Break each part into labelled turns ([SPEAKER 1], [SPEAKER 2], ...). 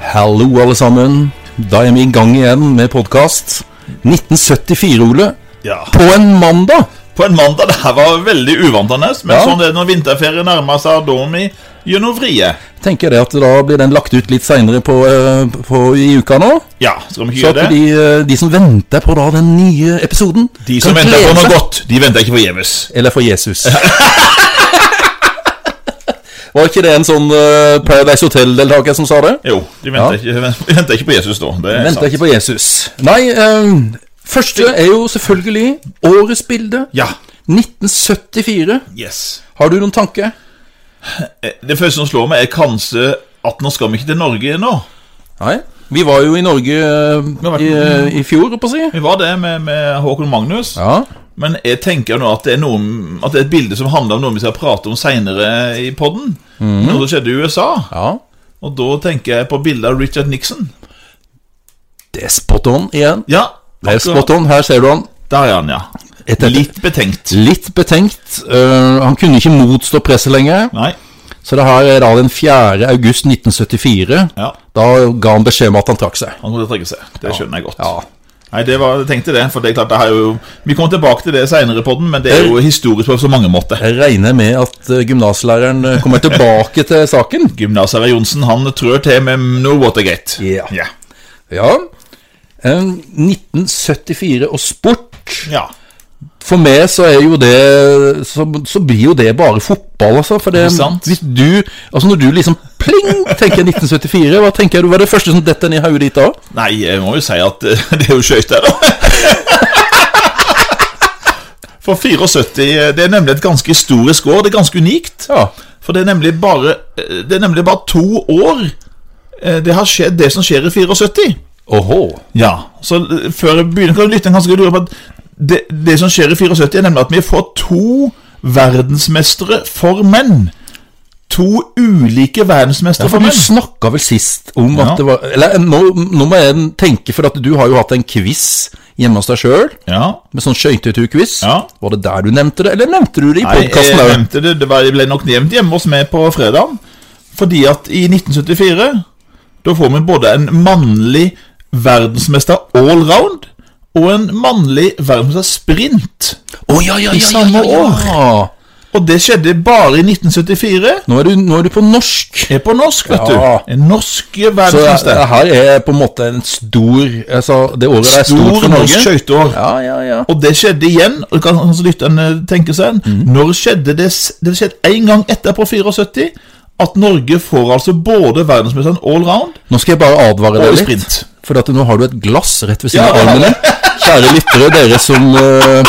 [SPEAKER 1] Hallo, alle sammen. Da er vi i gang igjen med podkast. 1974, Ole.
[SPEAKER 2] Ja.
[SPEAKER 1] På en mandag!
[SPEAKER 2] På en mandag det her var veldig uvantende, men
[SPEAKER 1] Ja.
[SPEAKER 2] sånn er det når vinterferie nærmer seg, da må vi gjennom vrie.
[SPEAKER 1] Tenker jeg det at da blir den lagt ut litt seinere på, eh, på, i uka nå.
[SPEAKER 2] Ja, skal vi ikke
[SPEAKER 1] Så at
[SPEAKER 2] gjøre det?
[SPEAKER 1] de, eh, de som venter på da den nye episoden
[SPEAKER 2] De som
[SPEAKER 1] kan
[SPEAKER 2] venter
[SPEAKER 1] glede
[SPEAKER 2] på noe
[SPEAKER 1] seg.
[SPEAKER 2] godt, de venter ikke forgjeves.
[SPEAKER 1] Eller for Jesus. Var ikke det en sånn eh, Paradise Hotel-deltaker som sa det?
[SPEAKER 2] Jo, de venter, ikke, de venter ikke på Jesus da. Det er
[SPEAKER 1] Venter
[SPEAKER 2] sant.
[SPEAKER 1] ikke på Jesus. Nei, eh, første er jo selvfølgelig årets bilde.
[SPEAKER 2] Ja.
[SPEAKER 1] 1974.
[SPEAKER 2] Yes.
[SPEAKER 1] Har du noen tanke?
[SPEAKER 2] Eh, Det første som slår meg, er kanskje at nå skal vi ikke til Norge nå.
[SPEAKER 1] Nei. Vi var jo i Norge eh,
[SPEAKER 2] har vært-
[SPEAKER 1] i, eh, i fjor, holdt på å si.
[SPEAKER 2] Vi var det med, med Håkon Magnus.
[SPEAKER 1] Ja.
[SPEAKER 2] Men jeg tenker nå at det, er noe, at det er et bilde som handler om noe vi skal prate om seinere i podden.
[SPEAKER 1] Mhm.
[SPEAKER 2] Noe som skjedde i USA.
[SPEAKER 1] ja.
[SPEAKER 2] Og da tenker jeg på bildet av Richard Nixon.
[SPEAKER 1] Det er spot on igjen.
[SPEAKER 2] Ja,
[SPEAKER 1] Det er spot on. Her ser du han.
[SPEAKER 2] Der er han, ja.
[SPEAKER 1] Et- et-
[SPEAKER 2] Litt betenkt.
[SPEAKER 1] Litt betenkt. Eh, han kunne ikke motstå presset lenger.
[SPEAKER 2] Nei.
[SPEAKER 1] Så det her er da den 4. august 1974.
[SPEAKER 2] Ja.
[SPEAKER 1] Da ga han beskjed om at han trakk seg.
[SPEAKER 2] Han kunne trekke seg. Det skjønner jeg godt.
[SPEAKER 1] Ja.
[SPEAKER 2] Nei, det var, jeg tenkte det, for det er klart det her er jo Vi kommer tilbake til det seinere på den, men det er jo historisk på så mange måter.
[SPEAKER 1] Jeg regner med at eh, gymnaslæreren eh, kommer tilbake til saken.
[SPEAKER 2] Gymnaset Johnsen han trør til med noe Watergate.
[SPEAKER 1] Ja.
[SPEAKER 2] Ja.
[SPEAKER 1] Ja. Eh, 1974 og sport.
[SPEAKER 2] ja.
[SPEAKER 1] For meg så er jo det Så, så blir jo det bare fotball, altså. For det,
[SPEAKER 2] Ikke sant?
[SPEAKER 1] hvis du Altså når du liksom pling, tenker 1974, hva tenker du? Hva er det første som detter ned i hodet ditt da?
[SPEAKER 2] Nei, jeg må jo si at eh, det er jo skøyt der, da. For 74 eh, Det er nemlig et ganske historisk år. Det er ganske unikt.
[SPEAKER 1] Ja.
[SPEAKER 2] For det er nemlig bare, eh, det er nemlig bare to år eh, det har skjedd det som skjer i 74.
[SPEAKER 1] Åhå.
[SPEAKER 2] Ja, så eh, før jeg begynner kan lytteren kanskje lure på at det, det som skjer i 74 er nemlig at vi får to verdensmestere for menn. To ulike verdensmestere
[SPEAKER 1] For
[SPEAKER 2] for
[SPEAKER 1] du
[SPEAKER 2] menn.
[SPEAKER 1] snakka vel sist om
[SPEAKER 2] Ja.
[SPEAKER 1] at det var Eller nå, nå må jeg tenke, for at du har jo hatt en quiz hjemme hos deg sjøl.
[SPEAKER 2] Ja,
[SPEAKER 1] Med sånn skøyteturquiz.
[SPEAKER 2] Ja.
[SPEAKER 1] Var det der du nevnte det, eller nevnte du det i
[SPEAKER 2] Nei, eh, jeg
[SPEAKER 1] podkasten òg?
[SPEAKER 2] nevnte det, det var, jeg ble nok nevnt hjemme hos meg på fredag. Fordi at i 1974, da får vi både en mannlig verdensmester allround, og en mannlig verdensmester sprint.
[SPEAKER 1] Å ja, ja, ja,
[SPEAKER 2] I
[SPEAKER 1] ja,
[SPEAKER 2] samme
[SPEAKER 1] ja, ja.
[SPEAKER 2] Og det skjedde bare i 1974.
[SPEAKER 1] Nå er du, nå er du på norsk.
[SPEAKER 2] Er på norsk, vet
[SPEAKER 1] Ja.
[SPEAKER 2] du. En
[SPEAKER 1] Så
[SPEAKER 2] norske
[SPEAKER 1] det,
[SPEAKER 2] verdensmester.
[SPEAKER 1] her er eh, på en måte en stor altså, Det året der er stort
[SPEAKER 2] Stor
[SPEAKER 1] for
[SPEAKER 2] norsk
[SPEAKER 1] Norge.
[SPEAKER 2] skøyteår.
[SPEAKER 1] Ja, ja, ja.
[SPEAKER 2] Og det skjedde igjen, og det kan kanskje lytterne tenke seg en. Når skjedde det? s- Det skjedde en gang etterpå 74, at Norge får altså både verdensmesteren allround
[SPEAKER 1] Nå skal jeg bare advare deg
[SPEAKER 2] og i
[SPEAKER 1] litt.
[SPEAKER 2] sprint.
[SPEAKER 1] For at nå har du et glass rett ved siden av
[SPEAKER 2] Ja,
[SPEAKER 1] armen
[SPEAKER 2] ja.
[SPEAKER 1] din. Kjære lyttere, dere som eh,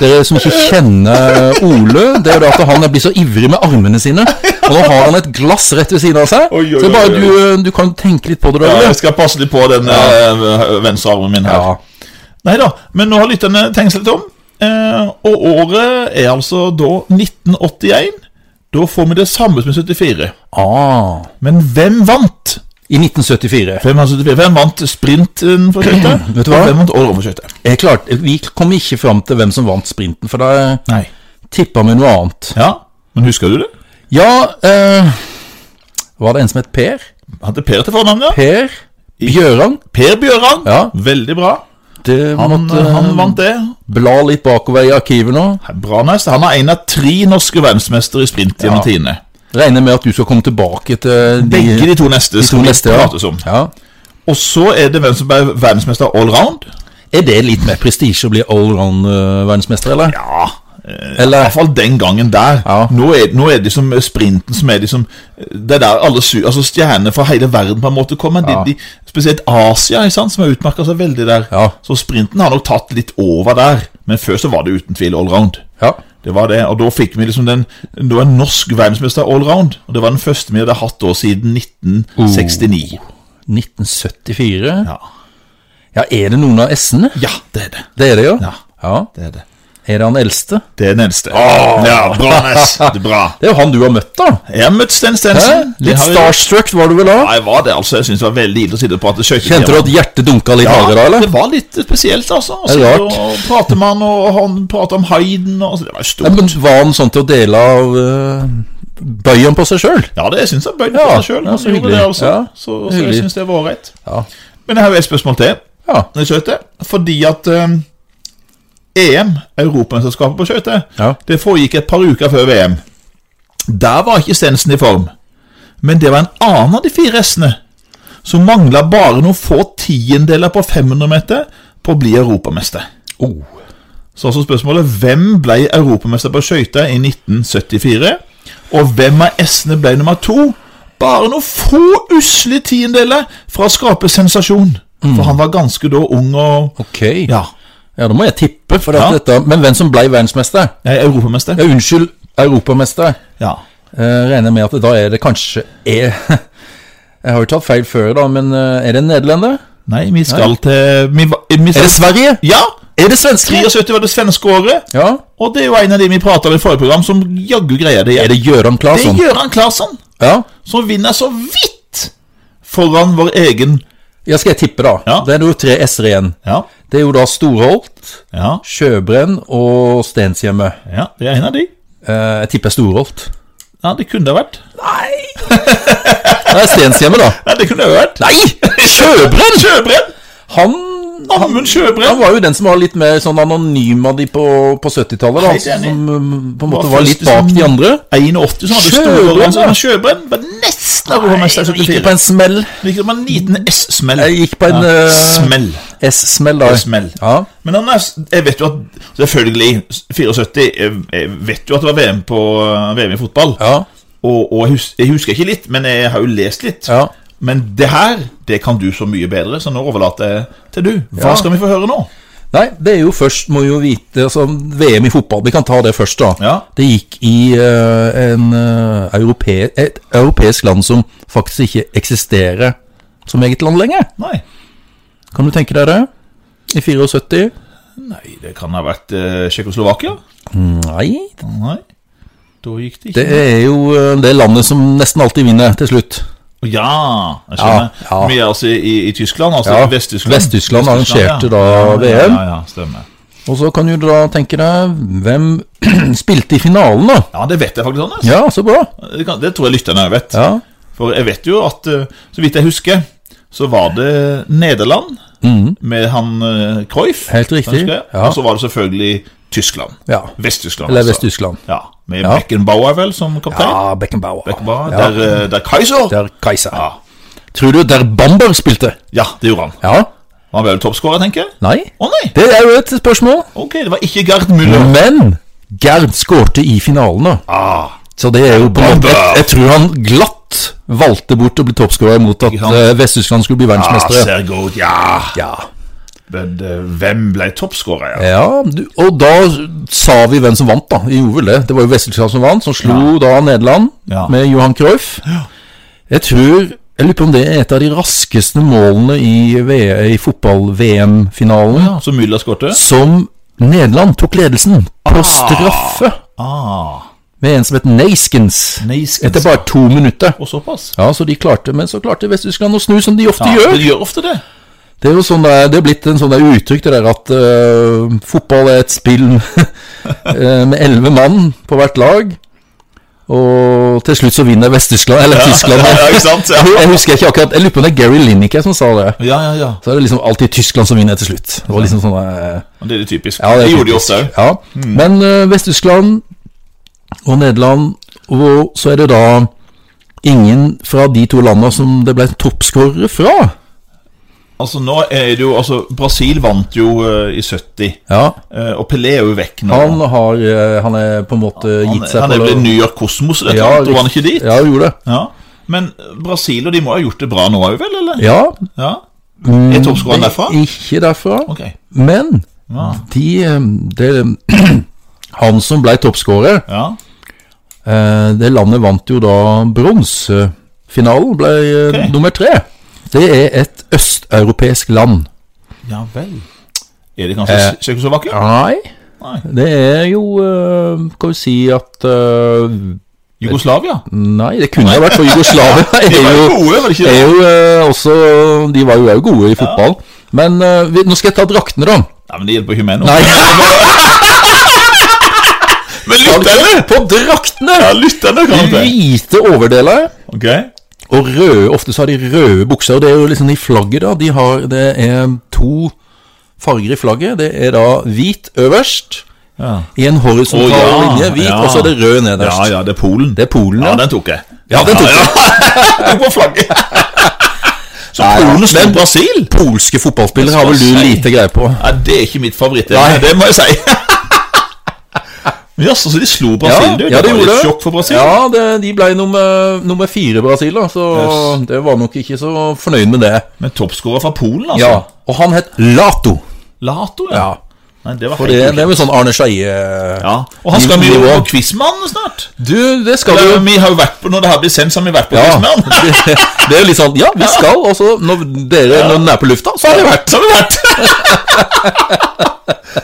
[SPEAKER 1] dere som ikke kjenner eh, Ole, det er jo det at han blir så ivrig med armene sine. Og nå har han et glass rett ved siden av seg.
[SPEAKER 2] Oi, oi,
[SPEAKER 1] Så bare
[SPEAKER 2] oi, oi.
[SPEAKER 1] du, eh, du kan tenke litt på det. da,
[SPEAKER 2] Ja,
[SPEAKER 1] Ole.
[SPEAKER 2] jeg skal passe litt på den eh, venstre armen min her.
[SPEAKER 1] Ja.
[SPEAKER 2] Nei da, men nå har lytterne tenkt seg litt om. Eh, og året er altså da 1981. Da får vi det samme som i 74.
[SPEAKER 1] Ah,
[SPEAKER 2] Men hvem vant?
[SPEAKER 1] I 1974.
[SPEAKER 2] Hvem, vant 74? hvem vant sprinten for skøyter?
[SPEAKER 1] Vet du hva?
[SPEAKER 2] Og Hvem vant allround for skøyter?
[SPEAKER 1] Jeg klarte, vi kom ikke fram til hvem som vant sprinten, for da
[SPEAKER 2] Nei.
[SPEAKER 1] tippa vi noe annet.
[SPEAKER 2] Ja, men husker du det?
[SPEAKER 1] Ja eh, Var det en som het Per?
[SPEAKER 2] Hadde Per til fornavn, ja.
[SPEAKER 1] Per Bjøran.
[SPEAKER 2] Per Bjøran.
[SPEAKER 1] Ja.
[SPEAKER 2] Veldig bra.
[SPEAKER 1] Det
[SPEAKER 2] Han,
[SPEAKER 1] måtte
[SPEAKER 2] han vant det.
[SPEAKER 1] bla eh, litt bakover i arkivet nå.
[SPEAKER 2] Bra nest. Han er en av tre norske verdensmestere i sprint gjennom
[SPEAKER 1] Ja.
[SPEAKER 2] tidene.
[SPEAKER 1] Regner med at du skal komme tilbake til de,
[SPEAKER 2] Begge de to neste.
[SPEAKER 1] de to
[SPEAKER 2] skal vi
[SPEAKER 1] neste.
[SPEAKER 2] prates
[SPEAKER 1] Ja.
[SPEAKER 2] om.
[SPEAKER 1] Ja.
[SPEAKER 2] Og så er det hvem som ble verdensmester allround.
[SPEAKER 1] Er det litt mer prestisje å bli allround-verdensmester, eller?
[SPEAKER 2] Ja. I hvert
[SPEAKER 1] Eller
[SPEAKER 2] fall den gangen der.
[SPEAKER 1] Ja.
[SPEAKER 2] Nå, er, nå er det som sprinten som er de som Det er der alle su, altså stjerner fra hele verden på en måte kommer.
[SPEAKER 1] Ja.
[SPEAKER 2] De, de, spesielt Asia, ikke sant, som har utmerka seg veldig der.
[SPEAKER 1] Ja.
[SPEAKER 2] Så sprinten har nok tatt litt over der. Men før så var det uten tvil allround.
[SPEAKER 1] ja.
[SPEAKER 2] Det var det, og da fikk vi liksom den Det var en norsk verdensmester allround. Og det var den første vi hadde hatt da siden 1969.
[SPEAKER 1] 1974?
[SPEAKER 2] Ja.
[SPEAKER 1] Ja, er det noen av S-ene?
[SPEAKER 2] ja, det er det.
[SPEAKER 1] Det er det jo.
[SPEAKER 2] Ja.
[SPEAKER 1] Ja.
[SPEAKER 2] Det er det.
[SPEAKER 1] Er det han eldste?
[SPEAKER 2] Det er den eneste. Ja, bra, Nes. Det er bra.
[SPEAKER 1] Det er jo han du har møtt, da.
[SPEAKER 2] Jeg har møtt Sten
[SPEAKER 1] Hæ?
[SPEAKER 2] Stensen. Det
[SPEAKER 1] Litt
[SPEAKER 2] har vi-
[SPEAKER 1] starstruck var du vel da?
[SPEAKER 2] Ja, jeg var det, altså. Jeg synes det var veldig ille å sitte og prate skøyter.
[SPEAKER 1] Kjente du at hjertet dunka litt hardere da,
[SPEAKER 2] Ja,
[SPEAKER 1] eller?
[SPEAKER 2] det var litt spesielt, altså. Å
[SPEAKER 1] Det er
[SPEAKER 2] sitte
[SPEAKER 1] rart.
[SPEAKER 2] og prate med han, og han prater om Hayden og altså, Det var jo
[SPEAKER 1] Ja,
[SPEAKER 2] stort.
[SPEAKER 1] men var han sånn til å dele av eh, bøy han på seg sjøl.
[SPEAKER 2] Ja, det syns jeg bøyd på
[SPEAKER 1] Ja,
[SPEAKER 2] seg sjøl.
[SPEAKER 1] ja, så hyggelig.
[SPEAKER 2] Altså.
[SPEAKER 1] Ja,
[SPEAKER 2] så, så jeg
[SPEAKER 1] hyggelig.
[SPEAKER 2] syns det var ålreit.
[SPEAKER 1] Ja.
[SPEAKER 2] Men jeg har jo et spørsmål til.
[SPEAKER 1] Ja.
[SPEAKER 2] når jeg skjøter, Fordi at eh, EM, Europamesterskapet på skøyter,
[SPEAKER 1] Ja.
[SPEAKER 2] det foregikk et par uker før VM. Der var ikke Stensen i form. Men det var en annen av de fire S-ene som mangla bare noen få tiendeler på 500 meter på å bli europamester.
[SPEAKER 1] Oh.
[SPEAKER 2] Så altså spørsmålet Hvem ble europamester på skøyter i 1974? Og hvem av S-ene ble nummer to? Bare noen få usle tiendeler fra å skape sensasjon. For han var ganske da ung og
[SPEAKER 1] Ok.
[SPEAKER 2] Ja,
[SPEAKER 1] Ja, da må jeg tippe. For at
[SPEAKER 2] Ja.
[SPEAKER 1] dette, men hvem som ble verdensmester?
[SPEAKER 2] jeg er europamester.
[SPEAKER 1] Ja, unnskyld, europamester.
[SPEAKER 2] Ja.
[SPEAKER 1] Eh, regner med at da er det kanskje er, Jeg har jo tatt feil før, da, men eh, er det en nederlender?
[SPEAKER 2] Nei, vi skal til vi, va- vi
[SPEAKER 1] Er
[SPEAKER 2] skal,
[SPEAKER 1] det Sverige?
[SPEAKER 2] Ja!
[SPEAKER 1] Er det svenske?
[SPEAKER 2] 73 var det svenske året,
[SPEAKER 1] Ja.
[SPEAKER 2] og det er jo en av de vi prata om i forrige program, som jaggu greier det.
[SPEAKER 1] Er det Sånn? Gøran
[SPEAKER 2] Det
[SPEAKER 1] Claesson?
[SPEAKER 2] er Gøran Claesson,
[SPEAKER 1] Ja.
[SPEAKER 2] som vinner så vidt foran vår egen
[SPEAKER 1] ja, skal jeg tippe, da?
[SPEAKER 2] Ja.
[SPEAKER 1] Det er jo tre s-er igjen.
[SPEAKER 2] Ja,
[SPEAKER 1] Det er jo da Storholt,
[SPEAKER 2] ja,
[SPEAKER 1] Sjøbrenn og Stenshjemmet.
[SPEAKER 2] ja det er en av de.
[SPEAKER 1] Eh, jeg tipper Storholt.
[SPEAKER 2] Ja, det kunne det ha vært.
[SPEAKER 1] Det er Stenshjemmet, da.
[SPEAKER 2] Ja, det kunne det ha vært.
[SPEAKER 1] Nei! Sjøbrenn!
[SPEAKER 2] Sjøbrenn!
[SPEAKER 1] Han, han,
[SPEAKER 2] Amund Sjøbrenn!
[SPEAKER 1] han var jo den som var litt mer sånn anonym av de på, på 70-tallet. da,
[SPEAKER 2] Helt enig.
[SPEAKER 1] Som um, på en måte
[SPEAKER 2] Var
[SPEAKER 1] var litt
[SPEAKER 2] først som-
[SPEAKER 1] bak de andre.
[SPEAKER 2] 81 som hadde
[SPEAKER 1] Sjøbrenn,
[SPEAKER 2] store
[SPEAKER 1] ja.
[SPEAKER 2] organer. Sjøbrenn var nesten europamester i
[SPEAKER 1] Gikk på
[SPEAKER 2] 74.
[SPEAKER 1] en smell.
[SPEAKER 2] Gikk det med en liten S-smell.
[SPEAKER 1] Jeg gikk på en,
[SPEAKER 2] ja.
[SPEAKER 1] eh,
[SPEAKER 2] Smell.
[SPEAKER 1] S-smell, da.
[SPEAKER 2] Smell.
[SPEAKER 1] Ja.
[SPEAKER 2] Men han er, jeg vet jo at Selvfølgelig, 74 Jeg jeg vet jo at det var VM på eh, VM i fotball.
[SPEAKER 1] ja.
[SPEAKER 2] Og, og jeg, hus, jeg husker ikke litt, men jeg har jo lest litt.
[SPEAKER 1] Ja.
[SPEAKER 2] Men det her, det kan du så mye bedre, så nå overlater jeg til du. Hva
[SPEAKER 1] Ja.
[SPEAKER 2] skal vi få høre nå?
[SPEAKER 1] Nei, det er jo først, må jo vite altså, VM i fotball, vi kan ta det først, da.
[SPEAKER 2] Ja.
[SPEAKER 1] Det gikk i eh, en, eh, europe, et europeisk land som faktisk ikke eksisterer som eget land lenger.
[SPEAKER 2] Nei.
[SPEAKER 1] Kan du tenke deg det? I 74?
[SPEAKER 2] Nei, det kan ha vært eh, Tsjekkoslovakia?
[SPEAKER 1] Nei.
[SPEAKER 2] Nei. Da gikk det ikke
[SPEAKER 1] Det er jo eh, det landet som nesten alltid vinner til slutt.
[SPEAKER 2] Ja, jeg skjønner.
[SPEAKER 1] Ja, ja.
[SPEAKER 2] Vi er altså i, i Tyskland, altså
[SPEAKER 1] Ja,
[SPEAKER 2] i Vest-Tyskland.
[SPEAKER 1] Vest-Tyskland arrangerte da
[SPEAKER 2] Ja,
[SPEAKER 1] VM.
[SPEAKER 2] ja, ja, stemmer.
[SPEAKER 1] Og så kan du da tenke deg hvem spilte i finalen, da?
[SPEAKER 2] Ja, det vet jeg faktisk, Anders.
[SPEAKER 1] Ja, så bra.
[SPEAKER 2] Det, kan, det tror jeg lytterne vet.
[SPEAKER 1] Ja.
[SPEAKER 2] For jeg vet jo at, eh, så vidt jeg husker, så var det Nederland med han eh, Cruyff.
[SPEAKER 1] Mm. Helt riktig,
[SPEAKER 2] husker jeg. Altså,
[SPEAKER 1] ja.
[SPEAKER 2] Og så var det selvfølgelig Tyskland.
[SPEAKER 1] Ja.
[SPEAKER 2] Vest-Tyskland. altså.
[SPEAKER 1] Eller Vest-Tyskland.
[SPEAKER 2] Ja, med
[SPEAKER 1] Ja.
[SPEAKER 2] Beckenbauer vel som kaptein.
[SPEAKER 1] Ja, Beckenbauer.
[SPEAKER 2] Beckenbauer,
[SPEAKER 1] Ja.
[SPEAKER 2] Der, eh, der Kaiser.
[SPEAKER 1] Der Kaiser.
[SPEAKER 2] Ja.
[SPEAKER 1] Tror du der Bamber spilte?
[SPEAKER 2] ja, det gjorde han.
[SPEAKER 1] Ja.
[SPEAKER 2] Han ble vel toppskårer, tenker jeg.
[SPEAKER 1] Nei?
[SPEAKER 2] Å nei!
[SPEAKER 1] Det er jo et spørsmål.
[SPEAKER 2] Ok, det var ikke Gerd Müller.
[SPEAKER 1] Men Gerd skårte i finalen, da.
[SPEAKER 2] Ah,
[SPEAKER 1] Så det er jo på en måte
[SPEAKER 2] Bamber.
[SPEAKER 1] jeg, jeg tror han glatt valgte bort å bli toppskårer mot at
[SPEAKER 2] Ikke sant?
[SPEAKER 1] eh, Vest-Tyskland skulle bli
[SPEAKER 2] ah
[SPEAKER 1] verdensmestere.
[SPEAKER 2] ser godt, ja.
[SPEAKER 1] Ja.
[SPEAKER 2] Men eh, hvem ble toppskårer? Ja?
[SPEAKER 1] ja du, og da sa vi hvem som vant, da. Vi gjorde vel det. Det var jo Vest-Tyskland som vant, som slo da Nederland
[SPEAKER 2] Ja.
[SPEAKER 1] med Johan Cruyff. Jeg tror jeg lurer på om det er et av de raskeste målene i, V- i fotball-VM-finalen.
[SPEAKER 2] Ja, Så Müller skårte?
[SPEAKER 1] Som Nederland tok ledelsen på straffe
[SPEAKER 2] Ah,
[SPEAKER 1] med en som het Neiskens.
[SPEAKER 2] Neiskens.
[SPEAKER 1] Etter bare to minutter.
[SPEAKER 2] Og såpass?
[SPEAKER 1] Ja, så de klarte, Men så klarte Vest-Tyskland å snu, som de ofte
[SPEAKER 2] Ja,
[SPEAKER 1] gjør.
[SPEAKER 2] de gjør ofte det.
[SPEAKER 1] Det er jo sånn der, det er blitt en sånn der uttrykk det der at øh, fotball er et spill eh, med elleve mann på hvert lag. Og til slutt så vinner Vest-Tyskland, eller Tyskland.
[SPEAKER 2] ja, ikke sant? Ja.
[SPEAKER 1] Jeg husker ikke akkurat, jeg lurer på om det er Gary Lineker som sa det.
[SPEAKER 2] Ja, ja, ja.
[SPEAKER 1] Så er det liksom alltid Tyskland som vinner til slutt. Det var liksom sånn eh,
[SPEAKER 2] Men Det er det typisk.
[SPEAKER 1] Ja,
[SPEAKER 2] det,
[SPEAKER 1] er
[SPEAKER 2] gjorde de
[SPEAKER 1] typisk.
[SPEAKER 2] ofte òg.
[SPEAKER 1] Ja. Men eh, Vest-Tyskland og Nederland, og så er det da ingen fra de to landene som det ble toppskårere fra.
[SPEAKER 2] Altså, nå er det jo Altså, Brasil vant jo eh, i 70,
[SPEAKER 1] Ja,
[SPEAKER 2] eh, og Pelé er jo vekk nå.
[SPEAKER 1] han har eh, Han er på en måte
[SPEAKER 2] han,
[SPEAKER 1] gitt seg
[SPEAKER 2] han er
[SPEAKER 1] på
[SPEAKER 2] vel New York Kosmos, rett og
[SPEAKER 1] Ja,
[SPEAKER 2] slett. Dro han ikke dit?
[SPEAKER 1] Ja, gjorde det.
[SPEAKER 2] Ja. Men eh, Brasil og de må ha gjort det bra nå òg, vel? eller?
[SPEAKER 1] Ja.
[SPEAKER 2] Ja.
[SPEAKER 1] mm,
[SPEAKER 2] Er toppskåreren
[SPEAKER 1] det-
[SPEAKER 2] derfra?
[SPEAKER 1] Ikke derfra.
[SPEAKER 2] Ok.
[SPEAKER 1] Men
[SPEAKER 2] Ja.
[SPEAKER 1] de eh, det, Han som ble toppskårer
[SPEAKER 2] ja.
[SPEAKER 1] Eh, det landet vant jo da bronsefinalen, ble eh,
[SPEAKER 2] Ok.
[SPEAKER 1] nummer tre. Det er et østeuropeisk land.
[SPEAKER 2] Ja vel. Er det kanskje
[SPEAKER 1] Eh.
[SPEAKER 2] Tsjekkoslovakia?
[SPEAKER 1] Nei,
[SPEAKER 2] Nei.
[SPEAKER 1] det er jo eh, Kan vi si at eh,
[SPEAKER 2] Jugoslavia?
[SPEAKER 1] Nei, det kunne ha vært for Jugoslavia.
[SPEAKER 2] De
[SPEAKER 1] er
[SPEAKER 2] var jo
[SPEAKER 1] jo,
[SPEAKER 2] gode, var det ikke
[SPEAKER 1] er
[SPEAKER 2] det?
[SPEAKER 1] jo eh, også De var jo òg gode i fotball. Men eh, vi, nå skal jeg ta draktene, da.
[SPEAKER 2] Nei, men det hjelper ikke meg nå.
[SPEAKER 1] Nei,
[SPEAKER 2] Men lytterne!
[SPEAKER 1] På draktene!
[SPEAKER 2] Ja, lytterne kan det.
[SPEAKER 1] Hvite overdeler
[SPEAKER 2] Ok,
[SPEAKER 1] og røde. Ofte så har de røde bukser. Og det er jo liksom i flagget, da. De har, det er to farger i flagget. Det er da hvit øverst
[SPEAKER 2] ja.
[SPEAKER 1] i en horisontal
[SPEAKER 2] Å, ja,
[SPEAKER 1] linje, hvit,
[SPEAKER 2] ja.
[SPEAKER 1] og så er det rød nederst.
[SPEAKER 2] ja, ja, det er Polen.
[SPEAKER 1] Det er Polen,
[SPEAKER 2] Ja,
[SPEAKER 1] ja.
[SPEAKER 2] den tok jeg.
[SPEAKER 1] Ja, den tok
[SPEAKER 2] jeg. På flagget. Så
[SPEAKER 1] Nei, ja.
[SPEAKER 2] Polen slo
[SPEAKER 1] Men-
[SPEAKER 2] Brasil?
[SPEAKER 1] Polske fotballspillere har vel du
[SPEAKER 2] Skal jeg si.
[SPEAKER 1] lite greie på.
[SPEAKER 2] Nei, det er ikke mitt favoritt.
[SPEAKER 1] Nei.
[SPEAKER 2] Det må jeg si. Men Jaså, så de slo Brasil, du?
[SPEAKER 1] ja,
[SPEAKER 2] det var
[SPEAKER 1] gjorde
[SPEAKER 2] litt
[SPEAKER 1] det.
[SPEAKER 2] sjokk for Brasil.
[SPEAKER 1] Ja, det, de ble nummer, nummer fire Brasil, da, så
[SPEAKER 2] Yes.
[SPEAKER 1] det var nok ikke så fornøyd med det.
[SPEAKER 2] Men toppskårer fra Polen, altså?
[SPEAKER 1] Ja, Og han het Lato.
[SPEAKER 2] Lato, ja.
[SPEAKER 1] Ja,
[SPEAKER 2] Nei, det var
[SPEAKER 1] For
[SPEAKER 2] helt
[SPEAKER 1] det,
[SPEAKER 2] utrolig.
[SPEAKER 1] det er vel sånn Arne Skeie eh,
[SPEAKER 2] ja. Og han skal vi jo
[SPEAKER 1] Nivå.
[SPEAKER 2] på Quizmannen snart.
[SPEAKER 1] Du, det skal jo
[SPEAKER 2] Eller, vi har jo vært på, når det her blir sendt, så har vi vært på
[SPEAKER 1] Ja,
[SPEAKER 2] Quizmannen.
[SPEAKER 1] det, det er jo litt sånn Ja, vi skal, og så når dere når den er på lufta, så har det vært.
[SPEAKER 2] Så har vi vært.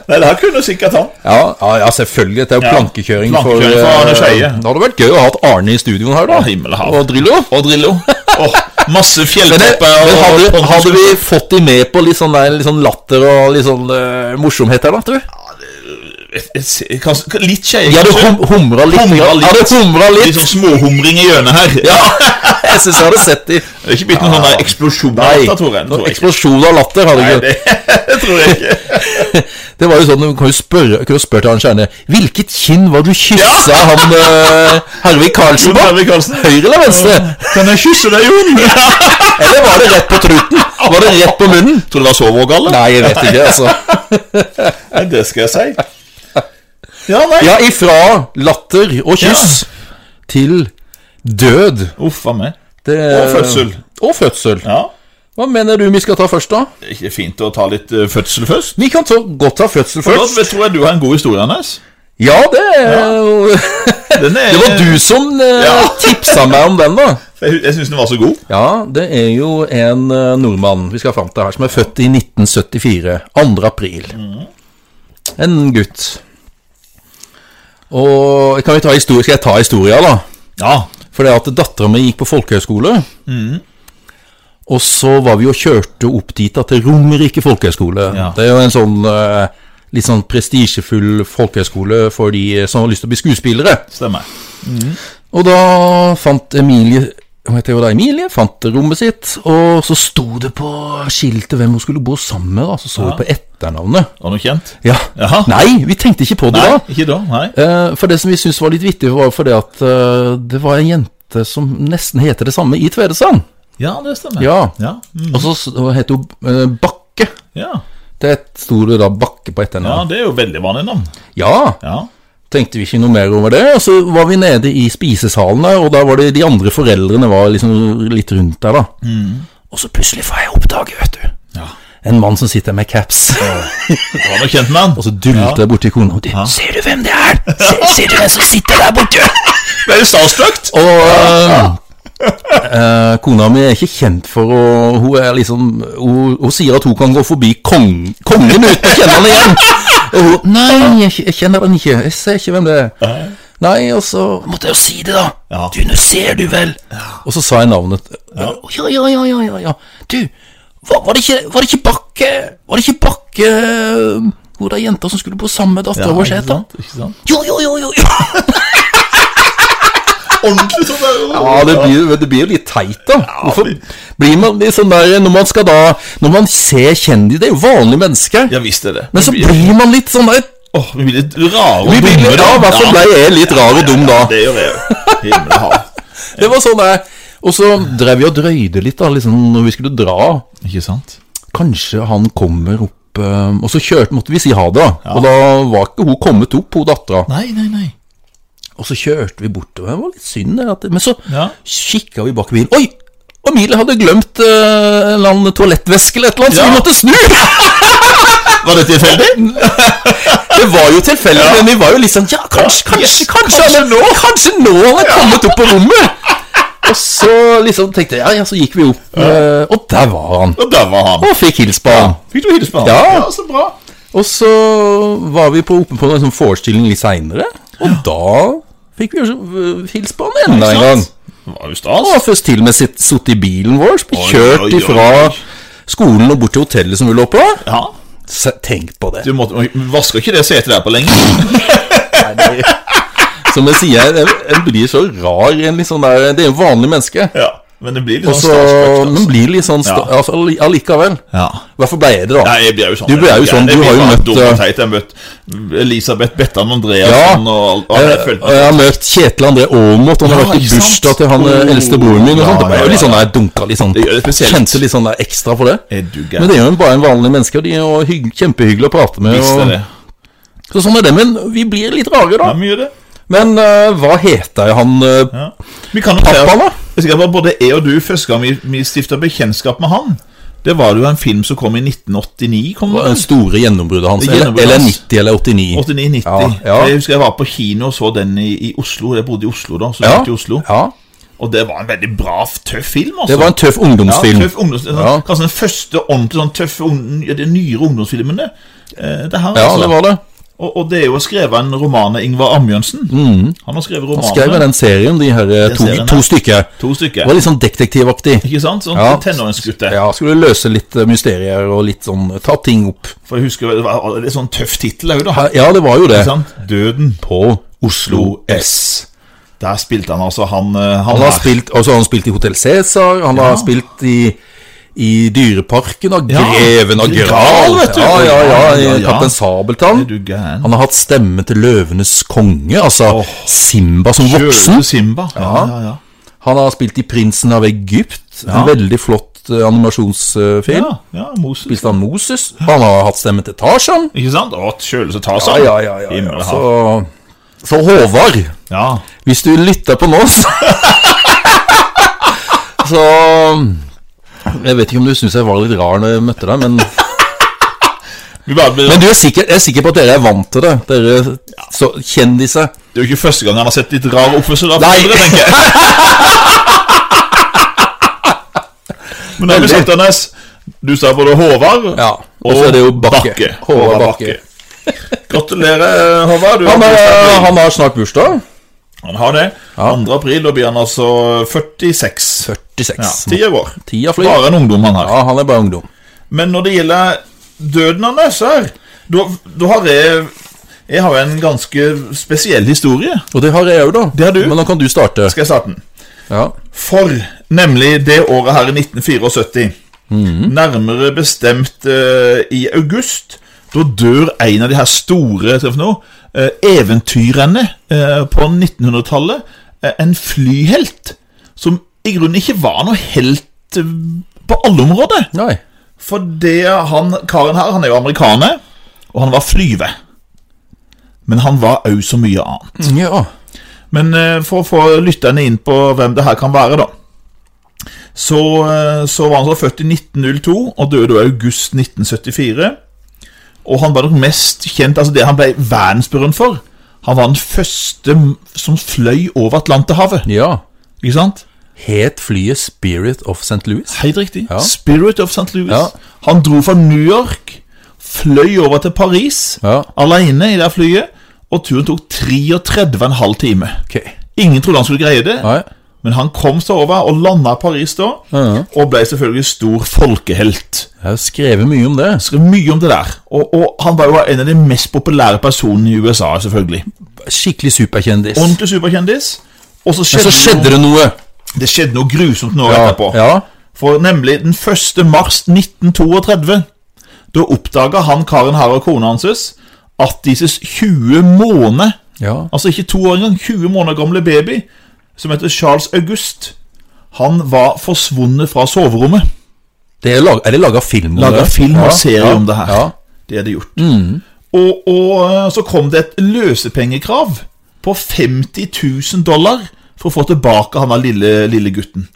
[SPEAKER 2] Nei, det her kunne sikkert han.
[SPEAKER 1] Ja, ja, ja selvfølgelig. Dette er jo
[SPEAKER 2] Ja,
[SPEAKER 1] plankekjøring,
[SPEAKER 2] plankekjøring for Arne
[SPEAKER 1] eh,
[SPEAKER 2] Skeie.
[SPEAKER 1] Det hadde vært gøy å ha hatt Arne i studioen her, da.
[SPEAKER 2] Ja, himmel og hav.
[SPEAKER 1] og Drillo.
[SPEAKER 2] Og Drillo. Åh, masse
[SPEAKER 1] Men, det,
[SPEAKER 2] fjelltopper
[SPEAKER 1] men hadde,
[SPEAKER 2] og
[SPEAKER 1] hadde vi fått de med på litt sånn, der, litt sånn latter og litt sånn eh, morsomhet her, da, tror du?
[SPEAKER 2] Et- et- kanskje- Litt skjeie,
[SPEAKER 1] De hadde hum, humra litt.
[SPEAKER 2] Humra
[SPEAKER 1] Ja, de
[SPEAKER 2] litt.
[SPEAKER 1] hadde humra
[SPEAKER 2] Litt
[SPEAKER 1] litt.
[SPEAKER 2] sånn småhumring i hjørnet her.
[SPEAKER 1] Ja, jeg syns jeg hadde sett de.
[SPEAKER 2] Det er ikke blitt noen sånn der eksplosjon av dette, tror jeg. Tror jeg ikke.
[SPEAKER 1] eksplosjon av latter hadde
[SPEAKER 2] Nei,
[SPEAKER 1] ikke
[SPEAKER 2] det det tror jeg ikke.
[SPEAKER 1] Det var jo sånn, du kan jo spørre, kunne jo spørre til han Kjerne Hvilket kinn var det du kyssa han uh, Hervig Karlsen
[SPEAKER 2] Jon
[SPEAKER 1] på?
[SPEAKER 2] Hervig Karlsen.
[SPEAKER 1] Høyre eller venstre?
[SPEAKER 2] Kan jeg kysse deg, Jon?
[SPEAKER 1] Eller var det rett på truten? Var det rett på munnen?
[SPEAKER 2] Tror du det var sovevågalle?
[SPEAKER 1] Nei, jeg vet ikke, altså.
[SPEAKER 2] Nei, det skal jeg si. Ja, nei.
[SPEAKER 1] Ja, ifra latter og kyss til død.
[SPEAKER 2] Uff a meg.
[SPEAKER 1] Det,
[SPEAKER 2] Og fødsel.
[SPEAKER 1] Og fødsel.
[SPEAKER 2] Ja.
[SPEAKER 1] Hva mener du vi skal ta først, da?
[SPEAKER 2] Det er ikke fint å ta litt eh, fødsel først.
[SPEAKER 1] Vi kan ta, godt ta fødsel
[SPEAKER 2] Da
[SPEAKER 1] først.
[SPEAKER 2] tror jeg du har en god historie, Anders.
[SPEAKER 1] Ja, det er jo
[SPEAKER 2] Den er,
[SPEAKER 1] Det var du som
[SPEAKER 2] Ja.
[SPEAKER 1] uh, tipsa meg om den, da.
[SPEAKER 2] Jeg, jeg syns den var så god.
[SPEAKER 1] Ja, det er jo en eh, nordmann vi skal fram til her, som er født i 1974, 2. april.
[SPEAKER 2] Mm.
[SPEAKER 1] En gutt. Og kan vi ta historie? Skal jeg ta historia, da?
[SPEAKER 2] Ja.
[SPEAKER 1] For det at dattera mi gikk på folkehøyskole.
[SPEAKER 2] Mm.
[SPEAKER 1] Og så var vi og kjørte opp dit, da, til Romerike folkehøgskole.
[SPEAKER 2] Ja.
[SPEAKER 1] Det er jo en sånn eh, litt sånn prestisjefull folkehøyskole for de eh, som har lyst til å bli skuespillere.
[SPEAKER 2] Stemmer.
[SPEAKER 1] Og da fant Emilie Hva heter hun da? Emilie fant rommet sitt, og så sto det på skiltet hvem hun skulle bo sammen med. da Så så vi på etternavnet.
[SPEAKER 2] Var det noe kjent?
[SPEAKER 1] Ja.
[SPEAKER 2] Jaha.
[SPEAKER 1] Nei, vi tenkte ikke på det
[SPEAKER 2] Nei,
[SPEAKER 1] da.
[SPEAKER 2] ikke da. Nei.
[SPEAKER 1] Eh, For det som vi syntes var litt vittig, var fordi at eh, det var ei jente som nesten heter det samme i Tvedestrand.
[SPEAKER 2] Ja, det stemmer.
[SPEAKER 1] Ja.
[SPEAKER 2] Ja, mm.
[SPEAKER 1] Og så s- og het hun eh, Bakke.
[SPEAKER 2] ja.
[SPEAKER 1] Det sto det da Bakke på
[SPEAKER 2] ja,
[SPEAKER 1] etternavnet.
[SPEAKER 2] det er jo veldig vanlig navn.
[SPEAKER 1] Ja.
[SPEAKER 2] Ja.
[SPEAKER 1] tenkte vi ikke noe mer over det. Og så var vi nede i spisesalen der, og da var det de andre foreldrene var liksom litt rundt der, da. Og så plutselig får jeg oppdage, vet du.
[SPEAKER 2] Ja.
[SPEAKER 1] En mann som sitter med caps,
[SPEAKER 2] Det var noe kjent med
[SPEAKER 1] og
[SPEAKER 2] han.
[SPEAKER 1] så dulter jeg borti kona. Og de, 'Ser du hvem det er? Ser, ser du hvem som sitter der borte?'
[SPEAKER 2] Ble du starstruck?
[SPEAKER 1] Og eh, eh, kona mi er ikke kjent for å Hun er liksom Hun, hun sier at hun kan gå forbi kong, kongen uten å kjenne han igjen. Og hun 'Nei, jeg, jeg kjenner han ikke. Jeg ser ikke hvem det er'. Nei, og så måtte jeg jo si det, da.
[SPEAKER 2] Ja.
[SPEAKER 1] Du, nå ser du vel. Og så sa jeg navnet. Ja, ja, ja, ja, ja. ja, ja. Du, var, var, det ikke, var det ikke Bakke Var det ikke Bakke Hun der jenta som skulle bo sammen med dattera vår,
[SPEAKER 2] ikke
[SPEAKER 1] het da?
[SPEAKER 2] sant, ikke sant?
[SPEAKER 1] Jo, jo, jo, jo, jo.
[SPEAKER 2] Ordentlig sånn der.
[SPEAKER 1] Ja, det blir, det blir jo litt teit, da. Hvorfor blir man litt sånn der når man skal da Når man ser kjendiser Det er jo vanlige mennesker.
[SPEAKER 2] Ja, visst er det.
[SPEAKER 1] Men så
[SPEAKER 2] Vi blir
[SPEAKER 1] blir man litt sånn der
[SPEAKER 2] Åh, vi blir litt rare og
[SPEAKER 1] Vi blir litt,
[SPEAKER 2] dumme,
[SPEAKER 1] ja, I hvert fall ble jeg litt rar og dum da.
[SPEAKER 2] Ja, det gjør jeg jo. Himmel og hav.
[SPEAKER 1] Det var sånn der. Og så drev vi og drøyde litt da, liksom, når vi skulle dra.
[SPEAKER 2] Ikke sant?
[SPEAKER 1] Kanskje han kommer opp eh, Og så kjørte, måtte vi si ha det, da. Og da var ikke hun kommet opp, hun dattera.
[SPEAKER 2] Nei, nei, nei.
[SPEAKER 1] Og så kjørte vi bortover. Det var litt synd, det. At, men så
[SPEAKER 2] Ja.
[SPEAKER 1] kikka vi bak i bilen. Oi! Emilie hadde glemt eh, en eller annen toalettveske eller et eller annet, så
[SPEAKER 2] Ja.
[SPEAKER 1] vi måtte snu!
[SPEAKER 2] Var det tilfeldig?
[SPEAKER 1] Det var jo tilfeldig, men vi var jo litt sånn Ja, kanskje, kanskje,
[SPEAKER 2] Yes,
[SPEAKER 1] kanskje, han er- kanskje nå han er kommet opp på rommet! Og så liksom tenkte jeg, ja, ja, så gikk vi opp, eh, og der var han.
[SPEAKER 2] Og der var han.
[SPEAKER 1] Og fikk hils på han.
[SPEAKER 2] Fikk du hilse på han?
[SPEAKER 1] Ja.
[SPEAKER 2] så bra.
[SPEAKER 1] Og så var vi på, oppe på en sånn forestilling litt seinere, og da fikk vi jo øh, hils på han enda en gang.
[SPEAKER 2] Det var jo stas.
[SPEAKER 1] Og først til og med sitt- sittet i bilen vår, som
[SPEAKER 2] Oi,
[SPEAKER 1] vi kjørt
[SPEAKER 2] oi, oi.
[SPEAKER 1] ifra skolen og bort til hotellet som vi lå på.
[SPEAKER 2] Ja.
[SPEAKER 1] Se, tenk på det.
[SPEAKER 2] Du måtte, vasker ikke det setet der på lenge?
[SPEAKER 1] Nei, det- Som jeg sier, jeg, jeg blir så rar. i En litt sånn der, det er jo vanlig menneske.
[SPEAKER 2] Ja, men det blir litt
[SPEAKER 1] Og så,
[SPEAKER 2] sånn starstruck,
[SPEAKER 1] men
[SPEAKER 2] altså.
[SPEAKER 1] blir litt sånn sta-
[SPEAKER 2] Ja.
[SPEAKER 1] altså, alli- Allikevel.
[SPEAKER 2] Ja.
[SPEAKER 1] Hvorfor ble jeg det, da?
[SPEAKER 2] Nei, jeg blir jo sånn.
[SPEAKER 1] Du blir jo
[SPEAKER 2] Jeg-
[SPEAKER 1] sånn,
[SPEAKER 2] jeg
[SPEAKER 1] du
[SPEAKER 2] blir
[SPEAKER 1] har jo
[SPEAKER 2] bare
[SPEAKER 1] møtt,
[SPEAKER 2] dum og
[SPEAKER 1] eh,
[SPEAKER 2] teit. Jeg har møtt Elisabeth Bettan
[SPEAKER 1] Ja. Eh,
[SPEAKER 2] Andreassen og alt. og jeg følte
[SPEAKER 1] Og jeg har møtt Kjetil André Aamodt, og han har
[SPEAKER 2] Ja,
[SPEAKER 1] vært i
[SPEAKER 2] ikke sant?
[SPEAKER 1] bursdag til han eh,
[SPEAKER 2] Oh.
[SPEAKER 1] eldste broren min. Og sånt.
[SPEAKER 2] Ja,
[SPEAKER 1] det ble
[SPEAKER 2] ja,
[SPEAKER 1] jo litt
[SPEAKER 2] ja,
[SPEAKER 1] sånn
[SPEAKER 2] ja.
[SPEAKER 1] jeg dunka litt sånn
[SPEAKER 2] Det gjør det spesielt.
[SPEAKER 1] Kjente litt sånn der ekstra for det.
[SPEAKER 2] Er du
[SPEAKER 1] Men
[SPEAKER 2] gæren?
[SPEAKER 1] det er jo en- bare en vanlig menneske, og de er jo hygg, kjempehyggelig å prate med.
[SPEAKER 2] Visst er
[SPEAKER 1] Og,
[SPEAKER 2] det.
[SPEAKER 1] så sånn er det, men vi blir litt rare,
[SPEAKER 2] Ja,
[SPEAKER 1] da.
[SPEAKER 2] vi gjør det.
[SPEAKER 1] Men eh, hva heter han eh,
[SPEAKER 2] Ja. Vi kan jo
[SPEAKER 1] Pappa,
[SPEAKER 2] se-
[SPEAKER 1] da?
[SPEAKER 2] Jeg skal bare- både jeg og du, første gang vi, vi stifta bekjentskap med han, det var jo en film som kom i 1989. kom det
[SPEAKER 1] det
[SPEAKER 2] vel?
[SPEAKER 1] store gjennombruddet hans? eller,
[SPEAKER 2] Gjennombruddet
[SPEAKER 1] eller
[SPEAKER 2] hans.
[SPEAKER 1] 90 eller 89?
[SPEAKER 2] 89-90.
[SPEAKER 1] Ja, ja.
[SPEAKER 2] Jeg husker jeg var på kino og så den i, i Oslo. Jeg bodde i Oslo da, så jeg
[SPEAKER 1] Ja,
[SPEAKER 2] gikk til Oslo.
[SPEAKER 1] ja,
[SPEAKER 2] Og det var en veldig bra, tøff film. altså.
[SPEAKER 1] det var en tøff
[SPEAKER 2] Ja,
[SPEAKER 1] ungdomsfilm.
[SPEAKER 2] tøff ungdomsfilm.
[SPEAKER 1] Ja.
[SPEAKER 2] Kanskje den første ordentlig sånn tøffe ung- ja, de nyere ungdomsfilmene. Eh, det her,
[SPEAKER 1] Ja,
[SPEAKER 2] altså.
[SPEAKER 1] det var det.
[SPEAKER 2] og, og det er jo skrevet en roman av Ingvar Ambjørnsen. Han har skrevet romaner.
[SPEAKER 1] Mm. Skrev i den serien, de her eh, to,
[SPEAKER 2] serien,
[SPEAKER 1] to
[SPEAKER 2] ja.
[SPEAKER 1] stykker.
[SPEAKER 2] To
[SPEAKER 1] Det
[SPEAKER 2] stykker.
[SPEAKER 1] var litt sånn detektivaktig.
[SPEAKER 2] Ikke sant? Sånn
[SPEAKER 1] Ja.
[SPEAKER 2] tenåringsgutte.
[SPEAKER 1] Ja, skulle løse litt eh, mysterier og litt sånn eh, Ta ting opp.
[SPEAKER 2] For jeg husker, det var det er sånn tøff tittel òg, da.
[SPEAKER 1] Ja, Ja, det var jo det.
[SPEAKER 2] Ikke sant? Døden.
[SPEAKER 1] På Oslo S.
[SPEAKER 2] Der spilte han altså han, eh, han,
[SPEAKER 1] Han har
[SPEAKER 2] her.
[SPEAKER 1] spilt, altså han har spilt i Hotell Cæsar, han har spilt i, i Dyreparken og
[SPEAKER 2] Ja,
[SPEAKER 1] Greven og
[SPEAKER 2] Gral,
[SPEAKER 1] Gral.
[SPEAKER 2] vet du.
[SPEAKER 1] Ja, ja, ja,
[SPEAKER 2] Ja,
[SPEAKER 1] ja,
[SPEAKER 2] ja, ja.
[SPEAKER 1] Kaptein Sabeltann.
[SPEAKER 2] Er du gæren?
[SPEAKER 1] Han har hatt stemme til Løvenes konge, altså
[SPEAKER 2] Åh.
[SPEAKER 1] Simba som
[SPEAKER 2] Kjøle
[SPEAKER 1] voksen.
[SPEAKER 2] Simba. Ja, ja, ja.
[SPEAKER 1] Han har spilt i Prinsen av Egypt, en veldig flott eh,
[SPEAKER 2] Ja,
[SPEAKER 1] animasjonsfilm.
[SPEAKER 2] ja, Moses.
[SPEAKER 1] Spilte han Moses? Han har hatt stemme til Tarzan.
[SPEAKER 2] Ikke sant? Å, Kjøle som tar
[SPEAKER 1] Ja,
[SPEAKER 2] seg.
[SPEAKER 1] ja, ja. ja,
[SPEAKER 2] Himmel
[SPEAKER 1] ja.
[SPEAKER 2] og hav.
[SPEAKER 1] Så, så Håvard,
[SPEAKER 2] ja.
[SPEAKER 1] hvis du lytter på nå, så Så Jeg vet ikke om du syns jeg var litt rar når jeg møtte deg, men,
[SPEAKER 2] Vi bare ble
[SPEAKER 1] men du er sikker, jeg er sikker på at dere er vant til det. Dere så, kjendiser.
[SPEAKER 2] Det er jo ikke første gang han har sett litt rar oppførsel av
[SPEAKER 1] Nei.
[SPEAKER 2] foreldre, tenker jeg. Men det er vi sagt, Anders. Du sa både Håvard
[SPEAKER 1] Ja. Og så er det jo Bakke.
[SPEAKER 2] Håvard Bakke. Gratulerer, Håvard. Du
[SPEAKER 1] Han,
[SPEAKER 2] har
[SPEAKER 1] er,
[SPEAKER 2] bursdag.
[SPEAKER 1] han har snart bursdag.
[SPEAKER 2] han har det. 2. april, da blir han altså 46.
[SPEAKER 1] 46.
[SPEAKER 2] Ja, Ti år.
[SPEAKER 1] Tida flyr.
[SPEAKER 2] Bare en ungdom han har.
[SPEAKER 1] Ja, han er bare ungdom.
[SPEAKER 2] Men når det gjelder døden hans her, da da har jeg Jeg har en ganske spesiell historie.
[SPEAKER 1] Og det har jeg òg, da.
[SPEAKER 2] Det har du.
[SPEAKER 1] Men nå kan du starte.
[SPEAKER 2] Skal jeg starte den?
[SPEAKER 1] Ja.
[SPEAKER 2] For nemlig det året her i 1974, nærmere bestemt eh, i august, da dør en av de her store hva for noe, eh, eventyrene eh, på 1900-tallet. eh, en flyhelt som i grunnen ikke var noe helt eh, på alle områder.
[SPEAKER 1] Nei.
[SPEAKER 2] For det han, karen her, han er jo amerikaner, og han var flyve. Men han var òg så mye annet.
[SPEAKER 1] Ja.
[SPEAKER 2] Men eh, for å få lytterne inn på hvem det her kan være, da Så, eh, så var han så født i 1902 og døde i august 1974. Og han var nok mest kjent Altså det han ble verdensberømt for. Han var den første m- som fløy over Atlanterhavet.
[SPEAKER 1] ja.
[SPEAKER 2] Ikke sant?
[SPEAKER 1] Het flyet Spirit of St. Louis?
[SPEAKER 2] Helt riktig.
[SPEAKER 1] Ja.
[SPEAKER 2] Spirit of St. Louis.
[SPEAKER 1] Ja.
[SPEAKER 2] Han dro fra New York, fløy over til Paris
[SPEAKER 1] Ja.
[SPEAKER 2] alene i det flyet, og turen tok 33,5 timer.
[SPEAKER 1] Ok.
[SPEAKER 2] Ingen trodde han skulle greie det.
[SPEAKER 1] Nei.
[SPEAKER 2] Men han kom seg over og landa i Paris da,
[SPEAKER 1] Ja.
[SPEAKER 2] og ble selvfølgelig stor folkehelt.
[SPEAKER 1] Jeg har skrevet mye om det.
[SPEAKER 2] Skrev mye om det der. Og, og han var jo en av de mest populære personene i USA, selvfølgelig.
[SPEAKER 1] Skikkelig superkjendis.
[SPEAKER 2] Ordentlig superkjendis. Og så
[SPEAKER 1] Men
[SPEAKER 2] skjedde,
[SPEAKER 1] så skjedde det noe.
[SPEAKER 2] noe, det skjedde noe grusomt noe
[SPEAKER 1] Ja.
[SPEAKER 2] etterpå.
[SPEAKER 1] ja.
[SPEAKER 2] For nemlig den 1. mars 1932, da oppdaga han karen her og kona hans at deres 20 måneder
[SPEAKER 1] ja.
[SPEAKER 2] Altså ikke to år engang, 20 måneder gamle baby, som heter Charles August. Han var forsvunnet fra soverommet.
[SPEAKER 1] Det er, lag, er det laga film om
[SPEAKER 2] Laga
[SPEAKER 1] det?
[SPEAKER 2] film og
[SPEAKER 1] Ja,
[SPEAKER 2] serie
[SPEAKER 1] ja,
[SPEAKER 2] om det her.
[SPEAKER 1] Ja. Mm.
[SPEAKER 2] Det er det gjort. Og, og eh, så kom det et løsepengekrav på 50 000 dollar for å få tilbake han der lille, lille gutten.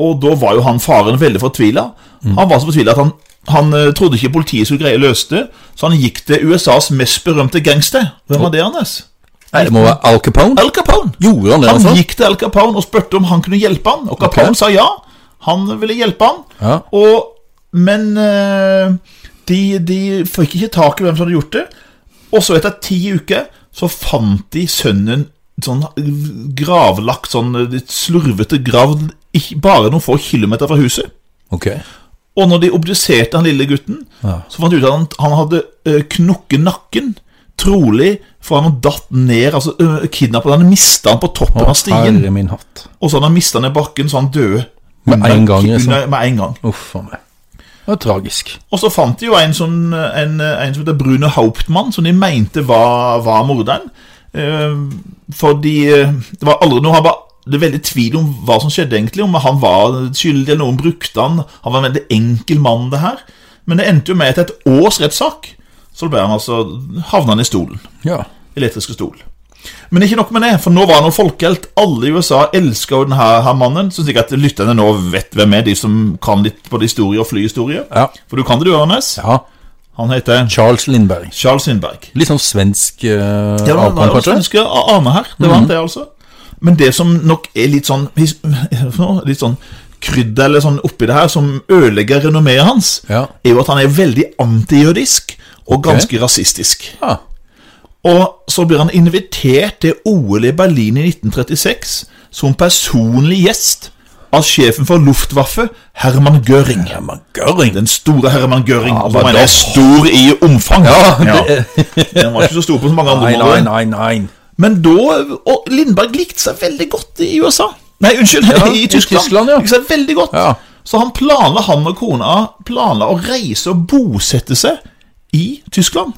[SPEAKER 2] Og da var jo han faren veldig fortvila.
[SPEAKER 1] Mm.
[SPEAKER 2] Han var så fortvila at han, han eh, trodde ikke politiet skulle greie å løse det, så han gikk til USAs mest berømte gangster. Hvem var det, Anders?
[SPEAKER 1] Nei, det må være Al Capone.
[SPEAKER 2] Al Capone.
[SPEAKER 1] Gjorde han det,
[SPEAKER 2] Han
[SPEAKER 1] altså?
[SPEAKER 2] gikk til Al Capone og spurte om han kunne hjelpe han, og Capone
[SPEAKER 1] Ok.
[SPEAKER 2] sa ja. Han ville hjelpe han,
[SPEAKER 1] Ja.
[SPEAKER 2] og, men eh, de, de fikk ikke tak i hvem som hadde gjort det. Og så etter ti uker så fant de sønnen sånn gravlagt, sånn litt slurvete grav, ikke- bare noen få kilometer fra huset.
[SPEAKER 1] Ok.
[SPEAKER 2] Og når de obduserte han lille gutten, så fant de ut at han, han hadde eh, knukket nakken trolig fra han datt ned altså øh, Kidnappet han, mista han på toppen av stien.
[SPEAKER 1] Herre min hatt.
[SPEAKER 2] Og så hadde han mista ned bakken, så han døde.
[SPEAKER 1] Med en gang, liksom.
[SPEAKER 2] Under, med en gang.
[SPEAKER 1] Uff a meg. Det var tragisk.
[SPEAKER 2] Og så fant de jo en, sånn, en, en som heter Bruno Hauptmann, som de mente var, var morderen. Eh, fordi eh, det var aldri noe Han var det er veldig tvil om hva som skjedde, egentlig. Om han var skyldig, eller noen brukte han. Han var en veldig enkel mann, det her. Men det endte jo med etter et års rettssak, så ble han altså havna han i stolen
[SPEAKER 1] Ja.
[SPEAKER 2] elektriske stol. Men ikke nok med det, for nå var han jo folkehelt. Alle i USA elska jo denne her mannen. Så sikkert lytterne nå vet hvem er, de som kan litt både historie og flyhistorie.
[SPEAKER 1] Ja.
[SPEAKER 2] For du kan det, du, Ørnes.
[SPEAKER 1] ja.
[SPEAKER 2] Han heter
[SPEAKER 1] Charles Lindberg.
[SPEAKER 2] Charles Sindberg.
[SPEAKER 1] Litt sånn svensk eh,
[SPEAKER 2] Det var
[SPEAKER 1] avkom,
[SPEAKER 2] en
[SPEAKER 1] kanskje?
[SPEAKER 2] svenske Ane her. Det var han, det, altså. Men det som nok er litt sånn his- Litt sånn krydder eller sånn oppi det her, som ødelegger renommeet hans,
[SPEAKER 1] Ja.
[SPEAKER 2] er jo at han er veldig antijødisk og
[SPEAKER 1] Ok.
[SPEAKER 2] ganske rasistisk.
[SPEAKER 1] ja.
[SPEAKER 2] Og så blir han invitert til OL i Berlin i 1936 som personlig gjest av sjefen for Luftwaffe, Herman Göring.
[SPEAKER 1] Herman Göring.
[SPEAKER 2] Den store Herman Göring. Ja,
[SPEAKER 1] men
[SPEAKER 2] men
[SPEAKER 1] da-
[SPEAKER 2] er stor i omfang.
[SPEAKER 1] Ja, det-
[SPEAKER 2] Den var ikke så stor på så mange andre
[SPEAKER 1] Nei, nei,
[SPEAKER 2] områder.
[SPEAKER 1] nei, nei.
[SPEAKER 2] Men da Og Lindberg likte seg veldig godt i USA. Nei, unnskyld,
[SPEAKER 1] Ja,
[SPEAKER 2] i
[SPEAKER 1] i
[SPEAKER 2] Tyskland.
[SPEAKER 1] Tyskland, ja.
[SPEAKER 2] Likte seg veldig godt.
[SPEAKER 1] Ja.
[SPEAKER 2] Så han planla, han og kona, planla å reise og bosette seg i Tyskland.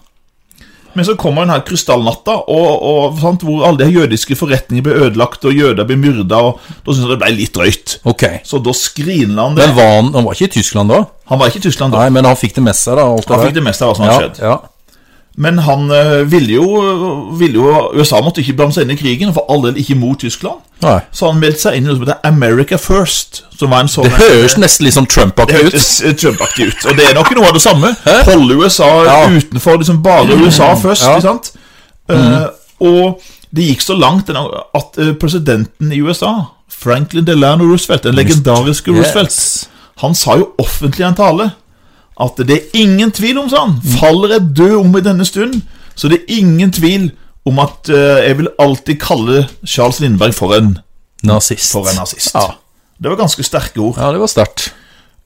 [SPEAKER 2] Men så kommer den her krystallnatta, og, og, sant, hvor alle de jødiske forretninger ble ødelagt, og jøder ble myrda, og da syntes han det ble litt drøyt.
[SPEAKER 1] Ok.
[SPEAKER 2] Så da skrinla han det.
[SPEAKER 1] Men var han, han var ikke i Tyskland da?
[SPEAKER 2] Han var ikke i Tyskland da.
[SPEAKER 1] Nei, men han fikk det med seg, da. Alt
[SPEAKER 2] Han
[SPEAKER 1] det
[SPEAKER 2] fikk det meste av hva som hadde skjedd.
[SPEAKER 1] Ja,
[SPEAKER 2] Men han eh, ville jo, ville jo USA måtte ikke blande seg inn i krigen, og for all del ikke mot Tyskland.
[SPEAKER 1] ja. Nei.
[SPEAKER 2] Så han meldte seg inn i noe som heter America First, som var en sånn
[SPEAKER 1] Det høres nesten litt sånn Trump-aktig ut.
[SPEAKER 2] hørtes eh, Trump-aktig ut. Og det er nok noe av det samme. Holde USA
[SPEAKER 1] Ja. Mm.
[SPEAKER 2] utenfor, liksom bare USA først.
[SPEAKER 1] Ja. Mm.
[SPEAKER 2] Ikke sant? Eh, og det gik så langt den- at eh, presidenten i USA, Franklin Delano Roosevelt, den legendariske Roosevelt,
[SPEAKER 1] Yes.
[SPEAKER 2] han sa jo offentlig i en tale at det er ingen tvil om, sa han, faller jeg død om i denne stund, så det er ingen tvil om at eh, jeg vil alltid kalle Charles Lindberg for en,
[SPEAKER 1] Nazist.
[SPEAKER 2] for en nazist.
[SPEAKER 1] Ja.
[SPEAKER 2] Det var ganske sterke ord.
[SPEAKER 1] Ja, det var sterkt.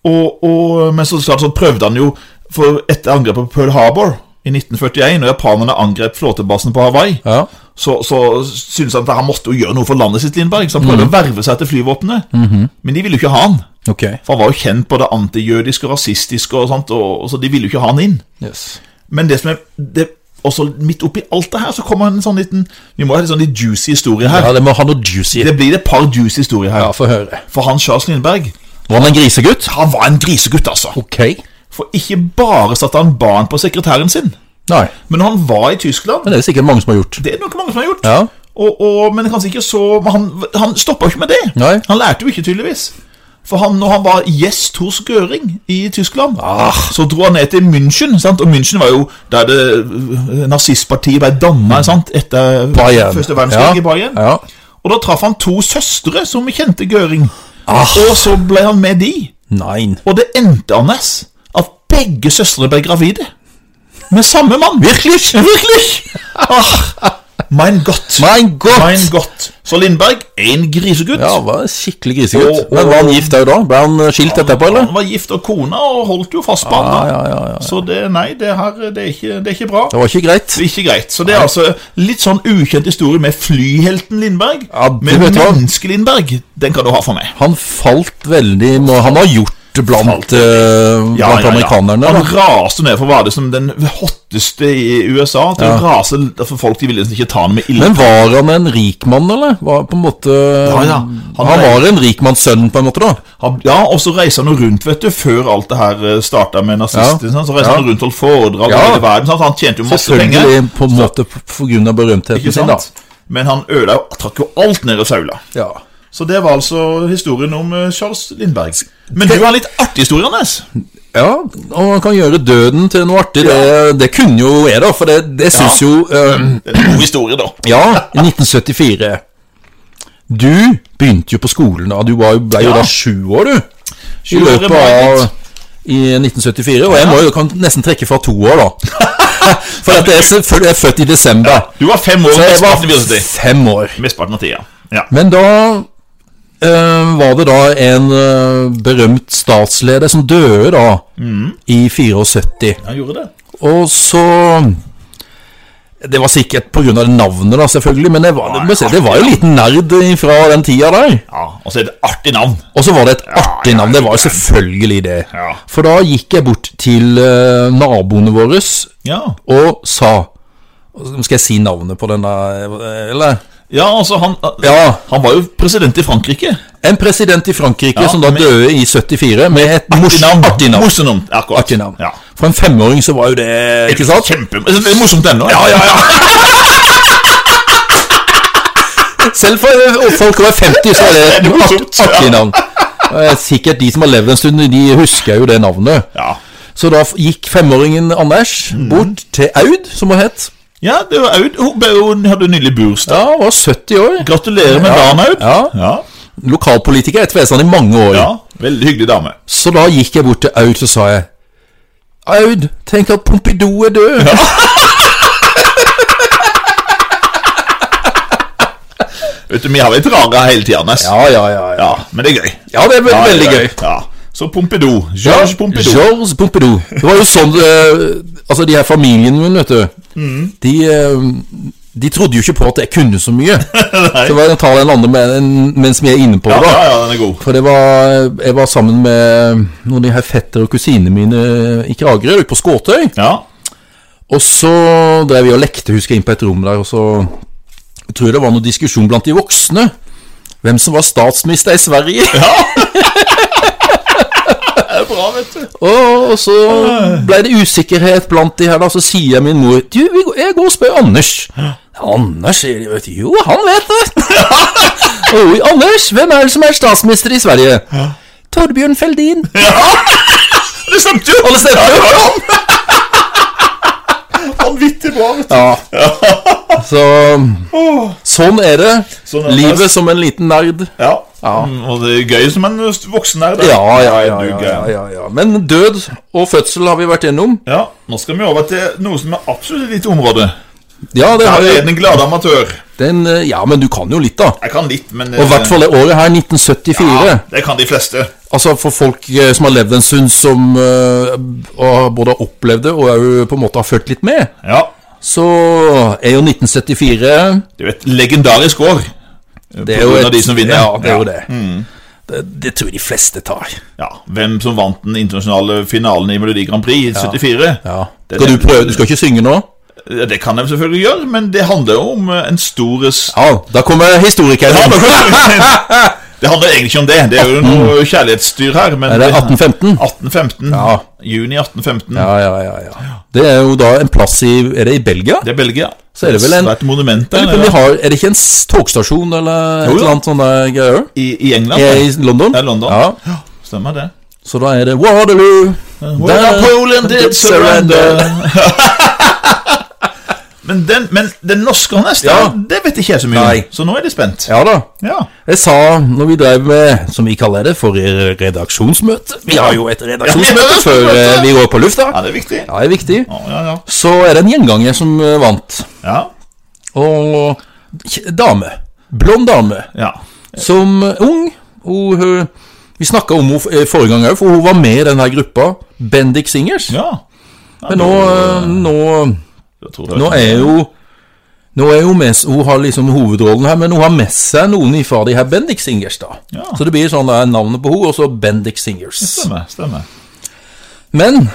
[SPEAKER 2] Og, og, men så, klart så prøvde han jo For etter angrepet på Pearl Harbor i 1941, når japanerne angrep flåtebasen på Hawaii,
[SPEAKER 1] Ja.
[SPEAKER 2] så, så syntes han at han måtte jo gjøre noe for landet sitt, Lindberg. Så han prøvde å verve seg til flyvåpenet. Men de ville jo ikke ha han.
[SPEAKER 1] Ok.
[SPEAKER 2] For han var jo kjent både antijødisk og rasistisk, og sånt, og, og så de ville jo ikke ha han inn.
[SPEAKER 1] Yes.
[SPEAKER 2] Men det som er det, også midt oppi alt det her, så kommer en sånn liten Vi må ha en sånn litt juicy historie her.
[SPEAKER 1] Ja, det må ha noe juicy.
[SPEAKER 2] Det blir et par juicy historier her.
[SPEAKER 1] Ja, få høre.
[SPEAKER 2] For han Charles Lindberg,
[SPEAKER 1] Var han en grisegutt?
[SPEAKER 2] han var en grisegutt, altså.
[SPEAKER 1] Ok.
[SPEAKER 2] For ikke bare satte han barn på sekretæren sin,
[SPEAKER 1] Nei,
[SPEAKER 2] men han var i Tyskland.
[SPEAKER 1] men det er det sikkert mange som har gjort.
[SPEAKER 2] Det er det nok mange som har gjort.
[SPEAKER 1] Ja.
[SPEAKER 2] Og, og, men kanskje ikke så men Han, han stoppa jo ikke med det.
[SPEAKER 1] Nei.
[SPEAKER 2] Han lærte jo ikke, tydeligvis. For han, når han var gjest hos Gøring i Tyskland,
[SPEAKER 1] Ah.
[SPEAKER 2] så dro han ned til München. Sant? Og München var jo der det øh, nazistpartiet ble danna sant? etter
[SPEAKER 1] Mm. Bayern.
[SPEAKER 2] første verdenskrig
[SPEAKER 1] Ja.
[SPEAKER 2] i Bayern.
[SPEAKER 1] Ja.
[SPEAKER 2] Og da traff han to søstre som kjente Gøring.
[SPEAKER 1] Ah.
[SPEAKER 2] Og så ble han med de.
[SPEAKER 1] Nei.
[SPEAKER 2] Og det endte, Anders, at begge søstre ble gravide. Med samme mann. Virkelig? Virkelig? Ah, mein Gott.
[SPEAKER 1] Mein Gott!
[SPEAKER 2] Mein Gott. Så Lindberg, en grisegutt.
[SPEAKER 1] Ja, var en skikkelig grisegutt.
[SPEAKER 2] Og- og-
[SPEAKER 1] Men var han gift òg da? Ble han eh, skilt etterpå, eller?
[SPEAKER 2] Han var gift og kona og holdt jo fast på
[SPEAKER 1] Ja,
[SPEAKER 2] han. da.
[SPEAKER 1] ja, ja, ja.
[SPEAKER 2] Så det, nei, det her, det er ikke, det er ikke bra.
[SPEAKER 1] Det var ikke greit.
[SPEAKER 2] Det er ikke greit. Så det er altså litt sånn ukjent historie med flyhelten Lindberg.
[SPEAKER 1] Ja, det
[SPEAKER 2] men
[SPEAKER 1] vet du hva.
[SPEAKER 2] menneske-Lindberg, den kan du ha for meg.
[SPEAKER 1] Han falt veldig må- Han har gjort det blant, eh, blant amerikanerne. da.
[SPEAKER 2] Han raste ned for å være det som den hotteste i USA. Til å rase for folk de ville nesten ikke ta ham med ille.
[SPEAKER 1] Men var han en rik mann, eller? Var på en måte
[SPEAKER 2] ja.
[SPEAKER 1] Han,
[SPEAKER 2] Han
[SPEAKER 1] var en rik manns sønn, på en måte, da?
[SPEAKER 2] Han- Ja, og så reiser han jo rundt, vet du, før alt det her starta med nazistene.
[SPEAKER 1] Ja.
[SPEAKER 2] sant? Så reiser han
[SPEAKER 1] Ja.
[SPEAKER 2] rundt og holdt foredrag over
[SPEAKER 1] Ja.
[SPEAKER 2] hele verden. Sant? Han tjente jo masse penger.
[SPEAKER 1] Selvfølgelig på en måte på grunn av berømtheten
[SPEAKER 2] Ikke
[SPEAKER 1] sin, da.
[SPEAKER 2] sant? Men han ødela jo trakk jo alt ned i saula.
[SPEAKER 1] Ja.
[SPEAKER 2] Så det var altså historien om eh, Charles Lindberg. Men du har en litt artig historie, Anders.
[SPEAKER 1] ja, og man kan gjøre døden til noe artig. Det, det kunne jo jeg, da, for det, det syns jo eh,
[SPEAKER 2] Det er en god historie, da.
[SPEAKER 1] Ja, i 1974. Du begynte jo på skolen da. Du var, jo- ble jo
[SPEAKER 2] Ja.
[SPEAKER 1] da sju år, du. I
[SPEAKER 2] Sju år i
[SPEAKER 1] løpet
[SPEAKER 2] mai,
[SPEAKER 1] av i 1974. Og jeg må jo kan nesten trekke fra to år, da. For at jeg er selvfølgelig jeg er født i desember.
[SPEAKER 2] Du var fem år
[SPEAKER 1] Så jeg var
[SPEAKER 2] mesteparten av begynnelsen.
[SPEAKER 1] fem år.
[SPEAKER 2] Mesteparten av tida. Ja.
[SPEAKER 1] Men da eh, var det da en eh, berømt statsleder som døde
[SPEAKER 2] Mm.
[SPEAKER 1] da, i 74.
[SPEAKER 2] Han gjorde det.
[SPEAKER 1] Og så Det var sikkert pga. navnet, da, selvfølgelig, men det var, det, må jeg si, det var jo en liten nerd fra den tida der.
[SPEAKER 2] Ja, Og så er det et artig navn.
[SPEAKER 1] Og så var det et artig
[SPEAKER 2] ja,
[SPEAKER 1] navn. Det var jo
[SPEAKER 2] ja.
[SPEAKER 1] selvfølgelig det.
[SPEAKER 2] Ja.
[SPEAKER 1] For da gikk jeg bort til eh, naboene våre
[SPEAKER 2] Ja,
[SPEAKER 1] og sa Nå Skal jeg si navnet på denne, eh, eller?
[SPEAKER 2] ja altså han,
[SPEAKER 1] Ja.
[SPEAKER 2] han var jo president i Frankrike.
[SPEAKER 1] En president i Frankrike
[SPEAKER 2] Ja,
[SPEAKER 1] som da
[SPEAKER 2] med-
[SPEAKER 1] døde i 74 med et mors- artig navn.
[SPEAKER 2] Morsomt. Akkurat.
[SPEAKER 1] Artig navn.
[SPEAKER 2] Ja.
[SPEAKER 1] For en femåring så var jo det Ikke sant?
[SPEAKER 2] Kjempe... Det er morsomt ennå. Ja, ja, ja.
[SPEAKER 1] Selv for eh, folk over 50 så er det et
[SPEAKER 2] Det er
[SPEAKER 1] art-
[SPEAKER 2] morsomt, ja.
[SPEAKER 1] artig navn. Og, eh, Sikkert de som har levd en stund, de husker jo det navnet.
[SPEAKER 2] Ja,
[SPEAKER 1] Så da f- gikk femåringen Anders
[SPEAKER 2] Mm.
[SPEAKER 1] bort til Aud, som hun het.
[SPEAKER 2] ja det var Aud. Hun, ble- hun hadde nylig bursdag.
[SPEAKER 1] Ja, var 70 år.
[SPEAKER 2] Gratulerer med
[SPEAKER 1] Ja.
[SPEAKER 2] dagen, Aud.
[SPEAKER 1] Ja.
[SPEAKER 2] ja.
[SPEAKER 1] Lokalpolitiker etter Vesan i mange år.
[SPEAKER 2] Ja, Veldig hyggelig dame.
[SPEAKER 1] Så da gikk jeg bort til Aud så sa jeg Aud, tenk at Pompidou er død.
[SPEAKER 2] Vet du, Vi har vært rare hele tida, Nes.
[SPEAKER 1] Ja, ja, ja. Ja,
[SPEAKER 2] Ja, men det er gøy.
[SPEAKER 1] ja det er ve
[SPEAKER 2] Ja,
[SPEAKER 1] veldig
[SPEAKER 2] det
[SPEAKER 1] gøy.
[SPEAKER 2] er Ja. Så Pompidou. Georges Pompidou.
[SPEAKER 1] Georges Pompidou. Det var jo sånn eh, Altså, de her familien min, vet du
[SPEAKER 2] Mm.
[SPEAKER 1] de, eh, de trodde jo ikke på at jeg kunne så mye. så var jeg tar en annen med, en- mens vi er inne på
[SPEAKER 2] Ja,
[SPEAKER 1] det, da.
[SPEAKER 2] ja, ja, den er god.
[SPEAKER 1] For det var Jeg var sammen med noen av de her fettere og kusinene mine i Kragerø, på Skåtøy.
[SPEAKER 2] Ja.
[SPEAKER 1] Og så drev vi og lekte, husker jeg, inn på et rom der, og så jeg tror jeg det var noen diskusjon blant de voksne. Hvem som var statsminister i Sverige.
[SPEAKER 2] Det er bra, vet du.
[SPEAKER 1] Og, og så ble det usikkerhet blant de her, da. Så sier min mor Du, vi går- jeg går og spør Anders. Anders, sier de. Vet du. Jo, han vet det. Oi, Anders, hvem er det som er statsminister i Sverige? Torbjørn Feldin.
[SPEAKER 2] Det stemte jo!
[SPEAKER 1] Og det stemte jo!
[SPEAKER 2] Vanvittig bra, vet du.
[SPEAKER 1] Ja. Så sånn er det.
[SPEAKER 2] Sånn er det.
[SPEAKER 1] Livet som en liten nerd.
[SPEAKER 2] Ja. Mm, Og det er gøy som en voksen er. det.
[SPEAKER 1] Ja, ja, ja,
[SPEAKER 2] Du er
[SPEAKER 1] ja,
[SPEAKER 2] gøy.
[SPEAKER 1] ja, ja, ja. Men død og fødsel har vi vært gjennom.
[SPEAKER 2] Ja, nå skal vi over til noe som er absolutt i ditt område.
[SPEAKER 1] Ja, det har
[SPEAKER 2] Her er
[SPEAKER 1] vi.
[SPEAKER 2] den glade amatør.
[SPEAKER 1] Den, eh, ja, men du kan jo litt, da.
[SPEAKER 2] Jeg kan litt, men eh,
[SPEAKER 1] Og i hvert fall det året her, 1974.
[SPEAKER 2] ja, Det kan de fleste.
[SPEAKER 1] Altså For folk eh, som har levd en stund, som eh, og både har opplevd det og er jo på en måte har fulgt litt med,
[SPEAKER 2] Ja.
[SPEAKER 1] så er jo 1974
[SPEAKER 2] Det er jo et legendarisk år.
[SPEAKER 1] Det
[SPEAKER 2] På grunn av de som vinner.
[SPEAKER 1] Ja, det er jo
[SPEAKER 2] Ja. Mm.
[SPEAKER 1] det. det. Det tror jeg de fleste tar.
[SPEAKER 2] Ja, Hvem som vant den internasjonale finalen i Melodi Grand Prix i 74?
[SPEAKER 1] Ja.
[SPEAKER 2] Det-
[SPEAKER 1] Skal du prøve? Du skal ikke synge nå?
[SPEAKER 2] Ja, Det kan de selvfølgelig gjøre, men det handler jo om eh, en stor s-
[SPEAKER 1] Ja, da kommer historikeren.
[SPEAKER 2] Ja, da Det handler egentlig ikke om det. Det er jo noe kjærlighetsstyr her. Men
[SPEAKER 1] Mm. Er det 1815?
[SPEAKER 2] 1815.
[SPEAKER 1] Ja.
[SPEAKER 2] Juni 1815.
[SPEAKER 1] Ja, ja, ja, ja. Det er jo da en plass i Er det i Belgia?
[SPEAKER 2] Det er Belgia.
[SPEAKER 1] Så er det vel en-
[SPEAKER 2] svært monument
[SPEAKER 1] Jeg lurer på
[SPEAKER 2] der.
[SPEAKER 1] om
[SPEAKER 2] ja.
[SPEAKER 1] de har, er det ikke en s- togstasjon eller et
[SPEAKER 2] Jo, jo.
[SPEAKER 1] eller annet sånt der greier?
[SPEAKER 2] I, I England.
[SPEAKER 1] Er
[SPEAKER 2] da.
[SPEAKER 1] I London?
[SPEAKER 2] Det er London.
[SPEAKER 1] Ja.
[SPEAKER 2] Ja, Stemmer det.
[SPEAKER 1] Så da er det Waterloo.
[SPEAKER 2] Well, Napoleon did surrender. Men den, men den norske hans, det-
[SPEAKER 1] Ja.
[SPEAKER 2] det vet ikke jeg så mye om.
[SPEAKER 1] Nei.
[SPEAKER 2] Så nå er de spent.
[SPEAKER 1] Ja da.
[SPEAKER 2] Ja.
[SPEAKER 1] Jeg sa, når vi drev med, som vi kaller det, for redaksjonsmøte Vi har jo et redaksjonsmøte
[SPEAKER 2] Ja, vi har
[SPEAKER 1] før
[SPEAKER 2] redaksjonsmøte.
[SPEAKER 1] eh, vi går på lufta.
[SPEAKER 2] ja, det er viktig.
[SPEAKER 1] Ja, det er viktig.
[SPEAKER 2] Ja, ja, ja.
[SPEAKER 1] Så er det en gjenganger som eh, vant.
[SPEAKER 2] ja.
[SPEAKER 1] Og k- dame. Blond dame.
[SPEAKER 2] ja.
[SPEAKER 1] Som eh, ung. Og hun eh, Vi snakka om henne eh, forrige gang òg, for hun var med i den her gruppa, Bendik Singers.
[SPEAKER 2] ja.
[SPEAKER 1] Men nå, eh, nå
[SPEAKER 2] Jeg tror det-
[SPEAKER 1] Nå er jo Nå er jo mest, Hun har liksom hovedrollen her, men hun har med seg noen fra de her Bendik Singers. da
[SPEAKER 2] Ja.
[SPEAKER 1] Så det blir sånn der, navnet på henne, og så Bendik Singers.
[SPEAKER 2] Stemmer. stemmer.
[SPEAKER 1] Men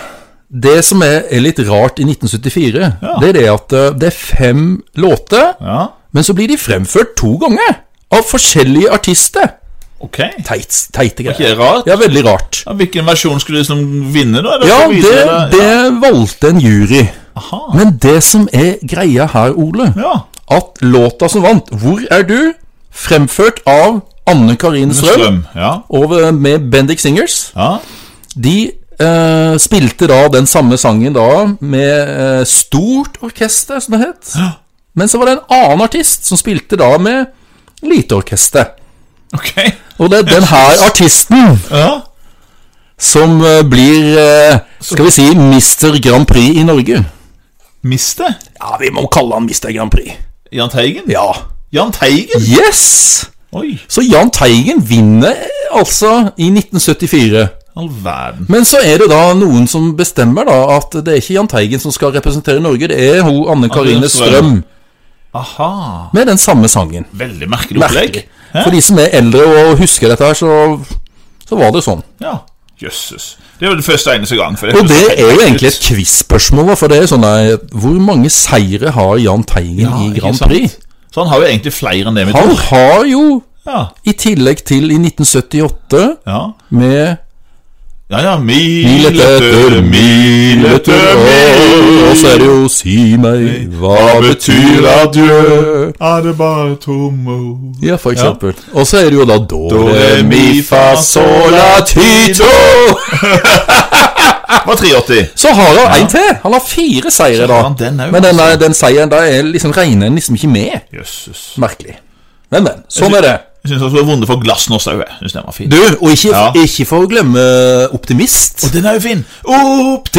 [SPEAKER 1] det som er, er litt rart i 1974,
[SPEAKER 2] Ja.
[SPEAKER 1] det er det at eh, det er fem låter,
[SPEAKER 2] Ja,
[SPEAKER 1] men så blir de fremført to ganger av forskjellige artister.
[SPEAKER 2] ok.
[SPEAKER 1] Teit, teite
[SPEAKER 2] Ikke det
[SPEAKER 1] greier.
[SPEAKER 2] rart?
[SPEAKER 1] Ja, veldig rart.
[SPEAKER 2] Ja, hvilken versjon skulle liksom vinne, da?
[SPEAKER 1] Ja,
[SPEAKER 2] skal vi vise
[SPEAKER 1] det,
[SPEAKER 2] deg-
[SPEAKER 1] det valgte en jury.
[SPEAKER 2] Aha.
[SPEAKER 1] Men det som er greia her, Ole,
[SPEAKER 2] Ja.
[SPEAKER 1] at låta som vant, 'Hvor er du?', fremført av Anne Karine Strøm
[SPEAKER 2] Strøm. Ja.
[SPEAKER 1] over med Bendik Singers,
[SPEAKER 2] ja.
[SPEAKER 1] de eh, spilte da den samme sangen da med eh, stort orkester, som det het. Men så var det en annen artist som spilte da med lite orkester.
[SPEAKER 2] Ok.
[SPEAKER 1] Og det er den her artisten
[SPEAKER 2] Ja.
[SPEAKER 1] som eh, blir, eh, skal vi si, Mr. Grand Prix i Norge.
[SPEAKER 2] Miste?
[SPEAKER 1] Ja, vi må kalle han Mr. Grand Prix.
[SPEAKER 2] Jahn Teigen?
[SPEAKER 1] Ja.
[SPEAKER 2] Jahn Teigen?
[SPEAKER 1] Yes!
[SPEAKER 2] Oi.
[SPEAKER 1] Så Jahn Teigen vinner eh, altså i 1974.
[SPEAKER 2] all verden.
[SPEAKER 1] Men så er det da noen som bestemmer da at det er ikke Jahn Teigen som skal representere Norge, det er hun Anne Karine Strøm.
[SPEAKER 2] Aha.
[SPEAKER 1] Med den samme sangen.
[SPEAKER 2] Veldig merkelig opplegg. Hæ?
[SPEAKER 1] For de som er eldre og husker dette her, så, så var det sånn.
[SPEAKER 2] Ja. Jøsses. Det er jo det første eneste gang. For
[SPEAKER 1] Og det
[SPEAKER 2] høres helt
[SPEAKER 1] er jo
[SPEAKER 2] ut.
[SPEAKER 1] egentlig et quiz-spørsmål, da, for det er jo sånn der, Hvor mange seire har Jahn Teigen
[SPEAKER 2] Ja,
[SPEAKER 1] i
[SPEAKER 2] ikke
[SPEAKER 1] Grand
[SPEAKER 2] sant?
[SPEAKER 1] Prix?
[SPEAKER 2] Så han har jo egentlig flere enn det vi
[SPEAKER 1] Han
[SPEAKER 2] tror.
[SPEAKER 1] har jo,
[SPEAKER 2] Ja.
[SPEAKER 1] i tillegg til i 1978
[SPEAKER 2] Ja.
[SPEAKER 1] med
[SPEAKER 2] Ja, ja, mil
[SPEAKER 1] Mil etter
[SPEAKER 2] etter mil etter mil
[SPEAKER 1] Og så er det jo Si meg, hva betyr adjø?
[SPEAKER 2] Er det bare tomme ord
[SPEAKER 1] Ja, for eksempel. Og så er det jo da Do re mi fa sol la ti to.
[SPEAKER 2] Det var 83
[SPEAKER 1] Så har han en til! Han har fire seire, da.
[SPEAKER 2] har han den også, altså.
[SPEAKER 1] Men den, er- den seieren der er liksom, regner en liksom ikke med.
[SPEAKER 2] Jøsses
[SPEAKER 1] Merkelig. Men, men. Sånn er det.
[SPEAKER 2] Jeg synes han skulle vunnet for glass nå, sa jeg Jeg synes den var fin
[SPEAKER 1] Du, og ikke,
[SPEAKER 2] Ja.
[SPEAKER 1] ikke for å glemme Optimist.
[SPEAKER 2] Og den er jo fin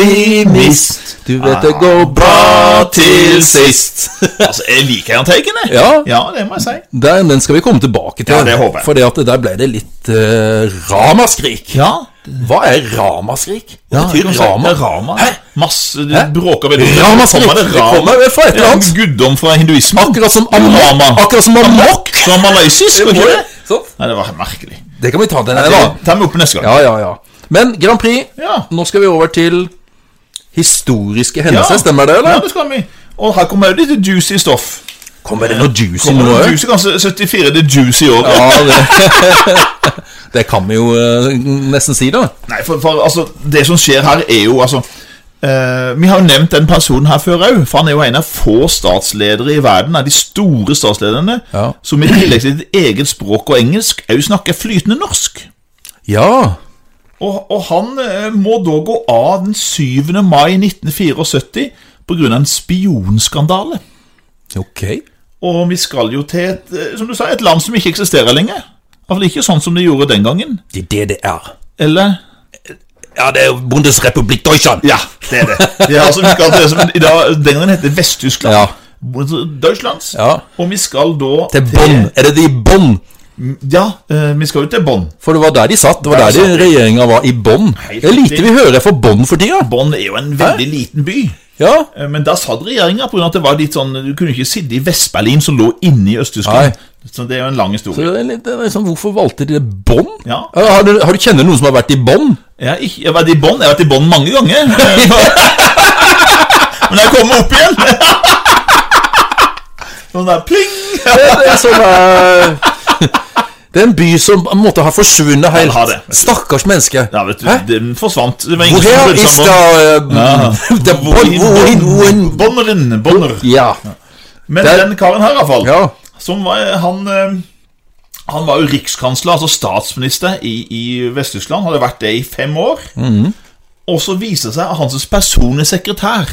[SPEAKER 2] Optimist
[SPEAKER 1] Du vet det går Ah. bra til sist.
[SPEAKER 2] Altså, jeg liker Jan Teigen, jeg
[SPEAKER 1] Ja.
[SPEAKER 2] Ja, det må jeg si
[SPEAKER 1] Den, den skal vi komme tilbake til.
[SPEAKER 2] Ja, det håper jeg.
[SPEAKER 1] Fordi at der ble det litt eh, ramaskrik.
[SPEAKER 2] Ja
[SPEAKER 1] Hva er ramaskrik? Hva betyr
[SPEAKER 2] Rama
[SPEAKER 1] rama?
[SPEAKER 2] Rama Hæ? Masse, du
[SPEAKER 1] Hæ?
[SPEAKER 2] bråker veldig
[SPEAKER 1] Ramaskrik.
[SPEAKER 2] Kommer
[SPEAKER 1] Det kommer fra et eller
[SPEAKER 2] Ja,
[SPEAKER 1] annet.
[SPEAKER 2] Guddom fra hinduismen
[SPEAKER 1] Akkurat som amok.
[SPEAKER 2] Rama.
[SPEAKER 1] Akkurat som amok.
[SPEAKER 2] Fra malaysisk, var ikke det?
[SPEAKER 1] Sånn.
[SPEAKER 2] Nei, det var merkelig
[SPEAKER 1] Det kan vi ta til en
[SPEAKER 2] Det
[SPEAKER 1] annen
[SPEAKER 2] tar vi opp neste gang
[SPEAKER 1] Ja, ja, ja. Men Grand Prix,
[SPEAKER 2] Ja.
[SPEAKER 1] nå skal vi over til historiske hendelser.
[SPEAKER 2] Ja.
[SPEAKER 1] Stemmer det, eller?
[SPEAKER 2] Ja, det skal vi Og her kommer jo litt juicy stoff
[SPEAKER 1] Kommer det noe juicy
[SPEAKER 2] Kommer
[SPEAKER 1] nå
[SPEAKER 2] det
[SPEAKER 1] òg?
[SPEAKER 2] juicy, kanskje 74 det er juicy i år
[SPEAKER 1] Ja, det, det kan vi jo eh, nesten si, da.
[SPEAKER 2] Nei, for, for altså, det som skjer her er jo altså eh, Vi har jo nevnt den personen her før òg, for han er jo en av få statsledere i verden, av de store statslederne,
[SPEAKER 1] Ja.
[SPEAKER 2] som i tillegg til sitt eget språk og engelsk òg snakker flytende norsk.
[SPEAKER 1] Ja.
[SPEAKER 2] Og, og han eh, må da gå av den 7. mai 1974 pga. en spionskandale.
[SPEAKER 1] Ok.
[SPEAKER 2] Og vi skal jo til et, eh, som du sa, et land som ikke eksisterer lenger. Iallfall ikke sånn som de gjorde den gangen.
[SPEAKER 1] Det er det det er.
[SPEAKER 2] Eller
[SPEAKER 1] Ja, det er jo Bundesrepublikk Deutschland.
[SPEAKER 2] Ja, det er det. Det er altså, vi skal til det som i dag, Den gangen heter Vest-Tyskland.
[SPEAKER 1] Ja.
[SPEAKER 2] Deutschlands.
[SPEAKER 1] Ja.
[SPEAKER 2] Og vi skal da
[SPEAKER 1] Til Bonn. Er det de i Bonn?
[SPEAKER 2] Ja, eh, vi skal jo til Bonn.
[SPEAKER 1] For det var der de satt. Det var der, de
[SPEAKER 2] Der
[SPEAKER 1] regjeringa var, i Bonn.
[SPEAKER 2] Helt
[SPEAKER 1] Det er lite
[SPEAKER 2] riktig.
[SPEAKER 1] vi hører fra Bonn for tida.
[SPEAKER 2] Bonn er jo en veldig liten by.
[SPEAKER 1] Ja.
[SPEAKER 2] Eh, Men der satt regjeringa pga. at det var litt sånn Du kunne ikke sitte i Vest-Berlin, som lå inne i Øst-Tyskland.
[SPEAKER 1] Nei.
[SPEAKER 2] Så det er jo en lang
[SPEAKER 1] Så
[SPEAKER 2] historie.
[SPEAKER 1] det er litt, det er liksom, hvorfor valgte de det Bonn?
[SPEAKER 2] Ja.
[SPEAKER 1] Har, du, har du kjenner noen som har vært i Bonn?
[SPEAKER 2] Jeg har, ikke, jeg har vært i Bonn. Jeg har vært i Bonn mange ganger. Men jeg kommer opp igjen. Sånn der pling!
[SPEAKER 1] Det er sånn eh, Det er en by som måtte ha forsvunnet helt.
[SPEAKER 2] Den har det, vet du.
[SPEAKER 1] Stakkars menneske.
[SPEAKER 2] Ja, vet du,
[SPEAKER 1] Hæ?
[SPEAKER 2] den forsvant. Det var ingen som
[SPEAKER 1] Hvor
[SPEAKER 2] brydde
[SPEAKER 1] is
[SPEAKER 2] seg om
[SPEAKER 1] the uh,
[SPEAKER 2] den.
[SPEAKER 1] the Bonn, Bonn, Bonn.
[SPEAKER 2] Bonneren, Bonner.
[SPEAKER 1] Ja.
[SPEAKER 2] Men
[SPEAKER 1] Der-
[SPEAKER 2] den karen her, i hvert fall,
[SPEAKER 1] ja.
[SPEAKER 2] som var, han, eh, han var jo rikskansler, altså statsminister, i, i Vest-Tyskland. Hadde vært det i fem år.
[SPEAKER 1] Mhm.
[SPEAKER 2] Og så viser det seg at hans personlige sekretær,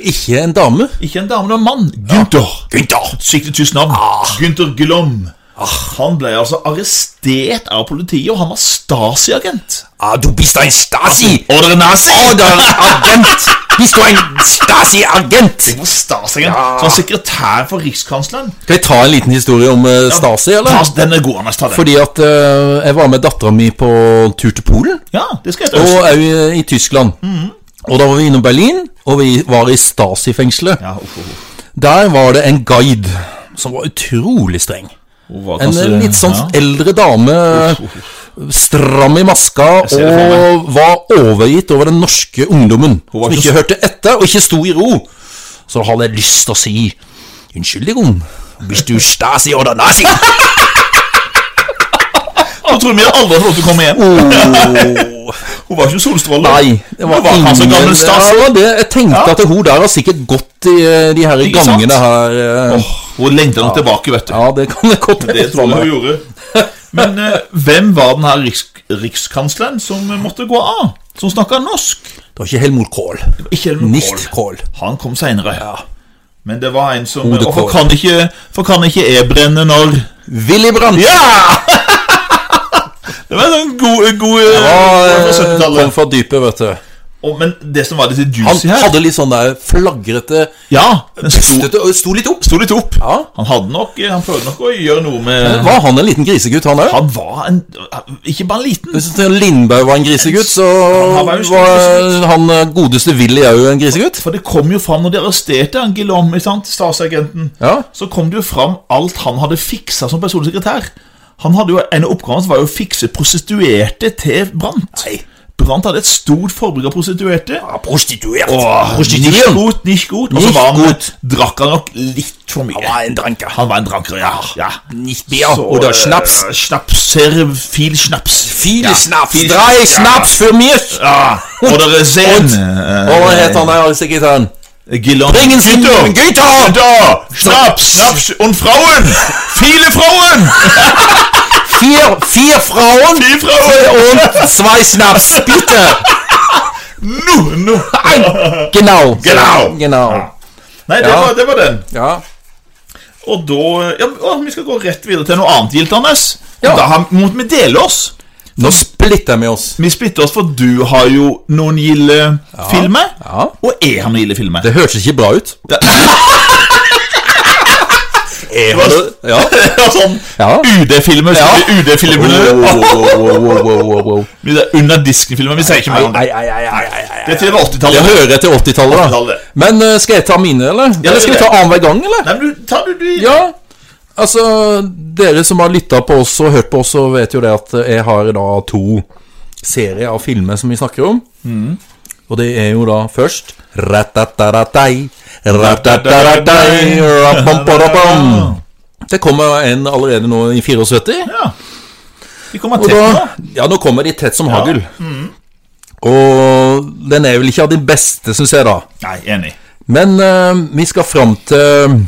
[SPEAKER 1] Ikke en dame.
[SPEAKER 2] ikke en dame, men en mann, Gunther Et skikkelig tysk navn.
[SPEAKER 1] Ah.
[SPEAKER 2] Gunther Glom. Han ble altså arrestert av politiet, og han var Stasi-agent.
[SPEAKER 1] Ah, du bist ein Stasi!
[SPEAKER 2] Oder nazi!
[SPEAKER 1] Agent! Bist du en Stasi-agent?
[SPEAKER 2] Det var Stasi-agent. Så han var sekretær for rikskansleren.
[SPEAKER 1] Skal jeg ta en liten historie om eh, Stasi, eller?
[SPEAKER 2] Ta- Den er god, Anders. Ta den.
[SPEAKER 1] Fordi at eh, jeg var med dattera mi på tur til Polen,
[SPEAKER 2] Ja, det skal jeg ta.
[SPEAKER 1] og òg i, i Tyskland. Og da var vi innom Berlin, og vi var i Stasi-fengselet.
[SPEAKER 2] Ja, uff, uff, uff.
[SPEAKER 1] Der var det en guide som var utrolig streng.
[SPEAKER 2] Hun var
[SPEAKER 1] En
[SPEAKER 2] kanskje-
[SPEAKER 1] eh, litt sånn
[SPEAKER 2] Altså, ja.
[SPEAKER 1] eldre dame, stram i maska,
[SPEAKER 2] ser det for
[SPEAKER 1] og var overgitt over den norske ungdommen.
[SPEAKER 2] var
[SPEAKER 1] Som
[SPEAKER 2] ikke
[SPEAKER 1] ikke hørte etter, og ikke sto i ro. Så hadde jeg lyst til å si Unnskyldning, hvis du stasi oder nazi
[SPEAKER 2] Nå tror vi aldri får lov til å komme hjem.
[SPEAKER 1] Åh,
[SPEAKER 2] Hun var ikke solstråle.
[SPEAKER 1] Nei, det var,
[SPEAKER 2] Hun var kanskje
[SPEAKER 1] ingen
[SPEAKER 2] gammel Stas.
[SPEAKER 1] Ja, det, Jeg tenkte
[SPEAKER 2] Ja.
[SPEAKER 1] at hun der har sikkert gått i eh, de her
[SPEAKER 2] Ikke sant?
[SPEAKER 1] gangene her. eh.
[SPEAKER 2] Hun lengter nok tilbake, vet du.
[SPEAKER 1] Ja, det kan det godt
[SPEAKER 2] Det
[SPEAKER 1] hende.
[SPEAKER 2] tror jeg hun gjorde. Men eh, hvem var den her riks rikskansleren som eh, måtte gå av? Som snakka norsk?
[SPEAKER 1] Det var ikke Helmut Kohl.
[SPEAKER 2] Ikke Helmut
[SPEAKER 1] Nicht
[SPEAKER 2] Kohl.
[SPEAKER 1] Kohl.
[SPEAKER 2] Han kom seinere. Men det var en som
[SPEAKER 1] Hode
[SPEAKER 2] Hvorfor
[SPEAKER 1] Kohl.
[SPEAKER 2] kan ikke, for kan ikke jeg brenne når
[SPEAKER 1] Willy Brandt.
[SPEAKER 2] Det var en sånn god, god eh,
[SPEAKER 1] Ja,
[SPEAKER 2] fra
[SPEAKER 1] eh,
[SPEAKER 2] 70-tallet.
[SPEAKER 1] kom fra dypet, vet du.
[SPEAKER 2] Og, men det som var litt
[SPEAKER 1] Han
[SPEAKER 2] juicy her
[SPEAKER 1] hadde litt sånn der flagrete
[SPEAKER 2] Ja, den sto,
[SPEAKER 1] Bustete og sto litt opp.
[SPEAKER 2] sto litt opp.
[SPEAKER 1] Ja.
[SPEAKER 2] Han hadde nok Han prøvde nok å gjøre noe med
[SPEAKER 1] Var han en liten grisegutt, han òg?
[SPEAKER 2] Han var en Ikke bare en liten.
[SPEAKER 1] Hvis Lindberg var en grisegutt, så
[SPEAKER 2] Han var jo en stor grisegutt.
[SPEAKER 1] var han eh, godeste Willy òg en grisegutt.
[SPEAKER 2] For det kom jo fram når de arresterte han Guillaume, ikke sant, statsagenten.
[SPEAKER 1] Ja.
[SPEAKER 2] Så kom det jo fram alt han hadde fiksa som personlig sekretær. Han hadde jo, En av oppgavene hans var jo å fikse prostituerte til Brant. Brant hadde et stort forbruk av prostituerte.
[SPEAKER 1] Prostituert.
[SPEAKER 2] Åh, Nicht
[SPEAKER 1] Prostituert.
[SPEAKER 2] gut, nicht gut. Og så var han,
[SPEAKER 1] Nicht
[SPEAKER 2] drakk han nok litt for mye.
[SPEAKER 1] en dranker.
[SPEAKER 2] Han var en dranker, ja. ja.
[SPEAKER 1] Nicht Bier
[SPEAKER 2] Så,
[SPEAKER 1] oder
[SPEAKER 2] eh,
[SPEAKER 1] Schnaps.
[SPEAKER 2] Schnaps, sehr viel Schnaps.
[SPEAKER 1] Viele
[SPEAKER 2] Ja,
[SPEAKER 1] Schnaps.
[SPEAKER 2] viel
[SPEAKER 1] Drei
[SPEAKER 2] Schnaps, ja.
[SPEAKER 1] Schnaps für mich.
[SPEAKER 2] Ja, oder Zen.
[SPEAKER 1] Und- Og hva het han der sekretæren?
[SPEAKER 2] Gillon.
[SPEAKER 1] Bringen Sie mir Güter!
[SPEAKER 2] Da! Schnaps! Schnaps und Frauen! Viele Frauen!
[SPEAKER 1] Vier, vier Frauen
[SPEAKER 2] Vier Frauen!
[SPEAKER 1] und zwei Schnaps, bitte.
[SPEAKER 2] Nu, nu.
[SPEAKER 1] Genau.
[SPEAKER 2] Genau.
[SPEAKER 1] Genau.
[SPEAKER 2] Nei, det,
[SPEAKER 1] Ja.
[SPEAKER 2] var, det var den.
[SPEAKER 1] Ja.
[SPEAKER 2] Og da ja, å, Vi skal gå rett videre til noe annet gildt, Anders.
[SPEAKER 1] Ja.
[SPEAKER 2] Da har, må vi dele oss.
[SPEAKER 1] Nå splitter vi oss.
[SPEAKER 2] Vi splitter oss, for du har jo noen gilde filmer.
[SPEAKER 1] Ja.
[SPEAKER 2] Og jeg har noen gilde filmer.
[SPEAKER 1] Det høres ikke bra ut.
[SPEAKER 2] Det
[SPEAKER 1] Ja.
[SPEAKER 2] sånn
[SPEAKER 1] Ja.
[SPEAKER 2] UD-filmer.
[SPEAKER 1] Ja.
[SPEAKER 2] så blir UD-filmene Vi er Under disken-filmer. Vi sier ikke mer om det. Det er til
[SPEAKER 1] Jeg
[SPEAKER 2] 80-tallet.
[SPEAKER 1] hører til 80-tallet, da.
[SPEAKER 2] 80-tallet.
[SPEAKER 1] Men eh, skal jeg ta mine, eller? eller skal vi ta annenhver gang, eller?
[SPEAKER 2] Nei, men du, ta du, du
[SPEAKER 1] Ja. Altså, dere som har lytta på oss og hørt på oss, så vet jo det at jeg har da to serier av filmer som vi snakker om. Og det er jo da først Ratataratei, ratataratei, rapampaparapam. Det kommer en allerede nå i 74.
[SPEAKER 2] Ja. Vi kommer
[SPEAKER 1] Og
[SPEAKER 2] til
[SPEAKER 1] da,
[SPEAKER 2] nå.
[SPEAKER 1] ja, Mm. nå kommer de tett som hagl. Og den er vel ikke av de beste, syns jeg, da.
[SPEAKER 2] Nei, enig.
[SPEAKER 1] Men eh, vi skal fram til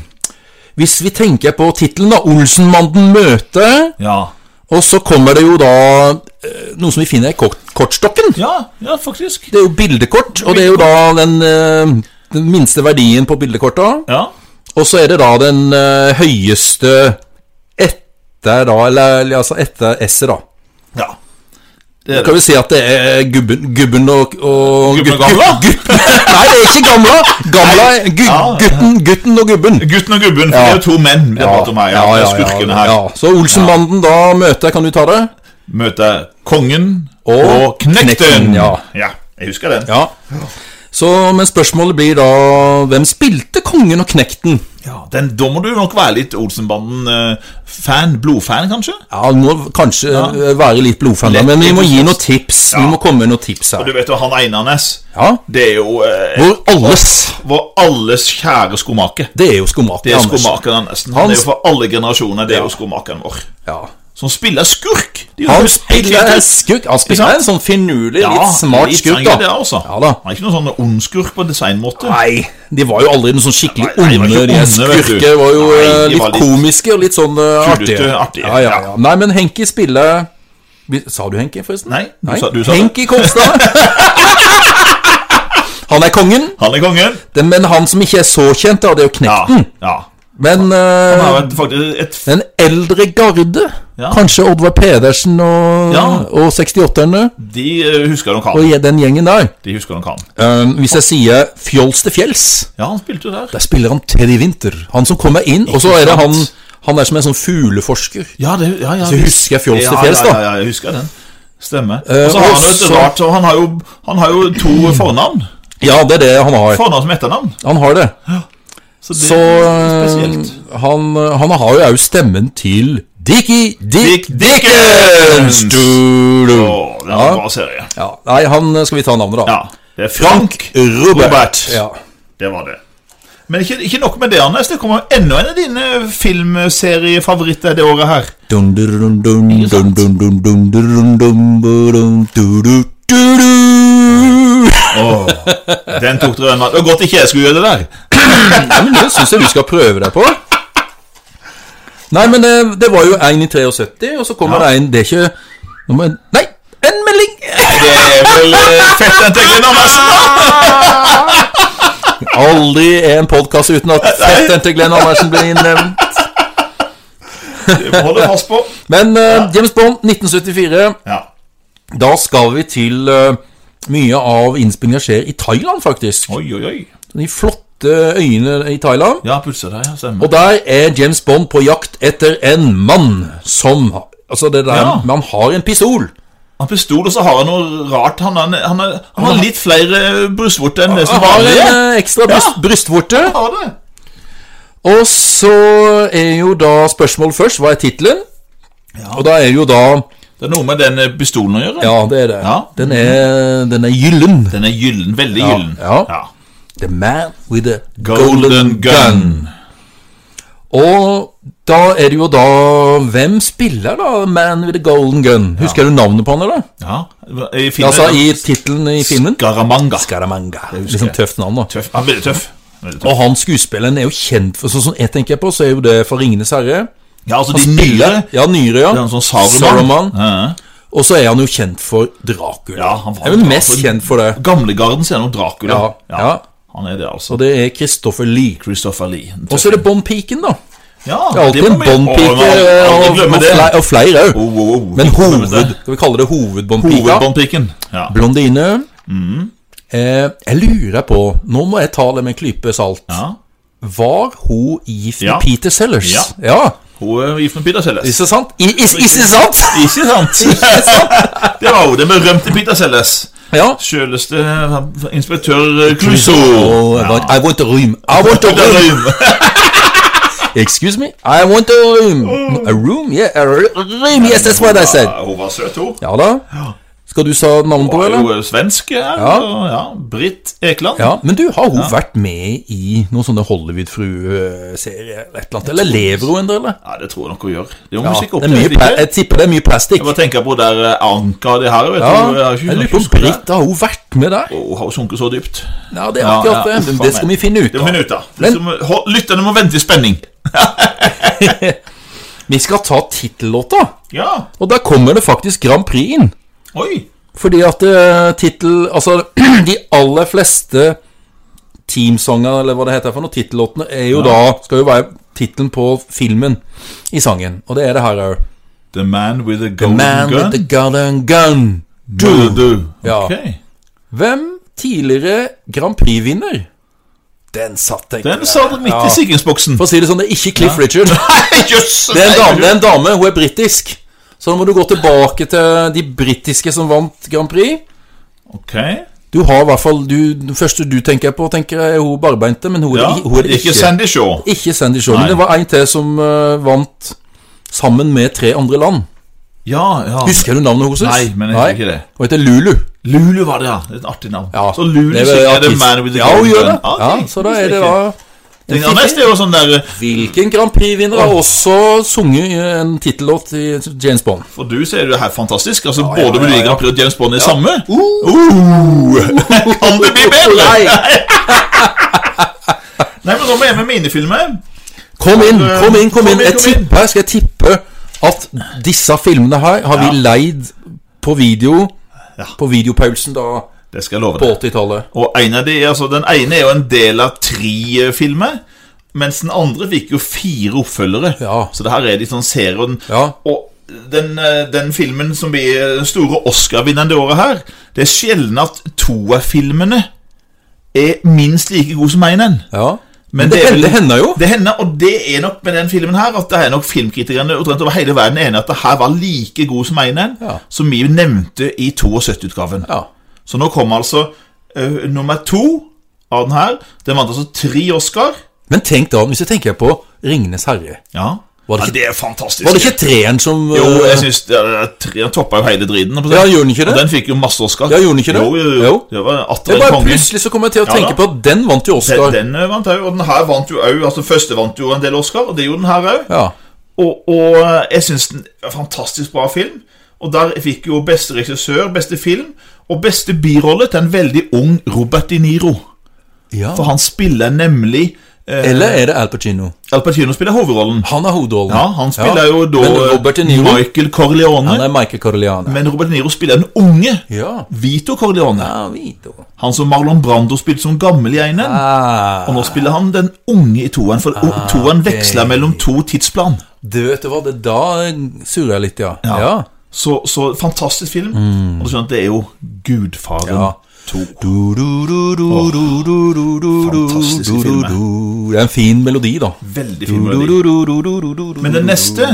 [SPEAKER 1] Hvis vi tenker på tittelen, da, 'Olsenbanden møte',
[SPEAKER 2] Ja.
[SPEAKER 1] og så kommer det jo da eh, noe som vi finner i kort, kortstokken.
[SPEAKER 2] Ja, ja faktisk.
[SPEAKER 1] Det er jo bildekort, og det er jo da den, eh, den minste verdien på bildekorta.
[SPEAKER 2] Ja.
[SPEAKER 1] Og så er det da den eh, høyeste etter da, eller eller altså etter S-et, da.
[SPEAKER 2] ja. Det er
[SPEAKER 1] Kan vi si at det er gubben, gubben og, og
[SPEAKER 2] Gubben
[SPEAKER 1] gutt-
[SPEAKER 2] og gamla?
[SPEAKER 1] gutt- gutt- Nei, det er ikke gamla. Gamla er gu,
[SPEAKER 2] Ja.
[SPEAKER 1] gutten, gutten og gubben.
[SPEAKER 2] Gutten og gubben, for det er jo to menn. Det er bare til meg, ja, det er skurkene her.
[SPEAKER 1] ja. Så Olsenbanden da møter Kan du ta det?
[SPEAKER 2] Møter kongen og,
[SPEAKER 1] Og
[SPEAKER 2] knekten.
[SPEAKER 1] knekten, ja.
[SPEAKER 2] ja, jeg husker den.
[SPEAKER 1] Ja. Så, men spørsmålet blir da Hvem spilte kongen og knekten?
[SPEAKER 2] Ja, den, da må du nok være litt Olsenbanden-fan. Blodfan, kanskje?
[SPEAKER 1] Ja, Nå kanskje eh, være litt blodfan, da, men vi må gi noen tips. Vi må komme med noen tips
[SPEAKER 2] Og
[SPEAKER 1] her.
[SPEAKER 2] du vet jo, han Einarnes,
[SPEAKER 1] Ja.
[SPEAKER 2] det er jo eh,
[SPEAKER 1] Hvor alles
[SPEAKER 2] vår alles kjære skomaker.
[SPEAKER 1] Det er jo skomaker.
[SPEAKER 2] Det er
[SPEAKER 1] Anders.
[SPEAKER 2] skomakeren Andersen. Han er
[SPEAKER 1] Hans-
[SPEAKER 2] jo for alle generasjoner, det er jo skomakeren vår.
[SPEAKER 1] Ja.
[SPEAKER 2] Som spiller skurk! Det er jo
[SPEAKER 1] Han
[SPEAKER 2] helt
[SPEAKER 1] spiller
[SPEAKER 2] riktig.
[SPEAKER 1] skurk. Han
[SPEAKER 2] Ikke
[SPEAKER 1] spiller
[SPEAKER 2] sant?
[SPEAKER 1] en sånn finurlig,
[SPEAKER 2] Ja,
[SPEAKER 1] litt smart
[SPEAKER 2] litt
[SPEAKER 1] skurk,
[SPEAKER 2] sånn
[SPEAKER 1] da.
[SPEAKER 2] er Det, altså.
[SPEAKER 1] Ja da.
[SPEAKER 2] Han er ikke noen sånn ond skurk på designmåte.
[SPEAKER 1] Nei, de var jo aldri noe sånn skikkelig
[SPEAKER 2] Nei, nei, de var
[SPEAKER 1] onde.
[SPEAKER 2] ikke
[SPEAKER 1] De
[SPEAKER 2] onde, vet du.
[SPEAKER 1] skurker var jo
[SPEAKER 2] Nei,
[SPEAKER 1] eh,
[SPEAKER 2] de
[SPEAKER 1] litt,
[SPEAKER 2] var litt
[SPEAKER 1] komiske og litt sånn eh,
[SPEAKER 2] Tullete,
[SPEAKER 1] artige.
[SPEAKER 2] artige,
[SPEAKER 1] Ja, ja, ja.
[SPEAKER 2] ja.
[SPEAKER 1] Nei, men Henki spiller Vi- Sa du Henki, forresten?
[SPEAKER 2] Nei, du sa- du sa det.
[SPEAKER 1] Henki Kolstad. han er kongen,
[SPEAKER 2] Han er kongen.
[SPEAKER 1] det- men han som ikke er så kjent, da, det er jo
[SPEAKER 2] Ja.
[SPEAKER 1] Knekten.
[SPEAKER 2] ja.
[SPEAKER 1] Men
[SPEAKER 2] Han
[SPEAKER 1] eh,
[SPEAKER 2] har jo et- faktisk et f-
[SPEAKER 1] den eldre garde,
[SPEAKER 2] Ja.
[SPEAKER 1] kanskje Oddvar Pedersen og,
[SPEAKER 2] Ja.
[SPEAKER 1] og 68-erne,
[SPEAKER 2] De eh, husker nok han.
[SPEAKER 1] og den gjengen der
[SPEAKER 2] De husker nok han.
[SPEAKER 1] Eh, Hvis jeg sier Fjols til fjells
[SPEAKER 2] Ja, han spilte jo der.
[SPEAKER 1] Der spiller han Teddy Winter. Han som kommer inn, og så er det han Han er som en sånn fugleforsker.
[SPEAKER 2] Ja, det, ja, ja.
[SPEAKER 1] Så husker jeg Fjols til
[SPEAKER 2] ja,
[SPEAKER 1] fjells,
[SPEAKER 2] ja,
[SPEAKER 1] da. Eh,
[SPEAKER 2] ja, ja, jeg husker den. Stemmer. Og så har han jo et
[SPEAKER 1] og så-
[SPEAKER 2] rart og han, har jo, han har jo to fornavn.
[SPEAKER 1] Ja, det er det han har.
[SPEAKER 2] Fornavn som etternavn.
[SPEAKER 1] Han har det.
[SPEAKER 2] Så det
[SPEAKER 1] Så
[SPEAKER 2] er
[SPEAKER 1] eh,
[SPEAKER 2] spesielt.
[SPEAKER 1] han, han har jo òg stemmen til Dickie Dick
[SPEAKER 2] Dick
[SPEAKER 1] Dickens!
[SPEAKER 2] Dickens!
[SPEAKER 1] Du, du.
[SPEAKER 2] Å, det er en
[SPEAKER 1] Ja.
[SPEAKER 2] bra serie.
[SPEAKER 1] Ja. Nei, han skal vi ta navnet, da.
[SPEAKER 2] Ja. Det er Frank Robert.
[SPEAKER 1] Ja.
[SPEAKER 2] Det var det. Men ikke, ikke nok med det, Anders. Det kommer enda en av dine filmseriefavoritter det året her.
[SPEAKER 1] Dun, dun, dun, dun, dun, dun, dun, dun, dun, dun, dun, du, du, du, du.
[SPEAKER 2] Åh, den tok dere unna. Det var godt ikke jeg skulle gjøre det der.
[SPEAKER 1] Ja, men det syns jeg du skal prøve deg på. Nei, men det, det var jo en i 73, og så kommer
[SPEAKER 2] Ja.
[SPEAKER 1] det en Det er ikke nå må jeg- Nei, en melding!
[SPEAKER 2] Det er vel eh, fett den tegnen, Anders.
[SPEAKER 1] Aldri en podkast uten at fetteren til Glenn Andersen blir nevnt.
[SPEAKER 2] Vi må holde fast på.
[SPEAKER 1] Men eh, James Bond, 1974.
[SPEAKER 2] Ja.
[SPEAKER 1] Da skal vi til eh, Mye av innspillinga skjer i Thailand, faktisk.
[SPEAKER 2] Oi, oi, oi.
[SPEAKER 1] De flotte øyene i Thailand.
[SPEAKER 2] Ja, pusser deg, ja, stemmer.
[SPEAKER 1] Og der er James Bond på jakt etter en mann som Altså, det der
[SPEAKER 2] Ja.
[SPEAKER 1] Man har en pistol.
[SPEAKER 2] Han har pistol, og så har han noe rart. Han, han, han, har- han har litt flere brystvorter enn det som
[SPEAKER 1] Han har
[SPEAKER 2] vanlig
[SPEAKER 1] en
[SPEAKER 2] er.
[SPEAKER 1] eh, ekstra bryst, brystvorte.
[SPEAKER 2] Han har det.
[SPEAKER 1] Og så er jo da spørsmålet først Hva er tittelen? Og da er jo da
[SPEAKER 2] Det er noe med den eh, pistolen å gjøre.
[SPEAKER 1] Ja, det er det.
[SPEAKER 2] Ja.
[SPEAKER 1] Den, er, den er gyllen.
[SPEAKER 2] Den er gyllen, veldig
[SPEAKER 1] Ja,
[SPEAKER 2] gyllen.
[SPEAKER 1] ja. The man with the golden,
[SPEAKER 2] Golden
[SPEAKER 1] gun.
[SPEAKER 2] gun.
[SPEAKER 1] Og da er det jo da Hvem spiller da Man with the golden gun? Husker du navnet på han, eller?
[SPEAKER 2] Ja. I filmen,
[SPEAKER 1] Altså i tittelen i filmen?
[SPEAKER 2] Garamanga.
[SPEAKER 1] Scaramanga. Liksom tøft navn, da.
[SPEAKER 2] Tøff. Han er veldig tøff. Veldig tøff.
[SPEAKER 1] Og han skuespilleren er jo kjent for Sånn som jeg tenker på, så er jo det fra 'Ringenes herre'.
[SPEAKER 2] Ja, altså
[SPEAKER 1] Han
[SPEAKER 2] de nye
[SPEAKER 1] spiller- Ja, nyere, ja.
[SPEAKER 2] Det er en sånn Saruman. Ja, ja.
[SPEAKER 1] Og så er han jo kjent for Dracula.
[SPEAKER 2] Ja, han var-
[SPEAKER 1] er vel mest
[SPEAKER 2] han-
[SPEAKER 1] kjent for det.
[SPEAKER 2] Gamlegarden ser noe Dracula.
[SPEAKER 1] Ja, ja.
[SPEAKER 2] Han er det, altså.
[SPEAKER 1] Og det er Christopher Lee.
[SPEAKER 2] Christopher Lee. den
[SPEAKER 1] Og så
[SPEAKER 2] tøffe.
[SPEAKER 1] er det Bond-piken, da.
[SPEAKER 2] ja,
[SPEAKER 1] Det er alltid
[SPEAKER 2] må
[SPEAKER 1] en
[SPEAKER 2] vi-
[SPEAKER 1] Bond-pike
[SPEAKER 2] Å, men aldri-
[SPEAKER 1] og,
[SPEAKER 2] aldri
[SPEAKER 1] og,
[SPEAKER 2] glemme det.
[SPEAKER 1] fle- og flere òg.
[SPEAKER 2] Oh, oh, oh.
[SPEAKER 1] Men
[SPEAKER 2] Ikke glemme
[SPEAKER 1] hoved,
[SPEAKER 2] det.
[SPEAKER 1] skal vi kalle det hovedbåndpika?
[SPEAKER 2] Hovedbåndpiken. Ja.
[SPEAKER 1] Blondine.
[SPEAKER 2] Mm.
[SPEAKER 1] Eh, jeg lurer på, nå må jeg ta det med en klype salt
[SPEAKER 2] ja.
[SPEAKER 1] Var hun gift med
[SPEAKER 2] Ja.
[SPEAKER 1] Peter Sellers?
[SPEAKER 2] Ja.
[SPEAKER 1] ja.
[SPEAKER 2] Hun er gift med Peter Sellers.
[SPEAKER 1] Ikke sant? I, is, ikke sant?
[SPEAKER 2] Ikke sant? det var hun. Det med rømte Peter Sellers.
[SPEAKER 1] Ja.
[SPEAKER 2] Sjøleste eh, inspektør eh, Clouseau.
[SPEAKER 1] Oh, but I want a room. I want a
[SPEAKER 2] Peter
[SPEAKER 1] room.
[SPEAKER 2] Røm.
[SPEAKER 1] Excuse me? I want a room. A room? Yeah, a r- room. Yes, that's what I said.
[SPEAKER 2] Ja, hun var søt, hun.
[SPEAKER 1] Ja da. Skal du sa navnet på,
[SPEAKER 2] Hun er
[SPEAKER 1] eller?
[SPEAKER 2] jo svensk. Ja. og- ja. Britt Ekeland.
[SPEAKER 1] Ja, Men du, har hun vært med i noen sånne Hollywood-frue-serier eller et eller annet? Eller lever hun ennå, eller?
[SPEAKER 2] Ja, det tror jeg nok hun gjør. Det er jo
[SPEAKER 1] Ja,
[SPEAKER 2] musikk opp
[SPEAKER 1] det er
[SPEAKER 2] til,
[SPEAKER 1] mye
[SPEAKER 2] ikke?
[SPEAKER 1] pla- jeg tipper det er mye plastikk.
[SPEAKER 2] Jeg bare tenker på der eh, Anka og det her.
[SPEAKER 1] Ja,
[SPEAKER 2] Vet du. har ikke-
[SPEAKER 1] jeg lurer på om
[SPEAKER 2] husker det.
[SPEAKER 1] Britt har hun vært med der?
[SPEAKER 2] Å, Hun har jo sunket så dypt.
[SPEAKER 1] Ja, det er
[SPEAKER 2] Ja,
[SPEAKER 1] akkurat
[SPEAKER 2] ja,
[SPEAKER 1] det. Men
[SPEAKER 2] faen
[SPEAKER 1] det skal vi
[SPEAKER 2] meg.
[SPEAKER 1] finne ut
[SPEAKER 2] Det må vi finne ut av. Det
[SPEAKER 1] Men-
[SPEAKER 2] som- hold- Lytterne må vente i spenning.
[SPEAKER 1] Vi skal ta tittellåta,
[SPEAKER 2] Ja.
[SPEAKER 1] og der kommer det faktisk Grand Prix inn.
[SPEAKER 2] Oi.
[SPEAKER 1] Fordi at uh, tittel Altså, de aller fleste teamsanger, eller hva det heter for noe, tittellåtene, er jo da Skal jo være tittelen på filmen i sangen. Og det er det her òg.
[SPEAKER 2] The man with the
[SPEAKER 1] The
[SPEAKER 2] golden
[SPEAKER 1] man
[SPEAKER 2] gun.
[SPEAKER 1] with the golden gun.
[SPEAKER 2] Du, du.
[SPEAKER 1] Ja.
[SPEAKER 2] Ok.
[SPEAKER 1] Hvem tidligere Grand Prix-vinner? Den satt, tenkte
[SPEAKER 2] Den satt midt i sikringsboksen.
[SPEAKER 1] For å si det sånn, det er ikke Cliff Richard.
[SPEAKER 2] Nei, jøss!
[SPEAKER 1] Det er en dame, det er en dame hun er britisk. Så da må du gå tilbake til de britiske som vant Grand Prix.
[SPEAKER 2] Ok.
[SPEAKER 1] Du har i hvert fall du, Den første du tenker på, tenker jeg er hun barbeinte, men hun er,
[SPEAKER 2] Ja.
[SPEAKER 1] i- hun er det
[SPEAKER 2] Ikke
[SPEAKER 1] ikke.
[SPEAKER 2] Sandy Shaw.
[SPEAKER 1] Ikke Sandy Shaw.
[SPEAKER 2] Nei.
[SPEAKER 1] Men det var en til som eh, vant sammen med tre andre land.
[SPEAKER 2] Ja, ja.
[SPEAKER 1] Husker du navnet hennes?
[SPEAKER 2] Ah. Nei, men jeg husker ikke det.
[SPEAKER 1] Hun heter Lulu.
[SPEAKER 2] Lulu var det, ja. Det er Et artig navn.
[SPEAKER 1] Ja,
[SPEAKER 2] Så Lulu
[SPEAKER 1] det er vel
[SPEAKER 2] synger The
[SPEAKER 1] artist.
[SPEAKER 2] man with the
[SPEAKER 1] Ja, hun
[SPEAKER 2] golden
[SPEAKER 1] gjør det.
[SPEAKER 2] gun. Ah, Ok,
[SPEAKER 1] Ja, så da
[SPEAKER 2] visste
[SPEAKER 1] er
[SPEAKER 2] jeg
[SPEAKER 1] det da
[SPEAKER 2] ikke. Den andre neste er jo sånn der eh,
[SPEAKER 1] Hvilken Grand Prix-vinner
[SPEAKER 2] Ah.
[SPEAKER 1] har også sunget eh, en tittellåt i James Bond?
[SPEAKER 2] For du ser jo det her fantastisk. Altså, Både Melodi Grand Prix og James Bond er samme.
[SPEAKER 1] Uh!
[SPEAKER 2] Uh! Kan det bli bedre?
[SPEAKER 1] Nei.
[SPEAKER 2] Nei, men nå må jeg med mine filmer.
[SPEAKER 1] Kom inn, kom inn, kom inn.
[SPEAKER 2] Kom inn,
[SPEAKER 1] Jeg
[SPEAKER 2] kom inn.
[SPEAKER 1] tipper, skal jeg tippe at disse filmene her har vi
[SPEAKER 2] Ja.
[SPEAKER 1] leid på video
[SPEAKER 2] Ja.
[SPEAKER 1] på videopausen da
[SPEAKER 2] Det skal jeg love
[SPEAKER 1] på
[SPEAKER 2] deg.
[SPEAKER 1] 80-tallet.
[SPEAKER 2] Og en av de, altså, Den ene er jo en del av tre eh, filmer. Mens den andre fikk jo fire oppfølgere.
[SPEAKER 1] Ja.
[SPEAKER 2] Så det her er litt sånn serie. Og den,
[SPEAKER 1] Ja.
[SPEAKER 2] og den, eh, den filmen som blir eh, den store Oscar-vinneren det året her Det er sjelden at to av filmene er minst like god som én en.
[SPEAKER 1] Ja.
[SPEAKER 2] Men
[SPEAKER 1] Men det,
[SPEAKER 2] det er vel-
[SPEAKER 1] det hender jo.
[SPEAKER 2] Det hender, og det er nok med den filmen her, at det er nok filmkritikerne omtrent over hele verden enige at det her var like god som en en,
[SPEAKER 1] Ja.
[SPEAKER 2] som vi nevnte i 72-utgaven.
[SPEAKER 1] Ja.
[SPEAKER 2] Så nå kommer altså ø, nummer to av den her. Den vant altså tre Oscar.
[SPEAKER 1] Men tenk da, hvis jeg tenker på Ringenes herre
[SPEAKER 2] Ja,
[SPEAKER 1] Var det
[SPEAKER 2] ja, det er fantastisk.
[SPEAKER 1] Var det ikke treeren som
[SPEAKER 2] Jo,
[SPEAKER 1] eh,
[SPEAKER 2] jeg synes det er- tre- Den toppa jo hele driten.
[SPEAKER 1] Ja, gjorde den ikke det?
[SPEAKER 2] Og den fikk jo masse Oscar.
[SPEAKER 1] Ja, gjorde den ikke det?
[SPEAKER 2] Jo, jo, jo.
[SPEAKER 1] Jo.
[SPEAKER 2] Det var atter
[SPEAKER 1] Det
[SPEAKER 2] en
[SPEAKER 1] er bare
[SPEAKER 2] konge.
[SPEAKER 1] plutselig så kom jeg til å
[SPEAKER 2] Ja,
[SPEAKER 1] tenke
[SPEAKER 2] da.
[SPEAKER 1] på at den vant jo
[SPEAKER 2] Den,
[SPEAKER 1] Oscar.
[SPEAKER 2] den ø, vant òg, og den her vant jo òg. Altså, første vant jo en del Oscar, og det gjorde den her òg.
[SPEAKER 1] Ja.
[SPEAKER 2] Og, og jeg syns den er en fantastisk bra film. Og der fikk jo beste regissør, beste film og beste birolle til en veldig ung Robert De Niro.
[SPEAKER 1] ja.
[SPEAKER 2] For han spiller nemlig eh,
[SPEAKER 1] Eller er det Al Pacino?
[SPEAKER 2] Al Pacino spiller hovedrollen.
[SPEAKER 1] Han er hovedrollen.
[SPEAKER 2] Ja, Han spiller
[SPEAKER 1] Ja.
[SPEAKER 2] jo da
[SPEAKER 1] Men Robert De Niro,
[SPEAKER 2] Michael Corleone.
[SPEAKER 1] han er Michael Corleone.
[SPEAKER 2] Men Robert De Niro spiller den unge
[SPEAKER 1] Ja.
[SPEAKER 2] Vito Corleone.
[SPEAKER 1] Ja, Vito.
[SPEAKER 2] Han som Marlon Brando spilte som gammel i einen.
[SPEAKER 1] Ah.
[SPEAKER 2] Og nå spiller han den unge i toeren, for toeren veksler mellom to tidsplan.
[SPEAKER 1] Du vet du hva, det da surrer jeg litt, ja.
[SPEAKER 2] Ja.
[SPEAKER 1] ja.
[SPEAKER 2] Så, så fantastisk film. Og du skjønner at det er jo Gudfaren
[SPEAKER 1] Ja.
[SPEAKER 2] 2.
[SPEAKER 1] Du, du, du, du,
[SPEAKER 2] Åh,
[SPEAKER 1] du, du, du, du,
[SPEAKER 2] fantastiske
[SPEAKER 1] du, du,
[SPEAKER 2] filmer.
[SPEAKER 1] du. Det er en fin melodi, da.
[SPEAKER 2] Veldig
[SPEAKER 1] Du,
[SPEAKER 2] fin
[SPEAKER 1] du,
[SPEAKER 2] melodi.
[SPEAKER 1] du, du, du, du, du, du.
[SPEAKER 2] Men den neste,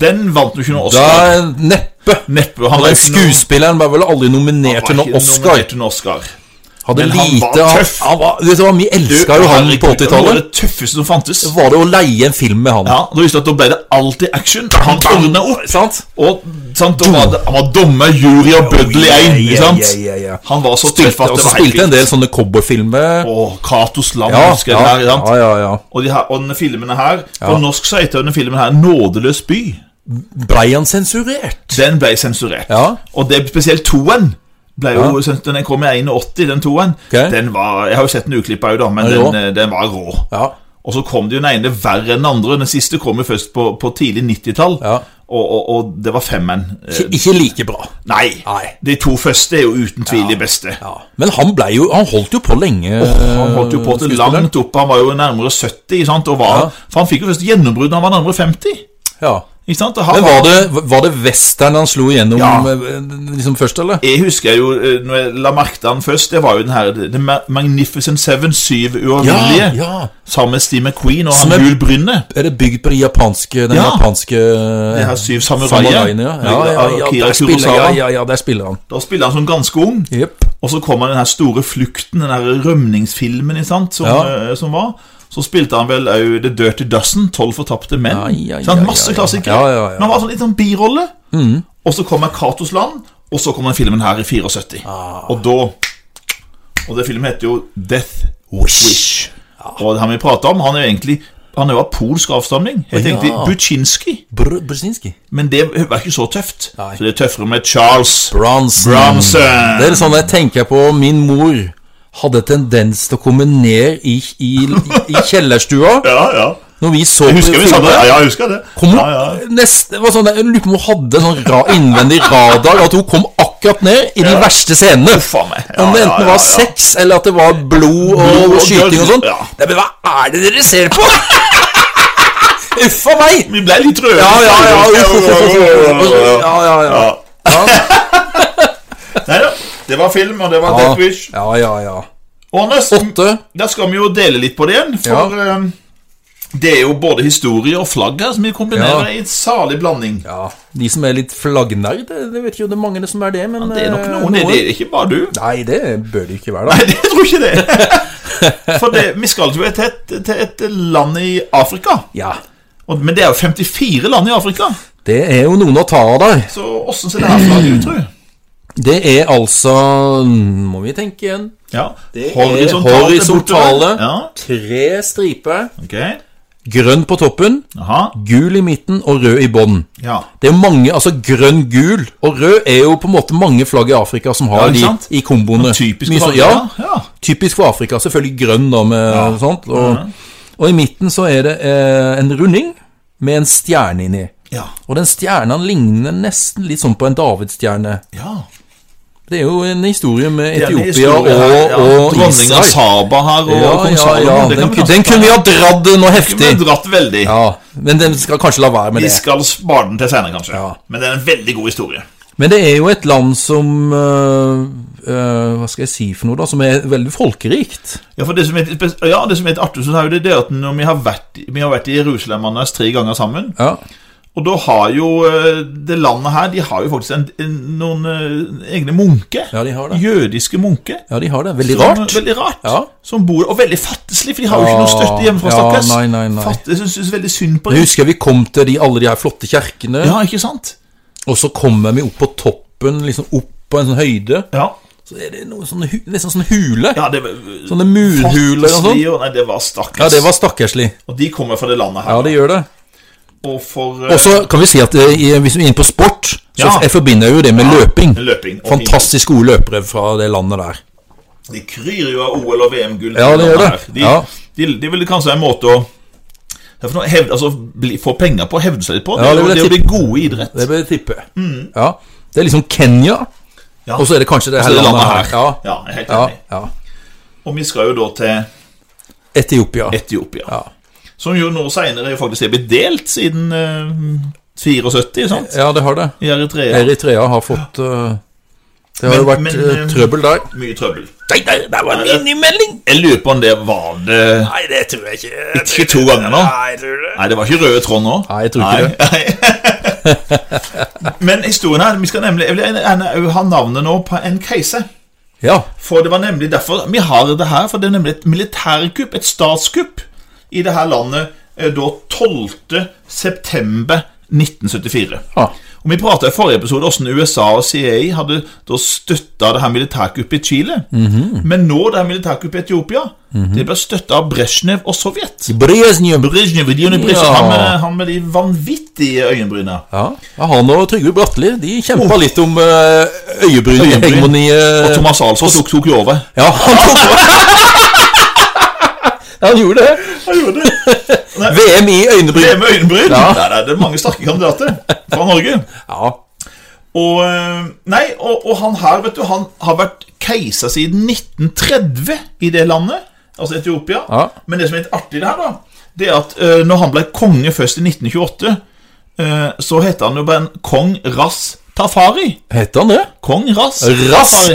[SPEAKER 2] den vant jo ikke noen
[SPEAKER 1] Da
[SPEAKER 2] Oscar.
[SPEAKER 1] er neppe
[SPEAKER 2] Neppe. Han
[SPEAKER 1] Den
[SPEAKER 2] var ikke noe-
[SPEAKER 1] skuespilleren var vel aldri nominert til
[SPEAKER 2] han var
[SPEAKER 1] noen
[SPEAKER 2] ikke
[SPEAKER 1] Oscar.
[SPEAKER 2] nominert til noen Oscar.
[SPEAKER 1] Hadde
[SPEAKER 2] Men han
[SPEAKER 1] lite
[SPEAKER 2] var
[SPEAKER 1] han-
[SPEAKER 2] tøff.
[SPEAKER 1] han var- Vet du hva, Vi elska jo han
[SPEAKER 2] herregud,
[SPEAKER 1] på
[SPEAKER 2] Det var
[SPEAKER 1] 80-tallet.
[SPEAKER 2] det tøffeste som fantes.
[SPEAKER 1] Var det å leie en film med han?
[SPEAKER 2] Ja, da visste du at da ble det alltid action. Han ordna opp.
[SPEAKER 1] Sant?
[SPEAKER 2] Og sant, da var det, Han var dommer, jury og bøddel i én.
[SPEAKER 1] yeah,
[SPEAKER 2] ikke sant?
[SPEAKER 1] yeah, yeah, yeah.
[SPEAKER 2] Han var så tøff
[SPEAKER 1] Spilte,
[SPEAKER 2] at
[SPEAKER 1] og
[SPEAKER 2] det
[SPEAKER 1] så
[SPEAKER 2] var helt
[SPEAKER 1] spilte en
[SPEAKER 2] vilt.
[SPEAKER 1] del sånne cowboyfilmer.
[SPEAKER 2] Og Katos land,
[SPEAKER 1] Ja,
[SPEAKER 2] husker jeg
[SPEAKER 1] ja,
[SPEAKER 2] her. ikke sant?
[SPEAKER 1] ja, ja, ja.
[SPEAKER 2] Og, de her, og denne filmene her På norsk så heter denne filmen her 'Nådeløs by'.
[SPEAKER 1] Blei han sensurert?
[SPEAKER 2] Den ble sensurert.
[SPEAKER 1] Ja.
[SPEAKER 2] Og det spesielt toen. Ble jo, sens- Den kom i 81, den toen.
[SPEAKER 1] Ok.
[SPEAKER 2] Den var, jeg har jo sett den uklippa òg, da, men
[SPEAKER 1] Den er
[SPEAKER 2] den,
[SPEAKER 1] rå.
[SPEAKER 2] eh, den var rå.
[SPEAKER 1] Ja.
[SPEAKER 2] Og så kom det jo den ene verre enn den andre. Den siste kom jo først på, på tidlig 90-tall.
[SPEAKER 1] Ja.
[SPEAKER 2] Og, og, og det var femmen. Eh,
[SPEAKER 1] Ikke, ikke like bra.
[SPEAKER 2] nei.
[SPEAKER 1] Nei.
[SPEAKER 2] De to første er jo uten tvil de beste.
[SPEAKER 1] Ja. Men han blei jo Han holdt jo på lenge.
[SPEAKER 2] Han holdt jo på til
[SPEAKER 1] skuespilleren.
[SPEAKER 2] langt opp. Han var jo nærmere 70. Sant? Og var,
[SPEAKER 1] Ja.
[SPEAKER 2] For han fikk jo først gjennombrudd da han var nærmere 50.
[SPEAKER 1] Ja.
[SPEAKER 2] Ikke sant? Og han
[SPEAKER 1] Men var det, var det western han slo igjennom
[SPEAKER 2] Ja.
[SPEAKER 1] eh, liksom først, eller?
[SPEAKER 2] Jeg husker jo, eh, når jeg la merke til han først, det var jo den her The Ma- Magnificent Seven, syv uavhengige,
[SPEAKER 1] Ja, ja.
[SPEAKER 2] sammen med Steve McQueen og
[SPEAKER 1] Som
[SPEAKER 2] han
[SPEAKER 1] er-
[SPEAKER 2] Jul Brynne.
[SPEAKER 1] Er det bygd på de japanske, den
[SPEAKER 2] Ja.
[SPEAKER 1] japanske eh,
[SPEAKER 2] Det her syv samuraier.
[SPEAKER 1] samuraiene? Ja, ja, ja, ja,
[SPEAKER 2] Akira
[SPEAKER 1] der spiller, ja,
[SPEAKER 2] Kurosawa.
[SPEAKER 1] ja, ja, der spiller han.
[SPEAKER 2] Da spiller han som ganske ung,
[SPEAKER 1] Jepp.
[SPEAKER 2] og så kommer den her store flukten, den her rømningsfilmen ikke sant, som,
[SPEAKER 1] Ja.
[SPEAKER 2] eh, som var. Så spilte han vel òg The Dirty Dozen, Tolv fortapte menn.
[SPEAKER 1] Ai, ai,
[SPEAKER 2] sant?
[SPEAKER 1] ai,
[SPEAKER 2] Masse
[SPEAKER 1] ai, ai.
[SPEAKER 2] klassikere.
[SPEAKER 1] Ja, Mm. ja, ja.
[SPEAKER 2] Men han var sånn litt sånn birolle. Og så kommer Katos land, og så kommer den filmen her i 74.
[SPEAKER 1] Ah.
[SPEAKER 2] Og da Og det filmen heter jo Death Wish. Og han vi prater om, han er jo egentlig Han er jo av polsk avstamning. Jeg tenkte
[SPEAKER 1] Ja.
[SPEAKER 2] Buczynski,
[SPEAKER 1] Br Brzezinski.
[SPEAKER 2] men det var ikke så tøft.
[SPEAKER 1] Nei.
[SPEAKER 2] Så det er tøffere med Charles
[SPEAKER 1] Bronson.
[SPEAKER 2] Bronson.
[SPEAKER 1] Det er sånn jeg tenker på min mor hadde tendens til å komme ned i, i, i kjellerstua
[SPEAKER 2] Ja, ja.
[SPEAKER 1] når vi så
[SPEAKER 2] Jeg husker vi sa det.
[SPEAKER 1] filmer.
[SPEAKER 2] Ja, jeg husker det.
[SPEAKER 1] Kom
[SPEAKER 2] ja, ja.
[SPEAKER 1] opp, neste, var sånn, jeg lurer på om hun hadde en sånn ra, innvendig radar At hun kom akkurat ned i de verste scenene
[SPEAKER 2] Uff a meg. Ja,
[SPEAKER 1] Om det
[SPEAKER 2] ja,
[SPEAKER 1] enten
[SPEAKER 2] ja,
[SPEAKER 1] var
[SPEAKER 2] ja.
[SPEAKER 1] sex Eller at det var blod og,
[SPEAKER 2] Blod og
[SPEAKER 1] skyting og sånn
[SPEAKER 2] ja.
[SPEAKER 1] Det er bare, Hva er det dere ser på? Uff a meg
[SPEAKER 2] Vi ble litt røde.
[SPEAKER 1] Ja, ja, ja, uff, uff, uff, uff, uff. Ja, ja, ja
[SPEAKER 2] Ja. Nei da. Det var film, og det var Death Wish.
[SPEAKER 1] Ja, ja, ja
[SPEAKER 2] Og nesten,
[SPEAKER 1] Åtte
[SPEAKER 2] da skal vi jo dele litt på det igjen, for eh, det er jo både historie og flagg her som vi kombinerer
[SPEAKER 1] Ja.
[SPEAKER 2] i en salig blanding.
[SPEAKER 1] Ja, de som er litt flaggnerd, det det vet ikke om det er mange som er det, men
[SPEAKER 2] Det er nok
[SPEAKER 1] eh,
[SPEAKER 2] noen, det er ikke bare du.
[SPEAKER 1] Nei, det bør det ikke være, da.
[SPEAKER 2] Nei, det tror ikke det. For det, vi skal jo til et, til et land i Afrika.
[SPEAKER 1] Ja,
[SPEAKER 2] Og- Men det er jo 54 land i Afrika.
[SPEAKER 1] det er jo noen å ta av der.
[SPEAKER 2] Så åssen ser det her flagget ut, tror du?
[SPEAKER 1] Det er altså, må vi tenke igjen,
[SPEAKER 2] Ja.
[SPEAKER 1] Det er
[SPEAKER 2] Horisontale.
[SPEAKER 1] horisontale.
[SPEAKER 2] bortover. Ja,
[SPEAKER 1] tre striper.
[SPEAKER 2] ok.
[SPEAKER 1] Grønn på toppen,
[SPEAKER 2] Aha.
[SPEAKER 1] gul i midten og rød i bånn.
[SPEAKER 2] Ja.
[SPEAKER 1] Det er jo mange, altså grønn, gul og rød er jo på en måte mange flagg i Afrika som
[SPEAKER 2] Ja,
[SPEAKER 1] har
[SPEAKER 2] ikke
[SPEAKER 1] de
[SPEAKER 2] sant?
[SPEAKER 1] i komboene.
[SPEAKER 2] Typisk
[SPEAKER 1] Mye så-
[SPEAKER 2] for
[SPEAKER 1] ja,
[SPEAKER 2] Afrika. Ja.
[SPEAKER 1] typisk for Afrika, selvfølgelig grønn da med sånt. Og, og i midten så er det eh, en runding med en stjerne inni.
[SPEAKER 2] Ja.
[SPEAKER 1] Og den stjerna ligner nesten litt sånn på en davidsstjerne.
[SPEAKER 2] ja.
[SPEAKER 1] Det er jo en historie med
[SPEAKER 2] Det er en
[SPEAKER 1] Etiopia
[SPEAKER 2] historie her,
[SPEAKER 1] og,
[SPEAKER 2] ja.
[SPEAKER 1] og
[SPEAKER 2] Dronning av
[SPEAKER 1] Israel.
[SPEAKER 2] Saba her og
[SPEAKER 1] Ja,
[SPEAKER 2] kong
[SPEAKER 1] ja,
[SPEAKER 2] Salomo.
[SPEAKER 1] ja.
[SPEAKER 2] Det
[SPEAKER 1] Den,
[SPEAKER 2] kan
[SPEAKER 1] ku-
[SPEAKER 2] vi
[SPEAKER 1] den
[SPEAKER 2] ta-
[SPEAKER 1] kunne vi ha dratt noe
[SPEAKER 2] kunne
[SPEAKER 1] heftig.
[SPEAKER 2] vi dratt veldig.
[SPEAKER 1] Ja, Men den skal kanskje la være med
[SPEAKER 2] Vi
[SPEAKER 1] det.
[SPEAKER 2] skal spare den til senere, kanskje.
[SPEAKER 1] Ja.
[SPEAKER 2] Men det er en veldig god historie.
[SPEAKER 1] Men det er jo et land som øh, øh, Hva skal jeg si for noe, da? Som er veldig folkerikt.
[SPEAKER 2] Ja, for det som er, spes- ja, det som er et artig, så er jo det det at når vi har vært, vi har vært i Jerusalem Anders, tre ganger sammen,
[SPEAKER 1] Ja.
[SPEAKER 2] og da har jo eh, det landet her, de har jo faktisk en, en, noen eh, egne munker.
[SPEAKER 1] Ja, de har det.
[SPEAKER 2] Jødiske munker.
[SPEAKER 1] ja, de har det. Veldig
[SPEAKER 2] Som-
[SPEAKER 1] rart.
[SPEAKER 2] Veldig rart.
[SPEAKER 1] Ja.
[SPEAKER 2] Som bor, og veldig fattigslig, for de har jo ikke noe støtte hjemmefra,
[SPEAKER 1] Ja,
[SPEAKER 2] stakkars.
[SPEAKER 1] nei, nei, nei.
[SPEAKER 2] Fattig, jeg synes veldig synd på
[SPEAKER 1] Jeg
[SPEAKER 2] dem.
[SPEAKER 1] husker vi kom til de, alle de her flotte kjerkene,
[SPEAKER 2] Ja, ikke sant?
[SPEAKER 1] og så kommer vi opp på toppen, liksom opp på en sånn høyde.
[SPEAKER 2] Ja.
[SPEAKER 1] Så er det noe sånn, hu- nesten sånn hule.
[SPEAKER 2] Ja, det var
[SPEAKER 1] Sånne murhuler og sånn.
[SPEAKER 2] Fattigslig, og- Nei, det var stakkars.
[SPEAKER 1] Ja, det var stakkarslig.
[SPEAKER 2] Og de kommer fra det landet her.
[SPEAKER 1] Ja, det gjør det.
[SPEAKER 2] Og for eh,
[SPEAKER 1] Og så kan vi si at eh, i- hvis vi er inne på sport, så
[SPEAKER 2] Ja.
[SPEAKER 1] jeg forbinder jo det med løping.
[SPEAKER 2] eh, løping. Og
[SPEAKER 1] Fantastisk gode løpere fra det landet der.
[SPEAKER 2] De kryr jo av OL- og VM-gull.
[SPEAKER 1] Ja, det gjør det.
[SPEAKER 2] De,
[SPEAKER 1] Ja.
[SPEAKER 2] de, de ville kanskje ha en måte å Det er for noe hevd, altså, bli, Få penger på, hevde seg litt på. Det,
[SPEAKER 1] Ja,
[SPEAKER 2] er
[SPEAKER 1] det
[SPEAKER 2] jo-
[SPEAKER 1] vil
[SPEAKER 2] det er
[SPEAKER 1] jeg
[SPEAKER 2] å bli gode i idrett.
[SPEAKER 1] Det bør jeg tippe. Ja. Det er liksom Kenya,
[SPEAKER 2] Ja.
[SPEAKER 1] og så er det kanskje det her
[SPEAKER 2] Så det
[SPEAKER 1] landet her. Ja.
[SPEAKER 2] Ja, jeg er helt
[SPEAKER 1] Ja.
[SPEAKER 2] enig.
[SPEAKER 1] ja.
[SPEAKER 2] Og vi skal jo da til
[SPEAKER 1] Etiopia.
[SPEAKER 2] Etiopia.
[SPEAKER 1] Ja.
[SPEAKER 2] Som jo nå seinere faktisk er blitt delt, siden eh, 74, sant?
[SPEAKER 1] Ja, det har det.
[SPEAKER 2] I Eritrea.
[SPEAKER 1] Eritrea har fått eh, Det har
[SPEAKER 2] Men-
[SPEAKER 1] jo vært
[SPEAKER 2] men,
[SPEAKER 1] eh,
[SPEAKER 2] eh,
[SPEAKER 1] trøbbel der.
[SPEAKER 2] Mye trøbbel.
[SPEAKER 1] Nei, nei, det var
[SPEAKER 2] en
[SPEAKER 1] minimelding!
[SPEAKER 2] Jeg lurer på om det var det
[SPEAKER 1] Nei, det tror jeg ikke.
[SPEAKER 2] Ikke to ganger nå?
[SPEAKER 1] Nei, tror du det?
[SPEAKER 2] Nei, det var ikke røde tråd nå.
[SPEAKER 1] Nei, jeg tror ikke
[SPEAKER 2] Nei. Men historien her Vi skal nemlig Jeg vil gjerne også ha navnet nå på en keiser.
[SPEAKER 1] Ja.
[SPEAKER 2] For det var nemlig derfor Vi har det her, for det er nemlig et militærkupp, et statskupp, i det her landet eh, da 12. september 1974.
[SPEAKER 1] Ah.
[SPEAKER 2] Og Vi prata i forrige episode hvordan USA og CIA hadde da støtta det her militærkuppet i Chile.
[SPEAKER 1] Mhm.
[SPEAKER 2] Men nå det her militærkuppet i Etiopia Det ble støtta av Brezjnev og Sovjet.
[SPEAKER 1] Brezjnev.
[SPEAKER 2] Brezjnev, Leonid Brezhnev,
[SPEAKER 1] Ja.
[SPEAKER 2] han, med, han med de vanvittige øyenbryna.
[SPEAKER 1] Ja, ja, Han og Trygve Bratteli de kjempa litt om uh, øyebrynhegemoniet.
[SPEAKER 2] Og Thomas Alsgaard tok, tok jo over.
[SPEAKER 1] Ja, han tok Ja, han gjorde det. VM i
[SPEAKER 2] Det
[SPEAKER 1] øyebryn.
[SPEAKER 2] med øyenbryn!
[SPEAKER 1] Ja.
[SPEAKER 2] Nei, nei, det er mange sterke kandidater fra Norge.
[SPEAKER 1] Ja.
[SPEAKER 2] Og, eh, nei, og, og han her, vet du, han har vært keiser siden 1930 i det landet, altså Etiopia.
[SPEAKER 1] Ja.
[SPEAKER 2] Men det som er litt artig der, da, det er at eh, når han ble konge først i 1928, eh, så heter han jo bare en kong Ras Tafari.
[SPEAKER 1] Het han det?
[SPEAKER 2] Kong Ras, Tafari.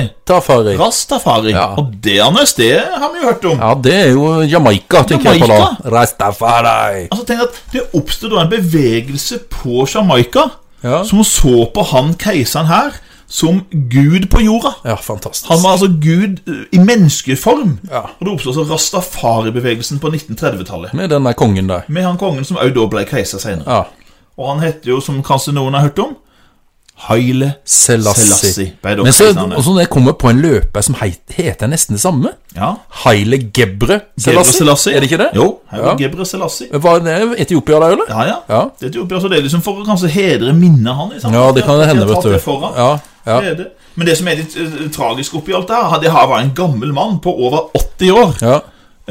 [SPEAKER 1] Rastafari.
[SPEAKER 2] Ras Tafari.
[SPEAKER 1] Ja.
[SPEAKER 2] Og det, Anders, det har vi jo hørt om.
[SPEAKER 1] Ja, det er jo Jamaica, tenker jeg på da.
[SPEAKER 2] Jamaica?
[SPEAKER 1] Rastafari.
[SPEAKER 2] Altså, tenk at Det oppstod da en bevegelse på Jamaica
[SPEAKER 1] Ja.
[SPEAKER 2] som så på han keiseren her som gud på jorda.
[SPEAKER 1] Ja, fantastisk.
[SPEAKER 2] Han var altså Gud eh, i menneskeform.
[SPEAKER 1] Ja.
[SPEAKER 2] Og det oppstod altså Rastafari-bevegelsen på 1930-tallet.
[SPEAKER 1] Med den der kongen der.
[SPEAKER 2] Med han kongen som også da ble keiser senere.
[SPEAKER 1] Ja.
[SPEAKER 2] Og han hette jo, som kanskje noen har hørt om, Haile
[SPEAKER 1] Selassie.
[SPEAKER 2] Selassie. ble da
[SPEAKER 1] Men så,
[SPEAKER 2] keiseren.
[SPEAKER 1] og så når jeg kommer på en løper som heit, heter nesten det samme.
[SPEAKER 2] Ja.
[SPEAKER 1] Haile Gebre
[SPEAKER 2] Gebre
[SPEAKER 1] Selassie. Er det ikke det?
[SPEAKER 2] Jo. Her var
[SPEAKER 1] Ja.
[SPEAKER 2] Gebre Selassie.
[SPEAKER 1] Var det Etiopia der, eller?
[SPEAKER 2] Ja, ja.
[SPEAKER 1] Ja.
[SPEAKER 2] Det, er et oppgjør, så det er liksom for å kanskje hedre minnet han. Liksom.
[SPEAKER 1] Ja, det kan
[SPEAKER 2] De har
[SPEAKER 1] hende,
[SPEAKER 2] tatt
[SPEAKER 1] vet du.
[SPEAKER 2] det foran.
[SPEAKER 1] Ja, ja.
[SPEAKER 2] Det er det. Men det som er litt eh, tragisk oppi alt det her, han- det her var en gammel mann på over 80 år.
[SPEAKER 1] Ja.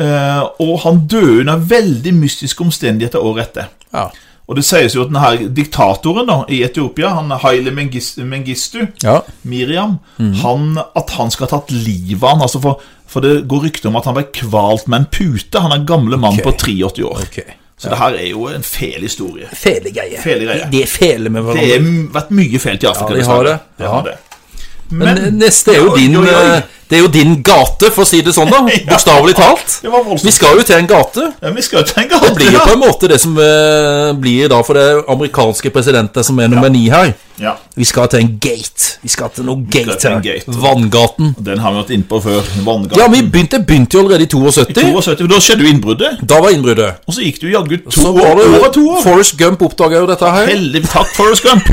[SPEAKER 2] Eh, og han døde under veldig mystiske omstendigheter året etter.
[SPEAKER 1] Ja.
[SPEAKER 2] Og det sies jo at denne diktatoren da, i Etiopia, han Haile Mengis Mengistu,
[SPEAKER 1] ja. Mm.
[SPEAKER 2] Miriam, han, at han skal ha tatt livet av han, altså for, for det går rykter om at han ble kvalt med en pute. Han er en gamle mann
[SPEAKER 1] Ok.
[SPEAKER 2] på 83 år.
[SPEAKER 1] Ok.
[SPEAKER 2] Så det her er jo en fæl historie.
[SPEAKER 1] Fele greier.
[SPEAKER 2] Fele greier.
[SPEAKER 1] De, de feler med
[SPEAKER 2] Det
[SPEAKER 1] hverandre.
[SPEAKER 2] har vært mye fælt i Afrika.
[SPEAKER 1] Ja, de
[SPEAKER 2] dessverre.
[SPEAKER 1] har det.
[SPEAKER 2] det, har
[SPEAKER 1] Ja.
[SPEAKER 2] det.
[SPEAKER 1] Men neste er jo
[SPEAKER 2] Oi,
[SPEAKER 1] din
[SPEAKER 2] oi, oi.
[SPEAKER 1] eh, Det er jo din gate, for å si det sånn, da.
[SPEAKER 2] Ja.
[SPEAKER 1] Bokstavelig talt.
[SPEAKER 2] Det var voldsomt.
[SPEAKER 1] Vi skal jo til en gate.
[SPEAKER 2] Ja, vi skal jo tenke
[SPEAKER 1] Det blir jo på en måte det som eh, blir da for det amerikanske presidenten som er nummer ni her.
[SPEAKER 2] Ja,
[SPEAKER 1] Vi skal til en gate. Vi skal til noe
[SPEAKER 2] skal
[SPEAKER 1] gate
[SPEAKER 2] til en
[SPEAKER 1] her.
[SPEAKER 2] gate.
[SPEAKER 1] Vanngaten.
[SPEAKER 2] den har vi vært inne på før. Vanngang.
[SPEAKER 1] Ja, vi begynte, begynte jo allerede i 72.
[SPEAKER 2] 72, for da skjedde jo innbruddet,
[SPEAKER 1] Da var innbruddet.
[SPEAKER 2] og så gikk det jo jaggu to
[SPEAKER 1] Så var
[SPEAKER 2] år.
[SPEAKER 1] det
[SPEAKER 2] over to år.
[SPEAKER 1] Forrest Gump oppdaga jo dette her.
[SPEAKER 2] Heldig takk, Forrest Gump.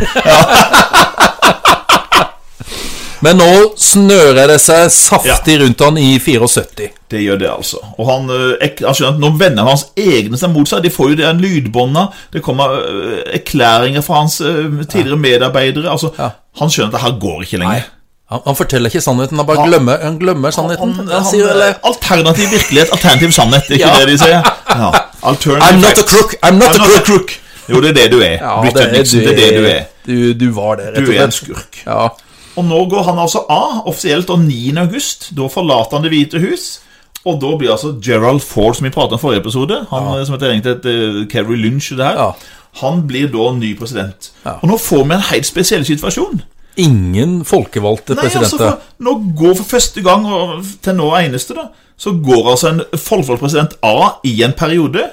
[SPEAKER 1] Men nå snører det seg saftig rundt han i 74.
[SPEAKER 2] Det gjør det, altså. Og han, eh, ek, han skjønner at Når vennene hans egne seg mot seg, de får jo det en lydbånda, det kommer eh, erklæringer fra hans eh, tidligere medarbeidere altså, Han skjønner at det her går ikke lenger.
[SPEAKER 1] Han, han forteller ikke sannheten, han bare glemmer, han glemmer sannheten.
[SPEAKER 2] Han,
[SPEAKER 1] Han,
[SPEAKER 2] han,
[SPEAKER 1] sier eller
[SPEAKER 2] eh, alternativ virkelighet, alternativ sannhet, det er ikke
[SPEAKER 1] Ja.
[SPEAKER 2] det de sier? Ja. Alternative
[SPEAKER 1] I'm not a
[SPEAKER 2] facts.
[SPEAKER 1] crook, I'm not a
[SPEAKER 2] I'm
[SPEAKER 1] crook.
[SPEAKER 2] Jo, det er det du er.
[SPEAKER 1] Ja,
[SPEAKER 2] Britt Henriksen, det er det du er.
[SPEAKER 1] Du, du var det, rett
[SPEAKER 2] Du
[SPEAKER 1] og
[SPEAKER 2] er en
[SPEAKER 1] slett.
[SPEAKER 2] skurk.
[SPEAKER 1] Ja.
[SPEAKER 2] Og nå går han altså av, offisielt da 9. august. Da forlater han Det hvite hus. Og da blir altså Gerald Ford, som vi pratet om i forrige episode, han eh, som heter egentlig et eh, Kerry Lynch i det her,
[SPEAKER 1] Ja.
[SPEAKER 2] han blir da ny president. Og nå får vi en helt spesiell situasjon.
[SPEAKER 1] Ingen folkevalgte
[SPEAKER 2] Nei, altså,
[SPEAKER 1] presidenter.
[SPEAKER 2] for, nå går for første gang, og til nå eneste, da, så går altså en folkevalgt president A i en periode,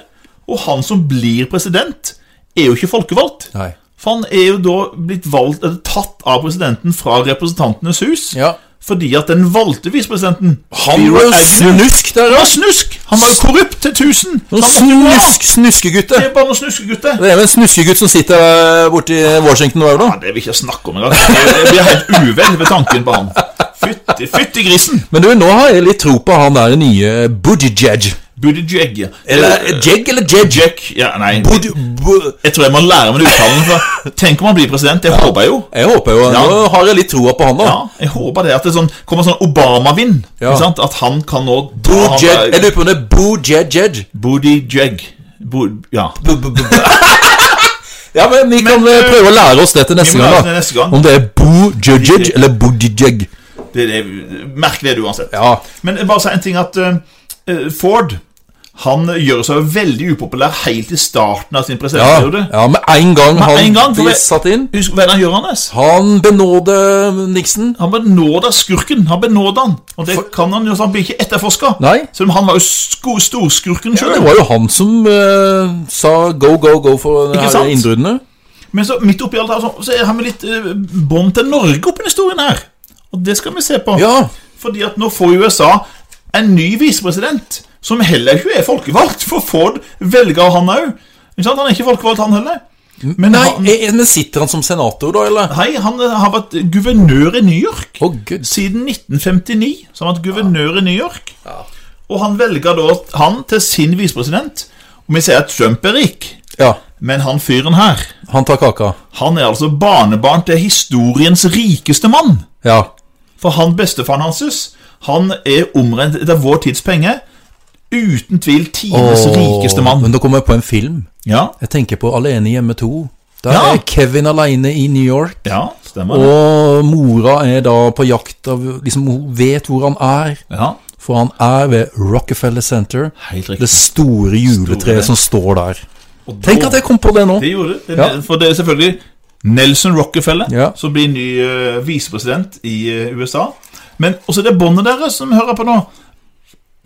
[SPEAKER 2] og han som blir president, er jo ikke folkevalgt.
[SPEAKER 1] Nei.
[SPEAKER 2] For han er jo da blitt valgt, eller tatt av presidenten fra Representantenes hus.
[SPEAKER 1] Ja.
[SPEAKER 2] Fordi at den valgte visepresidenten
[SPEAKER 1] Han var jo snusk der,
[SPEAKER 2] var
[SPEAKER 1] da!
[SPEAKER 2] snusk! Han var jo korrupt til tusen! Så
[SPEAKER 1] Noen
[SPEAKER 2] han måtte jo av.
[SPEAKER 1] Snusk, snuskegutte!
[SPEAKER 2] Det er bare noen snuskegutter.
[SPEAKER 1] Det er vel en snuskegutt som sitter borti Washington nå, da.
[SPEAKER 2] Ja, det vil jeg ikke snakke om engang. Jeg jeg blir helt uvel ved tanken på han. Fytti, fytti grisen!
[SPEAKER 1] Men du, nå har jeg litt tro på han der nye Buttigieg.
[SPEAKER 2] Buttigieg.
[SPEAKER 1] Eller Jeg eller Jej?
[SPEAKER 2] Jack Ja, nei.
[SPEAKER 1] Bud... Bu-
[SPEAKER 2] Jeg tror jeg må lære meg det uttalen. For tenk om han blir president. Det håper jeg jo.
[SPEAKER 1] Jeg håper jo Nå har jeg litt troa på han, da.
[SPEAKER 2] Ja, jeg håper det. At det sånn, kommer sånn Obama-vind.
[SPEAKER 1] Ja.
[SPEAKER 2] ikke sant? At han kan nå ta han
[SPEAKER 1] Buttigieg-
[SPEAKER 2] der-
[SPEAKER 1] Jeg lurer på om det er Buttigieg.
[SPEAKER 2] Buttigieg. Bu- Ja.
[SPEAKER 1] Ja, men vi kan eh, prøve å lære oss det til
[SPEAKER 2] Vi
[SPEAKER 1] neste
[SPEAKER 2] må
[SPEAKER 1] gang,
[SPEAKER 2] ha
[SPEAKER 1] da.
[SPEAKER 2] det neste gang.
[SPEAKER 1] Om det er Buttigieg eller Buttigieg.
[SPEAKER 2] Det, det, merk det du uansett.
[SPEAKER 1] Ja.
[SPEAKER 2] Men jeg bare si en ting at eh, eh, Ford Han gjør seg jo veldig upopulær helt i starten av sin
[SPEAKER 1] Ja,
[SPEAKER 2] presidentperiode.
[SPEAKER 1] ja, med en gang
[SPEAKER 2] Med en
[SPEAKER 1] han
[SPEAKER 2] gang, for
[SPEAKER 1] blir
[SPEAKER 2] det-
[SPEAKER 1] satt inn
[SPEAKER 2] Husk hva er det han gjør, Anders?
[SPEAKER 1] Han benåde Nixon.
[SPEAKER 2] Han benåda skurken. Han benåder han. Og det kan han jo, så han blir ikke etterforska.
[SPEAKER 1] Nei.
[SPEAKER 2] Selv om han var jo sko- storskurken
[SPEAKER 1] Det
[SPEAKER 2] sjøl.
[SPEAKER 1] var jo han som eh, sa go, go, go for de
[SPEAKER 2] Ikke
[SPEAKER 1] her
[SPEAKER 2] sant?
[SPEAKER 1] innbruddene.
[SPEAKER 2] Men så midt oppi alt her, så, så har vi litt eh, bånd til Norge oppi historien her. Og det skal vi se på.
[SPEAKER 1] Ja,
[SPEAKER 2] Fordi at nå får USA en ny visepresident, som heller ikke er folkevalgt. For Ford velger han òg. Han er ikke folkevalgt, han heller. Men
[SPEAKER 1] Nei,
[SPEAKER 2] han,
[SPEAKER 1] eh, men sitter han som senator, da, eller?
[SPEAKER 2] hei, han eh, har vært guvernør i New York.
[SPEAKER 1] Å, gud.
[SPEAKER 2] Siden 1959 så har han vært guvernør i New York. Og han velger da han til sin visepresident. Og vi sier at Trump er rik,
[SPEAKER 1] Ja,
[SPEAKER 2] men han fyren her
[SPEAKER 1] han tar kaka.
[SPEAKER 2] Han er altså barnebarn til historiens rikeste mann.
[SPEAKER 1] Ja.
[SPEAKER 2] For han bestefaren hans, han er omrent etter vår tids penger. Uten tvil tidenes
[SPEAKER 1] Åh,
[SPEAKER 2] rikeste mann.
[SPEAKER 1] Men da kommer jeg på en film.
[SPEAKER 2] Ja,
[SPEAKER 1] Jeg tenker på Alene hjemme 2. Der
[SPEAKER 2] Ja.
[SPEAKER 1] er Kevin alene i New York.
[SPEAKER 2] ja stemmer det.
[SPEAKER 1] Og mora er da på jakt av liksom, Hun vet hvor han er,
[SPEAKER 2] Ja,
[SPEAKER 1] for han er ved Rockefeller Center.
[SPEAKER 2] Helt riktig.
[SPEAKER 1] Det store
[SPEAKER 2] Store.
[SPEAKER 1] juletreet som står der.
[SPEAKER 2] og da-
[SPEAKER 1] Tenk at jeg kom på det nå!
[SPEAKER 2] Det gjorde det.
[SPEAKER 1] Ja.
[SPEAKER 2] For det er selvfølgelig Nelson Rockefeller
[SPEAKER 1] Ja.
[SPEAKER 2] som blir ny eh, visepresident i eh, USA. Men også det båndet deres som vi hører på nå.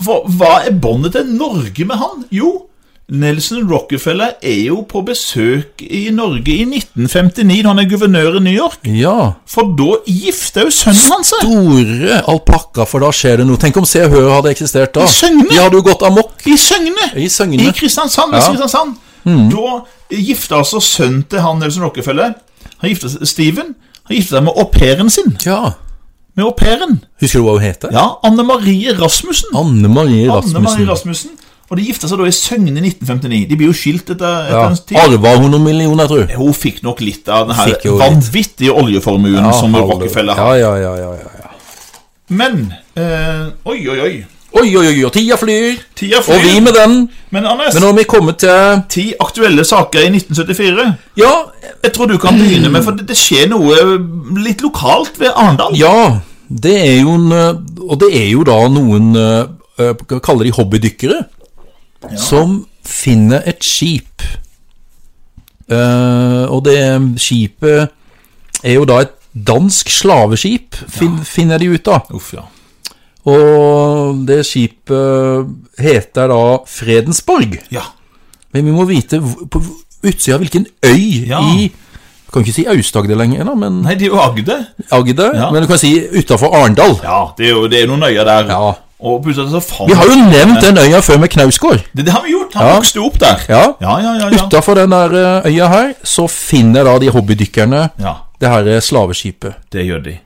[SPEAKER 2] For, hva er båndet til Norge med han? Jo, Nelson Rockefeller er jo på besøk i Norge i 1959, da han er guvernør i New York.
[SPEAKER 1] Ja.
[SPEAKER 2] For da gifter jo sønnen hans seg.
[SPEAKER 1] Store alpakka, for da skjer det noe. Tenk om Se og Hør hadde eksistert da.
[SPEAKER 2] I Søgne.
[SPEAKER 1] De hadde jo gått amok
[SPEAKER 2] I Søgne!
[SPEAKER 1] i
[SPEAKER 2] I
[SPEAKER 1] Søgne.
[SPEAKER 2] Kristiansand.
[SPEAKER 1] Ja. Mm.
[SPEAKER 2] i Kristiansand. Da gifta altså sønnen til han Nelson Rockefeller, han gifta seg, Steven, han gifta seg med au pairen sin.
[SPEAKER 1] Ja.
[SPEAKER 2] med au pairen.
[SPEAKER 1] Husker du hva hun heter?
[SPEAKER 2] Ja, Anne Marie Rasmussen.
[SPEAKER 1] Anne Marie
[SPEAKER 2] Anne Marie
[SPEAKER 1] Rasmussen.
[SPEAKER 2] Rasmussen. Og de gifta seg da i Søgne i 1959. De blir jo skilt etter, etter
[SPEAKER 1] Ja.
[SPEAKER 2] en tid.
[SPEAKER 1] Arva hun noen millioner, tror jeg.
[SPEAKER 2] Hun fikk nok litt av den
[SPEAKER 1] Fikk
[SPEAKER 2] her
[SPEAKER 1] jo litt.
[SPEAKER 2] vanvittige oljeformuen
[SPEAKER 1] Ja,
[SPEAKER 2] som
[SPEAKER 1] hallo.
[SPEAKER 2] Rockefeller
[SPEAKER 1] Ja,
[SPEAKER 2] har.
[SPEAKER 1] ja, ja, ja, ja, ja.
[SPEAKER 2] Men eh, Oi, oi, oi.
[SPEAKER 1] Oi, oi, oi, og tida flyr!
[SPEAKER 2] Tida
[SPEAKER 1] Og vi
[SPEAKER 2] flyr.
[SPEAKER 1] med den.
[SPEAKER 2] Men Anders,
[SPEAKER 1] Men nå har vi kommet til
[SPEAKER 2] ti aktuelle saker i 1974.
[SPEAKER 1] Ja,
[SPEAKER 2] Jeg tror du kan begynne med, for det, det skjer noe eh, litt lokalt ved Arendal.
[SPEAKER 1] Ja, det er jo en, eh, og det er jo da noen eh, eh, Hva kaller de hobbydykkere? Som finner et skip. Eh, og det skipet er jo da et dansk slaveskip, fin, finner de ut av.
[SPEAKER 2] Uff, ja.
[SPEAKER 1] Og det skipet heter da Fredensborg.
[SPEAKER 2] ja.
[SPEAKER 1] Men vi må vite hvor- på utsida hvilken øy
[SPEAKER 2] Ja.
[SPEAKER 1] i Kan ikke si Aust-Agder lenger, da, men
[SPEAKER 2] Nei, det er jo Agder.
[SPEAKER 1] Agder.
[SPEAKER 2] Ja.
[SPEAKER 1] Men du kan si utafor Arendal.
[SPEAKER 2] Ja, det er jo det er noen øyer der.
[SPEAKER 1] Ja.
[SPEAKER 2] Og plutselig så faen
[SPEAKER 1] Vi har jo nevnt den øya før med Knausgård.
[SPEAKER 2] Det, det har vi gjort. Han
[SPEAKER 1] Ja.
[SPEAKER 2] vokste opp der.
[SPEAKER 1] Ja.
[SPEAKER 2] ja, ja. ja, ja.
[SPEAKER 1] Utafor den der eh, øya her så finner da de hobbydykkerne
[SPEAKER 2] ja
[SPEAKER 1] det her eh, slaveskipet.
[SPEAKER 2] det gjør de.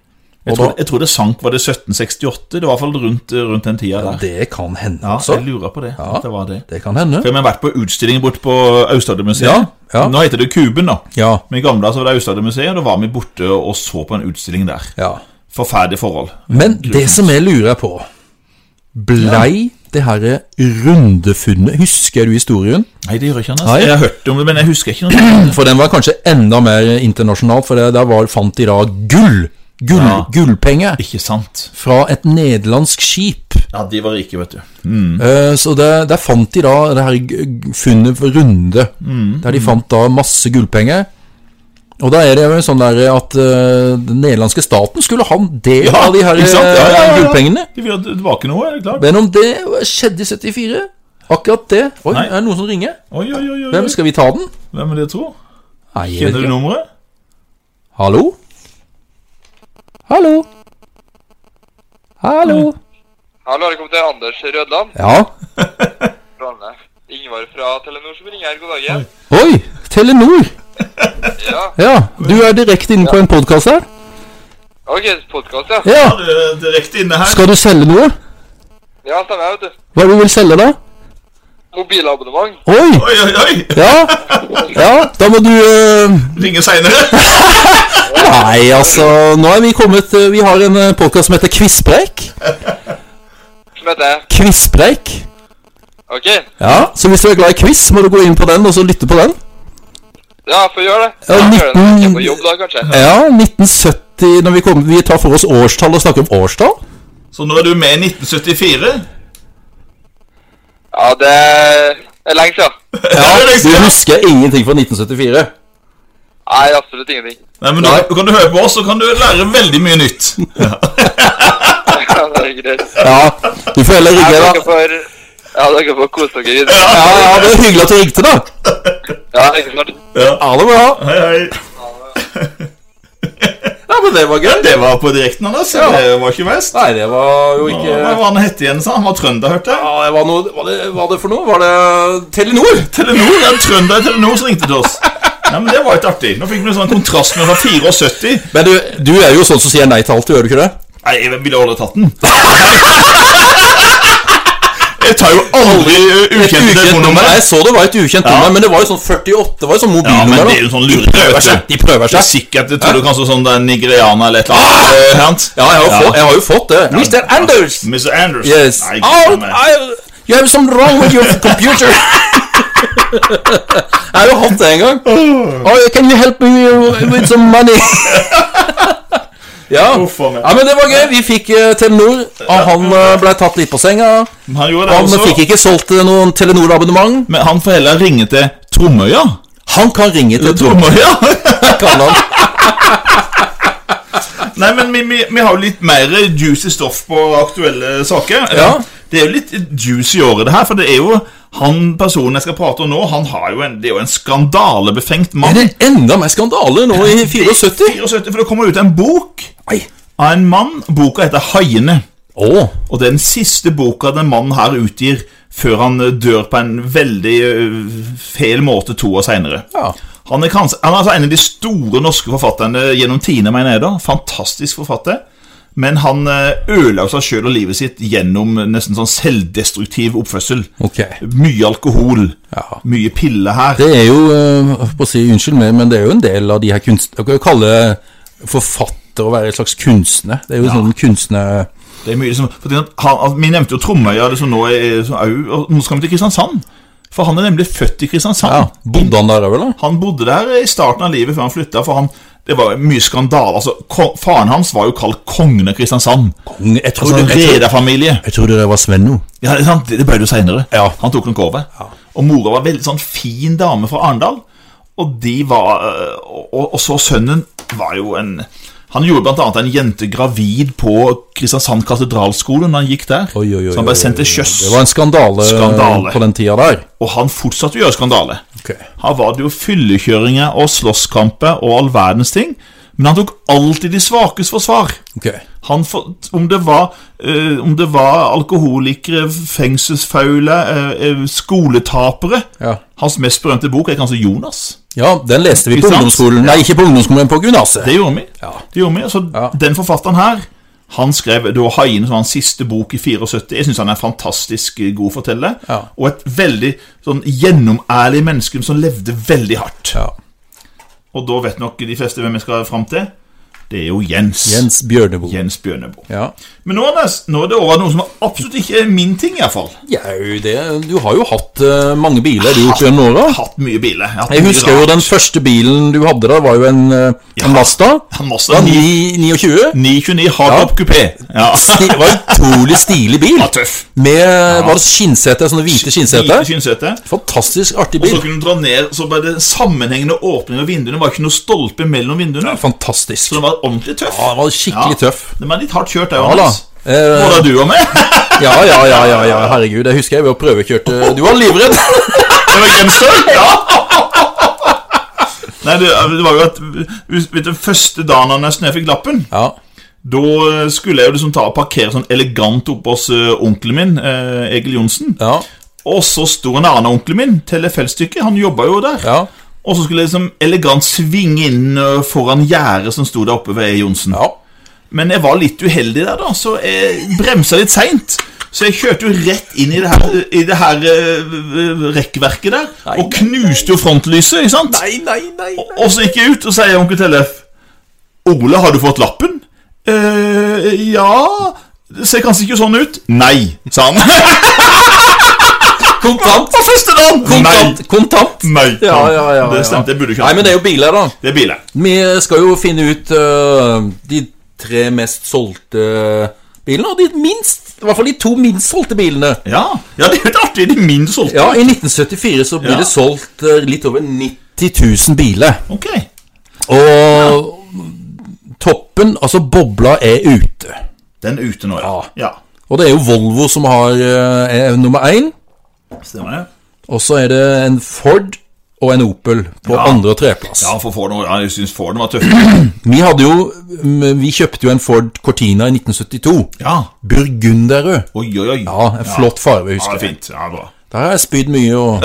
[SPEAKER 1] Og
[SPEAKER 2] Jeg tror,
[SPEAKER 1] da-
[SPEAKER 2] jeg tror det sank var det 1768. Det var i hvert fall rundt, rundt den tida der.
[SPEAKER 1] Det kan hende,
[SPEAKER 2] Ja,
[SPEAKER 1] altså.
[SPEAKER 2] jeg lurer på det. At det var det.
[SPEAKER 1] Det kan hende.
[SPEAKER 2] For Vi har vært på utstilling borte på Aust-Agder-museet.
[SPEAKER 1] Ja, ja.
[SPEAKER 2] Nå heter det Kuben, da.
[SPEAKER 1] Ja.
[SPEAKER 2] Men i gamle dager så var det Aust-Agder-museet, og da var vi borte og så på en utstilling der.
[SPEAKER 1] ja.
[SPEAKER 2] Forferdelige forhold.
[SPEAKER 1] Men det som jeg lurer på Blei det her eh, rundefunnet Husker du historien?
[SPEAKER 2] Nei, det gjør jeg ikke Anders.
[SPEAKER 1] Nei.
[SPEAKER 2] Jeg har hørt om det, men jeg husker ikke noe.
[SPEAKER 1] For den var kanskje enda mer internasjonal, for det- der var, fant de da gull. Gull,
[SPEAKER 2] Ja.
[SPEAKER 1] Gullpenger
[SPEAKER 2] ikke sant.
[SPEAKER 1] fra et nederlandsk skip.
[SPEAKER 2] Ja, de var rike, vet du.
[SPEAKER 1] Eh, Så det, der fant de da det her g- g- funnet for runde,
[SPEAKER 2] Mm.
[SPEAKER 1] der de fant da masse gullpenger. Og da er det jo sånn der at eh, den nederlandske staten skulle ha en del av de her eh,
[SPEAKER 2] ikke sant? Ja, ja, ja, ja.
[SPEAKER 1] gullpengene.
[SPEAKER 2] De vil ha tilbake noe, er det klart?
[SPEAKER 1] Men om det skjedde i 74, akkurat det Oi,
[SPEAKER 2] Nei.
[SPEAKER 1] er det noen som ringer?
[SPEAKER 2] Oi, oi, oi, oi.
[SPEAKER 1] Hvem skal vi ta den?
[SPEAKER 2] Hvem er det, tro?
[SPEAKER 1] Nei, jeg
[SPEAKER 2] Kjenner
[SPEAKER 1] vet
[SPEAKER 2] du
[SPEAKER 1] ikke.
[SPEAKER 2] nummeret?
[SPEAKER 1] Hallo? Hallo? Hallo?
[SPEAKER 3] Hallo, velkommen til Anders Rødland.
[SPEAKER 1] Ja.
[SPEAKER 3] Rane. Ingvar fra Telenor som ringer her. God dag. igjen.
[SPEAKER 1] Oi! Telenor!
[SPEAKER 3] Ja.
[SPEAKER 1] Ja, du er direkte inne på en podkast her.
[SPEAKER 3] Ok, podkast, ja.
[SPEAKER 1] Ja.
[SPEAKER 2] Ja, det er Direkte inne her.
[SPEAKER 1] Skal du selge noe?
[SPEAKER 3] Ja, stemmer, vet du.
[SPEAKER 1] Hva er det du vil selge, da?
[SPEAKER 3] Mobilabonnement.
[SPEAKER 1] Oi!
[SPEAKER 2] Oi, oi, oi!
[SPEAKER 1] Ja, ja da må du eh,
[SPEAKER 2] Ringe seinere.
[SPEAKER 1] Nei, altså, nå er vi kommet eh, Vi har en podkast som heter Kvisspreik.
[SPEAKER 3] Som heter jeg.
[SPEAKER 1] Kvisspreik.
[SPEAKER 3] Ok.
[SPEAKER 1] Ja, så hvis du er glad i quiz, må du gå inn på den og så lytte på den.
[SPEAKER 3] Ja, får gjøre det.
[SPEAKER 1] Ja,
[SPEAKER 3] Jeg gjør det når jeg er
[SPEAKER 1] 19
[SPEAKER 3] på jobb, da, kanskje.
[SPEAKER 1] Ja, 1970 når Vi, kommer- vi tar for oss årstall og snakker om årstall.
[SPEAKER 2] Så nå er du med i 1974.
[SPEAKER 3] Ja, det er lenge siden.
[SPEAKER 2] liksom-
[SPEAKER 1] Du husker ingenting fra 1974.
[SPEAKER 3] Nei, absolutt ingenting.
[SPEAKER 2] Nei, men da kan du høre på oss, så kan du lære veldig mye nytt.
[SPEAKER 3] det er greit.
[SPEAKER 1] Ja, Du får heller
[SPEAKER 3] Ja,
[SPEAKER 1] rigge,
[SPEAKER 3] dere
[SPEAKER 1] da.
[SPEAKER 3] får, ja, dere får kose dere videre.
[SPEAKER 1] Ja, ja, Det er hyggelig at du ringte, da.
[SPEAKER 3] Ja, ikke sant?
[SPEAKER 1] Ha det bra.
[SPEAKER 2] Hei, hei.
[SPEAKER 1] Ja, men det var gøy.
[SPEAKER 2] Det var på direkten, Anders. Ja. Det var ikke verst.
[SPEAKER 1] Nei, det var jo ikke
[SPEAKER 2] Hva var han hette igjen, sa han? Han var trønder, hørte jeg.
[SPEAKER 1] Ja, det var noe Hva det, var det for noe? Var det Telenor?
[SPEAKER 2] Telenor, det er en trønder i Telenor som ringte til oss. Nei, men Det var litt artig. Nå fikk vi en sånn kontrast med fra 74.
[SPEAKER 1] Men du, du er jo sånn som sier nei til alt, gjør du ikke det?
[SPEAKER 2] Nei, jeg ville aldri tatt den. Jeg tar jo aldri ø, ukjente telefonnummer.
[SPEAKER 1] Jeg så det var et ukjent
[SPEAKER 2] Ja.
[SPEAKER 1] nummer, men det var jo sånn 48, det var jo sånn
[SPEAKER 2] Ja, men
[SPEAKER 1] mobilnummer.
[SPEAKER 2] det er jo sånn lure,
[SPEAKER 1] da.
[SPEAKER 2] vet
[SPEAKER 1] Seg,
[SPEAKER 2] du.
[SPEAKER 1] de prøver
[SPEAKER 2] Det er
[SPEAKER 1] seg.
[SPEAKER 2] sikkert, jeg tror du kanskje sånn det er nigerianer eller et eller annet. ø, sant?
[SPEAKER 1] Ah! Ja, jeg har jo,
[SPEAKER 2] Ja.
[SPEAKER 1] Fått, jeg har jo fått det. Mr. Anders!
[SPEAKER 2] Mr. Anders.
[SPEAKER 1] Yes.
[SPEAKER 2] Nei,
[SPEAKER 1] oh,
[SPEAKER 2] gud, nei.
[SPEAKER 1] I, you have something wrong with your computer. jeg har jo hatt det en gang. Oh, can you help me with some money? ja.
[SPEAKER 2] Hvorfor meg?
[SPEAKER 1] ja, men det var gøy. Vi fikk eh, Telenor, og han eh, ble tatt litt på senga.
[SPEAKER 2] Han gjorde det
[SPEAKER 1] Han
[SPEAKER 2] også.
[SPEAKER 1] fikk ikke solgt eh, noen Telenor-abonnement.
[SPEAKER 2] Men han får heller ringe til Tromøya.
[SPEAKER 1] Han kan ringe til Trond.
[SPEAKER 2] Tromøya?
[SPEAKER 1] Kan han.
[SPEAKER 2] Nei, men vi, vi, vi har jo litt mer juicy stoff på aktuelle saker.
[SPEAKER 1] Ja.
[SPEAKER 2] Det er jo litt juicy i året, det her. For det er jo han personen jeg skal prate om nå, han har jo en, det er jo en skandalebefengt
[SPEAKER 1] Er
[SPEAKER 2] mann.
[SPEAKER 1] det enda mer skandale nå i 74?
[SPEAKER 2] 74, for det kommer ut en bok
[SPEAKER 1] Nei.
[SPEAKER 2] av en mann. Boka heter 'Haiene'.
[SPEAKER 1] Å.
[SPEAKER 2] Og det er den siste boka den mannen her utgir før han eh, dør på en veldig eh, feil måte to år seinere.
[SPEAKER 1] Ja.
[SPEAKER 2] Han er, kanskje, han er altså en av de store norske forfatterne gjennom tiende, mener jeg da. Fantastisk forfatter. Men han eh, ødela seg sjøl og livet sitt gjennom nesten sånn selvdestruktiv oppførsel.
[SPEAKER 1] Ok.
[SPEAKER 2] Mye alkohol,
[SPEAKER 1] Ja.
[SPEAKER 2] mye piller her.
[SPEAKER 1] Det er jo, eh, på å si unnskyld meg, men det er jo en del av de her kunst... Jeg kan jo kalle forfatter å være en slags kunstner. Det er jo sånn kunstner...
[SPEAKER 2] Det er mye liksom, for det, han, han, Vi nevnte jo Tromøya, det som nå er som au, og nå skal vi til Kristiansand. For han er nemlig født i Kristiansand.
[SPEAKER 1] Ja, bodde han der òg, eller?
[SPEAKER 2] Han bodde der i starten av livet før han flytta, for han, det var mye skandale. Altså, ko- faren hans var jo kalt kongen av Kristiansand.
[SPEAKER 1] Jeg
[SPEAKER 2] Altså
[SPEAKER 1] trodde,
[SPEAKER 2] en
[SPEAKER 1] jeg trodde,
[SPEAKER 2] rederfamilie.
[SPEAKER 1] jeg trodde det var Svenno.
[SPEAKER 2] Ja, det, er sant, det ble det jo seinere.
[SPEAKER 1] Ja.
[SPEAKER 2] Han tok nok over. Og mora var veldig sånn fin dame fra Arendal. Og de var øh, og, og så sønnen var jo en Han gjorde blant annet en jente gravid på Kristiansand katedralskole når han gikk der.
[SPEAKER 1] Oi, oi, oi,
[SPEAKER 2] så han
[SPEAKER 1] oi,
[SPEAKER 2] ble sendt til
[SPEAKER 1] oi, oi.
[SPEAKER 2] sjøs.
[SPEAKER 1] Det var en skandale, eh,
[SPEAKER 2] Skandale.
[SPEAKER 1] på den tida der.
[SPEAKER 2] Og han fortsatte å gjøre skandale.
[SPEAKER 1] Ok.
[SPEAKER 2] Her var det jo fyllekjøringer og slåsskamper og all verdens ting. Men han tok alltid de svakes forsvar.
[SPEAKER 1] ok.
[SPEAKER 2] Han for, om, det var, eh, om det var alkoholikere, fengselsfauler, eh, eh, skoletapere
[SPEAKER 1] Ja.
[SPEAKER 2] Hans mest berømte bok er kanskje Jonas.
[SPEAKER 1] ja, den leste vi
[SPEAKER 2] Ikke
[SPEAKER 1] på
[SPEAKER 2] sant?
[SPEAKER 1] ungdomsskolen. Nei, ikke på ungdomsskolen, men på gymnaset.
[SPEAKER 2] Det gjorde vi.
[SPEAKER 1] Ja.
[SPEAKER 2] Det gjorde vi. Så
[SPEAKER 1] Ja.
[SPEAKER 2] den forfatteren her han skrev det var 'Haiene', som var hans siste bok i 74. Jeg syns han er en fantastisk eh, god forteller.
[SPEAKER 1] Ja.
[SPEAKER 2] Og et veldig sånn gjennomærlig menneske som levde veldig hardt.
[SPEAKER 1] Ja.
[SPEAKER 2] Og da vet nok de fleste hvem jeg skal fram til. Det er jo Jens.
[SPEAKER 1] Jens Bjørneboe.
[SPEAKER 2] Jens Bjørneboe.
[SPEAKER 1] Ja.
[SPEAKER 2] Men nå, Anders, nå er det over noe som absolutt ikke er min ting, iallfall.
[SPEAKER 1] Jau, det Du har jo hatt eh, mange biler du opp gjennom
[SPEAKER 2] Jeg har
[SPEAKER 1] åra.
[SPEAKER 2] hatt mye biler. har hatt
[SPEAKER 1] Jeg
[SPEAKER 2] mye
[SPEAKER 1] husker jo
[SPEAKER 2] rart.
[SPEAKER 1] den første bilen du hadde da, var jo en, eh, en Mazda.
[SPEAKER 2] Han Mazda
[SPEAKER 1] Da,
[SPEAKER 2] 9-
[SPEAKER 1] 929.
[SPEAKER 2] 929 hardtop kupé. Ja.
[SPEAKER 1] Sti- Det var en utrolig stilig bil.
[SPEAKER 2] Ja, tøff.
[SPEAKER 1] Med var det skinnsete, sånne hvite
[SPEAKER 2] Hvite
[SPEAKER 1] skinnsete.
[SPEAKER 2] skinnsete.
[SPEAKER 1] Fantastisk artig
[SPEAKER 2] Og så
[SPEAKER 1] bil.
[SPEAKER 2] kunne du dra ned, så ble det sammenhengende åpning av vinduene. Det var ikke noe stolpe mellom vinduene.
[SPEAKER 1] Fantastisk.
[SPEAKER 2] Så den var ordentlig tøff.
[SPEAKER 1] Ja, den var skikkelig tøff.
[SPEAKER 2] Den var litt hardt kjørt, der,
[SPEAKER 1] Ja da.
[SPEAKER 2] Anders.
[SPEAKER 1] Eh,
[SPEAKER 2] Både du og meg.
[SPEAKER 1] ja, ja, ja, ja, ja, herregud. Jeg husker jeg var prøvekjørt. eh, Du var livredd.
[SPEAKER 2] Det var gangster? Ja! Nei, det, det var jo at Vet du, første dagen Anders, når jeg fikk lappen
[SPEAKER 1] Ja,
[SPEAKER 2] Da eh, skulle jeg jo liksom ta og parkere sånn elegant oppe hos eh, onkelen min, eh, Egil Johnsen.
[SPEAKER 1] ja,
[SPEAKER 2] Og så sto en annen onkel min, telefeltstykke, han jobba jo der.
[SPEAKER 1] ja.
[SPEAKER 2] Og så skulle jeg liksom elegant svinge inn eh, foran gjerdet som sto der oppe ved Johnsen.
[SPEAKER 1] ja.
[SPEAKER 2] Men jeg var litt uheldig der, da, så jeg bremsa litt seint. Så jeg kjørte jo rett inn i det her, i det her eh, rekkverket der, og knuste jo frontlyset, ikke sant?
[SPEAKER 1] Nei, nei, nei.
[SPEAKER 2] Og- Og så gikk jeg ut, og sier onkel Tellef Ole, har du fått lappen? eh, ja Det ser kanskje ikke sånn ut. Nei, sa han.
[SPEAKER 1] Kontant.
[SPEAKER 2] På første dagen!
[SPEAKER 1] Kontant. Kontant.
[SPEAKER 2] Nei.
[SPEAKER 1] Ja, ja, ja, ja.
[SPEAKER 2] Det stemte, jeg burde ikke
[SPEAKER 1] Nei, men det er jo biler, da.
[SPEAKER 2] Det er biler.
[SPEAKER 1] eh, Vi skal jo finne ut øh, de tre mest solgte bilene, og de minst, i hvert fall de to minst solgte bilene.
[SPEAKER 2] Ja, ja det er jo litt artig. De minst solgte.
[SPEAKER 1] Ja, I 1974 så ble
[SPEAKER 2] Ja.
[SPEAKER 1] det solgt eh, litt over 90 000 biler.
[SPEAKER 2] Ok.
[SPEAKER 1] Og toppen, altså bobla, er ute.
[SPEAKER 2] Den er ute nå, ja. ja.
[SPEAKER 1] Og det er jo Volvo som har, eh, er nummer én.
[SPEAKER 2] Stemmer det?
[SPEAKER 1] Og så er det en Ford og en Opel på
[SPEAKER 2] Ja.
[SPEAKER 1] andre- og tredjeplass.
[SPEAKER 2] Ja, for Ford, ja, jeg syns Forden var tøff.
[SPEAKER 1] Vi hadde jo mm, Vi kjøpte jo en Ford Cortina i 1972.
[SPEAKER 2] Ja.
[SPEAKER 1] Burgunderrød.
[SPEAKER 2] Oi, oi, oi.
[SPEAKER 1] Ja, en flott farge,
[SPEAKER 2] Ja,
[SPEAKER 1] husker
[SPEAKER 2] det er
[SPEAKER 1] jeg.
[SPEAKER 2] fint. Ja, bra.
[SPEAKER 1] Der har jeg spydd mye og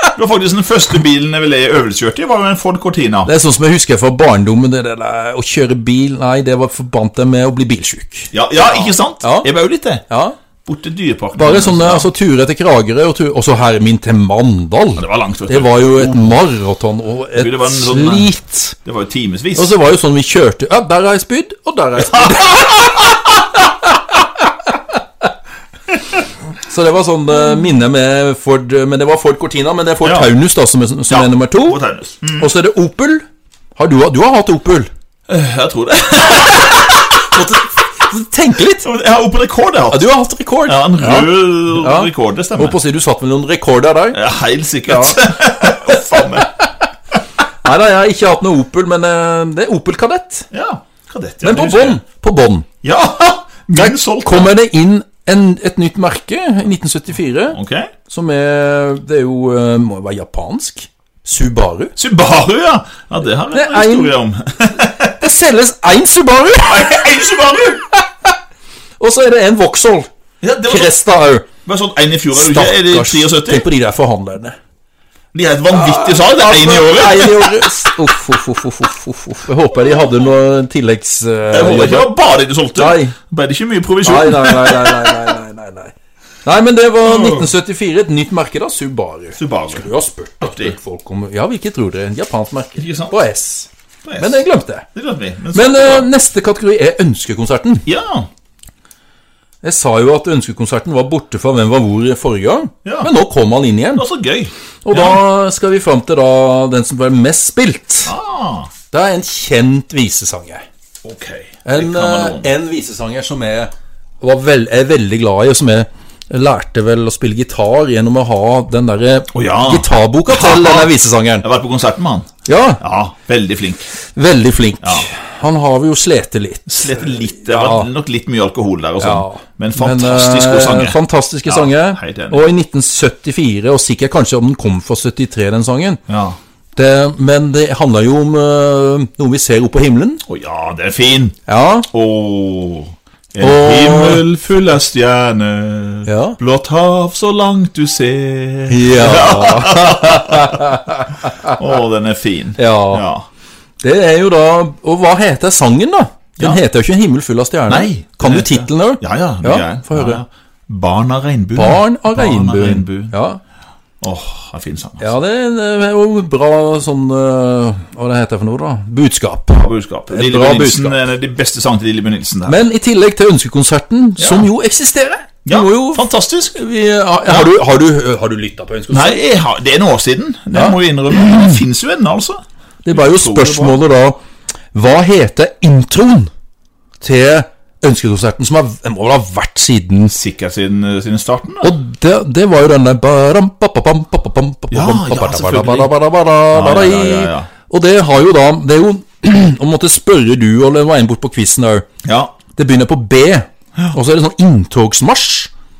[SPEAKER 2] Det var faktisk den første bilen jeg ville øvelseskjørt i, var jo en Ford Cortina.
[SPEAKER 1] Det er sånn som jeg husker fra barndommen. Det der, å kjøre bil Nei, det var forbandt jeg med å bli bilsjuk.
[SPEAKER 2] Ja, ja ikke sant?
[SPEAKER 1] Ja.
[SPEAKER 2] Jeg var jo litt det.
[SPEAKER 1] Ja.
[SPEAKER 2] Bort til Dyreparken.
[SPEAKER 1] Bare sånne altså, turer til Kragerø og tur, også her min til Mandal.
[SPEAKER 2] Det var langt, vet du.
[SPEAKER 1] Det var jo et maraton og et
[SPEAKER 2] Gud, det var en sånn-
[SPEAKER 1] slit.
[SPEAKER 2] Det var jo timevis.
[SPEAKER 1] Og så var det jo sånn vi kjørte Ja, der har jeg spydd, og der har jeg spydd. Så det var sånn eh, minne med Ford eh, Men det var Ford Cortina, men det er Ford
[SPEAKER 2] Ja.
[SPEAKER 1] Taunus da som er, som
[SPEAKER 2] Ja,
[SPEAKER 1] er nummer to.
[SPEAKER 2] og Taunus. Mm.
[SPEAKER 1] Og så er det Opel. Har du, du har hatt Opel?
[SPEAKER 2] Jeg tror det.
[SPEAKER 1] Tenk litt!
[SPEAKER 2] Jeg har oppe rekord, jeg har
[SPEAKER 1] Ja,
[SPEAKER 2] hatt.
[SPEAKER 1] du har hatt rekord.
[SPEAKER 2] Ja, en rød
[SPEAKER 1] Ja.
[SPEAKER 2] rekord,
[SPEAKER 1] Holdt
[SPEAKER 2] det stemmer.
[SPEAKER 1] på å si du satt med noen rekorder der.
[SPEAKER 2] Ja, helt sikkert. Faen meg.
[SPEAKER 1] Nei da, jeg har ikke hatt noe Opel, men eh, det er Opel Kadett.
[SPEAKER 2] Ja, kadett. ja,
[SPEAKER 1] Men
[SPEAKER 2] det
[SPEAKER 1] på
[SPEAKER 2] husker jeg.
[SPEAKER 1] bånn, på bånn,
[SPEAKER 2] Ja, min solgt.
[SPEAKER 1] kommer det inn en, et nytt merke i 1974.
[SPEAKER 2] Ok.
[SPEAKER 1] Som er Det er jo eh, Må jo være japansk? Subaru?
[SPEAKER 2] Subaru, ja. Ja, det har
[SPEAKER 1] Det
[SPEAKER 2] jeg
[SPEAKER 1] er
[SPEAKER 2] en historie om.
[SPEAKER 1] Det selges én Subaru!
[SPEAKER 2] En Subaru!
[SPEAKER 1] Og så er det en Vauxhall.
[SPEAKER 2] Ja, det var sånn,
[SPEAKER 1] Cresta òg.
[SPEAKER 2] bare sånn en i fjor, er det ikke? Er det
[SPEAKER 1] Stakkars. Tenk
[SPEAKER 2] 73?
[SPEAKER 1] på de der forhandlerne.
[SPEAKER 2] De er et vanvittig salg, det er en i året.
[SPEAKER 1] En i året. Uff, uff, uff, uff, uff, uff, uff. Jeg håper de hadde noe tilleggs... eh,
[SPEAKER 2] Jeg håper ikke det
[SPEAKER 1] jobber.
[SPEAKER 2] var bare de solgte.
[SPEAKER 1] Nei.
[SPEAKER 2] Bare det ikke mye
[SPEAKER 1] nei,
[SPEAKER 2] provisjon.
[SPEAKER 1] nei, nei, nei, nei, nei, nei, nei, nei. Nei, men det var 1974. Et nytt merke, da. Mm. Subaru.
[SPEAKER 2] Subaru.
[SPEAKER 1] Du har spurt
[SPEAKER 2] Artig.
[SPEAKER 1] spurt folk om Ja, hvilket tror dere? En japansk merke.
[SPEAKER 2] Ikke sant?
[SPEAKER 1] På S. Men det glemte jeg.
[SPEAKER 2] Det glemte vi. Men,
[SPEAKER 1] Men
[SPEAKER 2] så-
[SPEAKER 1] eh, neste kategori er ønskekonserten.
[SPEAKER 2] Ja,
[SPEAKER 1] Jeg sa jo at ønskekonserten var borte fra Hvem var hvor i forrige gang,
[SPEAKER 2] Ja.
[SPEAKER 1] men nå kom han inn igjen.
[SPEAKER 2] det var så gøy.
[SPEAKER 1] Og da skal vi fram til da den som ble mest spilt.
[SPEAKER 2] Ah,
[SPEAKER 1] Det er en kjent visesanger.
[SPEAKER 2] ok.
[SPEAKER 1] En, eh,
[SPEAKER 2] en...
[SPEAKER 1] en visesanger som jeg var vel, er veldig glad i, og som jeg lærte vel å spille gitar gjennom å ha den derre
[SPEAKER 2] Å, ja.
[SPEAKER 1] gitarboka til denne visesangeren.
[SPEAKER 2] Jeg har vært på konsert med han.
[SPEAKER 1] Ja,
[SPEAKER 2] Ja, veldig flink.
[SPEAKER 1] veldig flink.
[SPEAKER 2] Ja.
[SPEAKER 1] Han har vi jo slete litt.
[SPEAKER 2] Litt, litt, det
[SPEAKER 1] Ja.
[SPEAKER 2] var nok litt mye alkohol der og sånn.
[SPEAKER 1] Ja.
[SPEAKER 2] Men fantastisk god
[SPEAKER 1] eh,
[SPEAKER 2] sanger.
[SPEAKER 1] Fantastiske
[SPEAKER 2] Ja,
[SPEAKER 1] sanger.
[SPEAKER 2] helt enig.
[SPEAKER 1] Og i 1974, og sikkert kanskje om den kom fra 73, den sangen.
[SPEAKER 2] Ja.
[SPEAKER 1] Det, men det handler jo om eh, noe vi ser opp på himmelen.
[SPEAKER 2] Å ja, den er fin.
[SPEAKER 1] Ja,
[SPEAKER 2] Åh, en
[SPEAKER 1] Åh.
[SPEAKER 2] himmel full av stjerner,
[SPEAKER 1] Ja.
[SPEAKER 2] blått hav så langt du ser.
[SPEAKER 1] ja,
[SPEAKER 2] Åh, den er fin.
[SPEAKER 1] ja. Det er jo da Og hva heter sangen, da? Den
[SPEAKER 2] Ja.
[SPEAKER 1] heter jo ikke 'En himmel full av stjerner'.
[SPEAKER 2] Nei,
[SPEAKER 1] kan du
[SPEAKER 2] den heter-
[SPEAKER 1] tittelen òg?
[SPEAKER 2] Ja, ja, det er jeg.
[SPEAKER 1] Få høre.
[SPEAKER 2] Ja, ja. Barn av regnbuen.
[SPEAKER 1] Barn av regnbuen.
[SPEAKER 2] regnbuen.
[SPEAKER 1] Ja.
[SPEAKER 2] Åh, det er fin sang. altså.
[SPEAKER 1] ja, det er det er jo bra sånn eh, Hva det heter det for noe, da? Budskap.
[SPEAKER 2] Bra budskap. Lille
[SPEAKER 1] bra
[SPEAKER 2] Nilsen,
[SPEAKER 1] budskap.
[SPEAKER 2] en av de beste sangene til Lille Nilsen der.
[SPEAKER 1] Men i tillegg til ønskekonserten, som jo eksisterer Vi
[SPEAKER 2] ja,
[SPEAKER 1] må jo
[SPEAKER 2] fantastisk.
[SPEAKER 1] vi, eh, har, har du, har du, har du lytta på ønskekonserten?
[SPEAKER 2] Nei, jeg har, det er noen år siden. Det må jeg innrømme. Den finnes jo ennå, altså.
[SPEAKER 1] Det var jo
[SPEAKER 2] Utrolig
[SPEAKER 1] spørsmålet da Hva heter introen til ønskekonserten som har, den må vel ha vært siden
[SPEAKER 2] Sikkert siden, eh, siden starten. Da.
[SPEAKER 1] Og det, det var jo den der baram, papapam, papapam,
[SPEAKER 2] Ja,
[SPEAKER 1] papapam,
[SPEAKER 2] ja,
[SPEAKER 1] papapam,
[SPEAKER 2] selvfølgelig.
[SPEAKER 1] papapam, papapam,
[SPEAKER 2] Ja, ja, ja, ja, ja.
[SPEAKER 1] Og det har jo da Det er jo Å måtte spørre du, og det var en bort på quizen òg.
[SPEAKER 2] Ja,
[SPEAKER 1] Det begynner på B, og så er det sånn inntogsmarsj.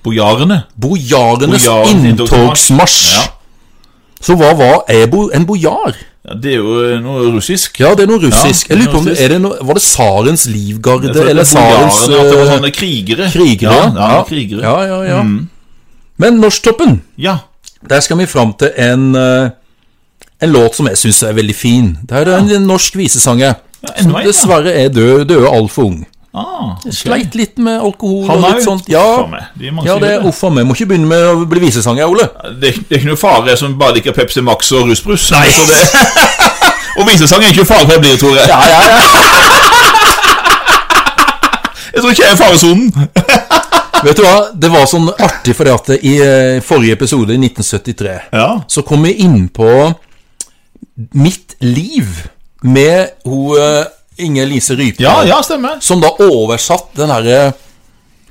[SPEAKER 2] Bojarene.
[SPEAKER 1] Bojarenes
[SPEAKER 2] Bojarens
[SPEAKER 1] inntogsmarsj.
[SPEAKER 2] inntogsmarsj.
[SPEAKER 1] Så hva var er bo, en bojar?
[SPEAKER 2] Ja, det er jo noe russisk.
[SPEAKER 1] Ja, det er noe russisk.
[SPEAKER 2] Ja,
[SPEAKER 1] jeg lurer på om
[SPEAKER 2] det er
[SPEAKER 1] er det noe, Var det Sarens livgarde,
[SPEAKER 2] For at
[SPEAKER 1] eller Sarens
[SPEAKER 2] bojarene, at det var
[SPEAKER 1] eh,
[SPEAKER 2] sånne krigere.
[SPEAKER 1] krigere?
[SPEAKER 2] Ja, ja, krigere. Mm.
[SPEAKER 1] Ja, ja, ja. Men Norsktoppen,
[SPEAKER 2] Ja.
[SPEAKER 1] der skal vi fram til en eh, En låt som jeg syns er veldig fin. Det er en, en norsk visesanger.
[SPEAKER 2] enda en, ja.
[SPEAKER 1] Dessverre er død, død altfor ung.
[SPEAKER 2] Ah, ok.
[SPEAKER 1] Sleit litt med alkohol
[SPEAKER 2] Han
[SPEAKER 1] og
[SPEAKER 2] er
[SPEAKER 1] litt
[SPEAKER 2] jo-
[SPEAKER 1] sånt. Ja,
[SPEAKER 2] Faen meg, det er mange
[SPEAKER 1] ja
[SPEAKER 2] som
[SPEAKER 1] det er
[SPEAKER 2] gjør det.
[SPEAKER 1] uff a meg. Må ikke begynne med å bli visesanger, Ole.
[SPEAKER 2] Det, er- det er ikke noe fare som bare liker Pepsi Max og rusbrus. Nei. Så det, og visesang er ikke fare for jeg blir, tror jeg. Jeg tror ikke jeg er i faresonen.
[SPEAKER 1] Vet du hva, det var sånn artig fordi at i eh, forrige episode, i 1973,
[SPEAKER 2] Ja.
[SPEAKER 1] så kom vi inn på mitt liv med hun eh, Inger Lise Rypdal,
[SPEAKER 2] Ja, ja, stemmer.
[SPEAKER 1] som da oversatt den herre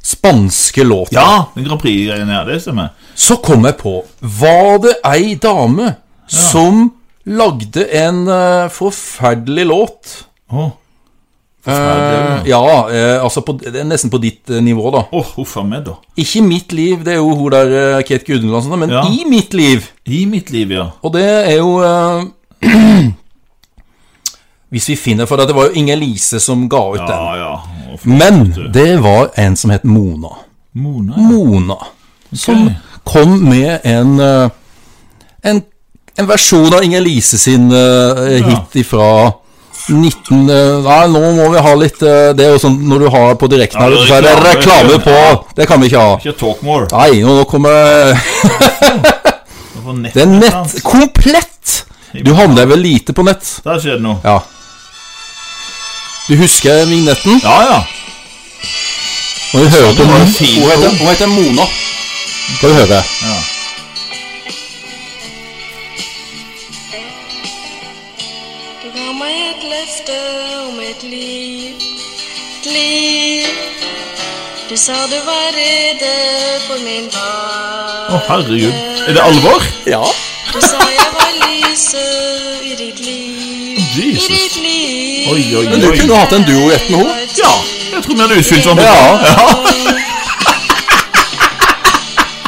[SPEAKER 1] spanske låten.
[SPEAKER 2] Ja, den Grand Prix-greien her, det stemmer.
[SPEAKER 1] Så kom jeg på Var det ei dame som lagde en eh, forferdelig låt?
[SPEAKER 2] Åh,
[SPEAKER 1] Eh, ja, eh, altså på, det er nesten på ditt eh, nivå, da.
[SPEAKER 2] Åh, huff a meg, da.
[SPEAKER 1] Ikke mitt liv, det er jo hun der eh, Kate Gudmundsen, men
[SPEAKER 2] Ja.
[SPEAKER 1] i mitt liv.
[SPEAKER 2] I mitt liv, ja.
[SPEAKER 1] Og det er jo eh, Hvis vi finner For det var jo Inger Lise som ga ut
[SPEAKER 2] Ja,
[SPEAKER 1] den.
[SPEAKER 2] ja. Åh, for-
[SPEAKER 1] Men det var en som het Mona.
[SPEAKER 2] Mona.
[SPEAKER 1] Mona. Som kom med en eh, En, en versjon av Inger Lise sin eh, hit ifra 19... eh, nei, nå må vi ha litt eh, Det er jo sånn når du har på direkten her,
[SPEAKER 2] Ja,
[SPEAKER 1] så er det
[SPEAKER 2] reklame.
[SPEAKER 1] reklame på! Det kan vi ikke ha.
[SPEAKER 2] Ikke talk more.
[SPEAKER 1] Nei, nå kommer eh,
[SPEAKER 2] Det var nett.
[SPEAKER 1] Det er nett komplett! Du handler vel lite på nett?
[SPEAKER 2] Der skjedde noe.
[SPEAKER 1] Ja. Du husker vignetten?
[SPEAKER 2] Ja, ja.
[SPEAKER 1] Når du hører på
[SPEAKER 2] var
[SPEAKER 1] den
[SPEAKER 2] en fin
[SPEAKER 1] Hun heter, hun heter Mona. Skal du høre.
[SPEAKER 2] Ja.
[SPEAKER 4] Du ga meg et løfte om et liv, et liv. Du sa du var rede for min
[SPEAKER 2] Å,
[SPEAKER 4] vare.
[SPEAKER 2] herregud. Er det alvor?
[SPEAKER 1] Ja.
[SPEAKER 4] Du sa jeg var lyset i ditt liv,
[SPEAKER 2] Jesus.
[SPEAKER 4] i ditt liv.
[SPEAKER 2] Oi, oi,
[SPEAKER 1] Men du
[SPEAKER 2] oi.
[SPEAKER 1] kunne hatt en duoett med henne.
[SPEAKER 2] Ja, jeg tror vi hadde utfylt sånn.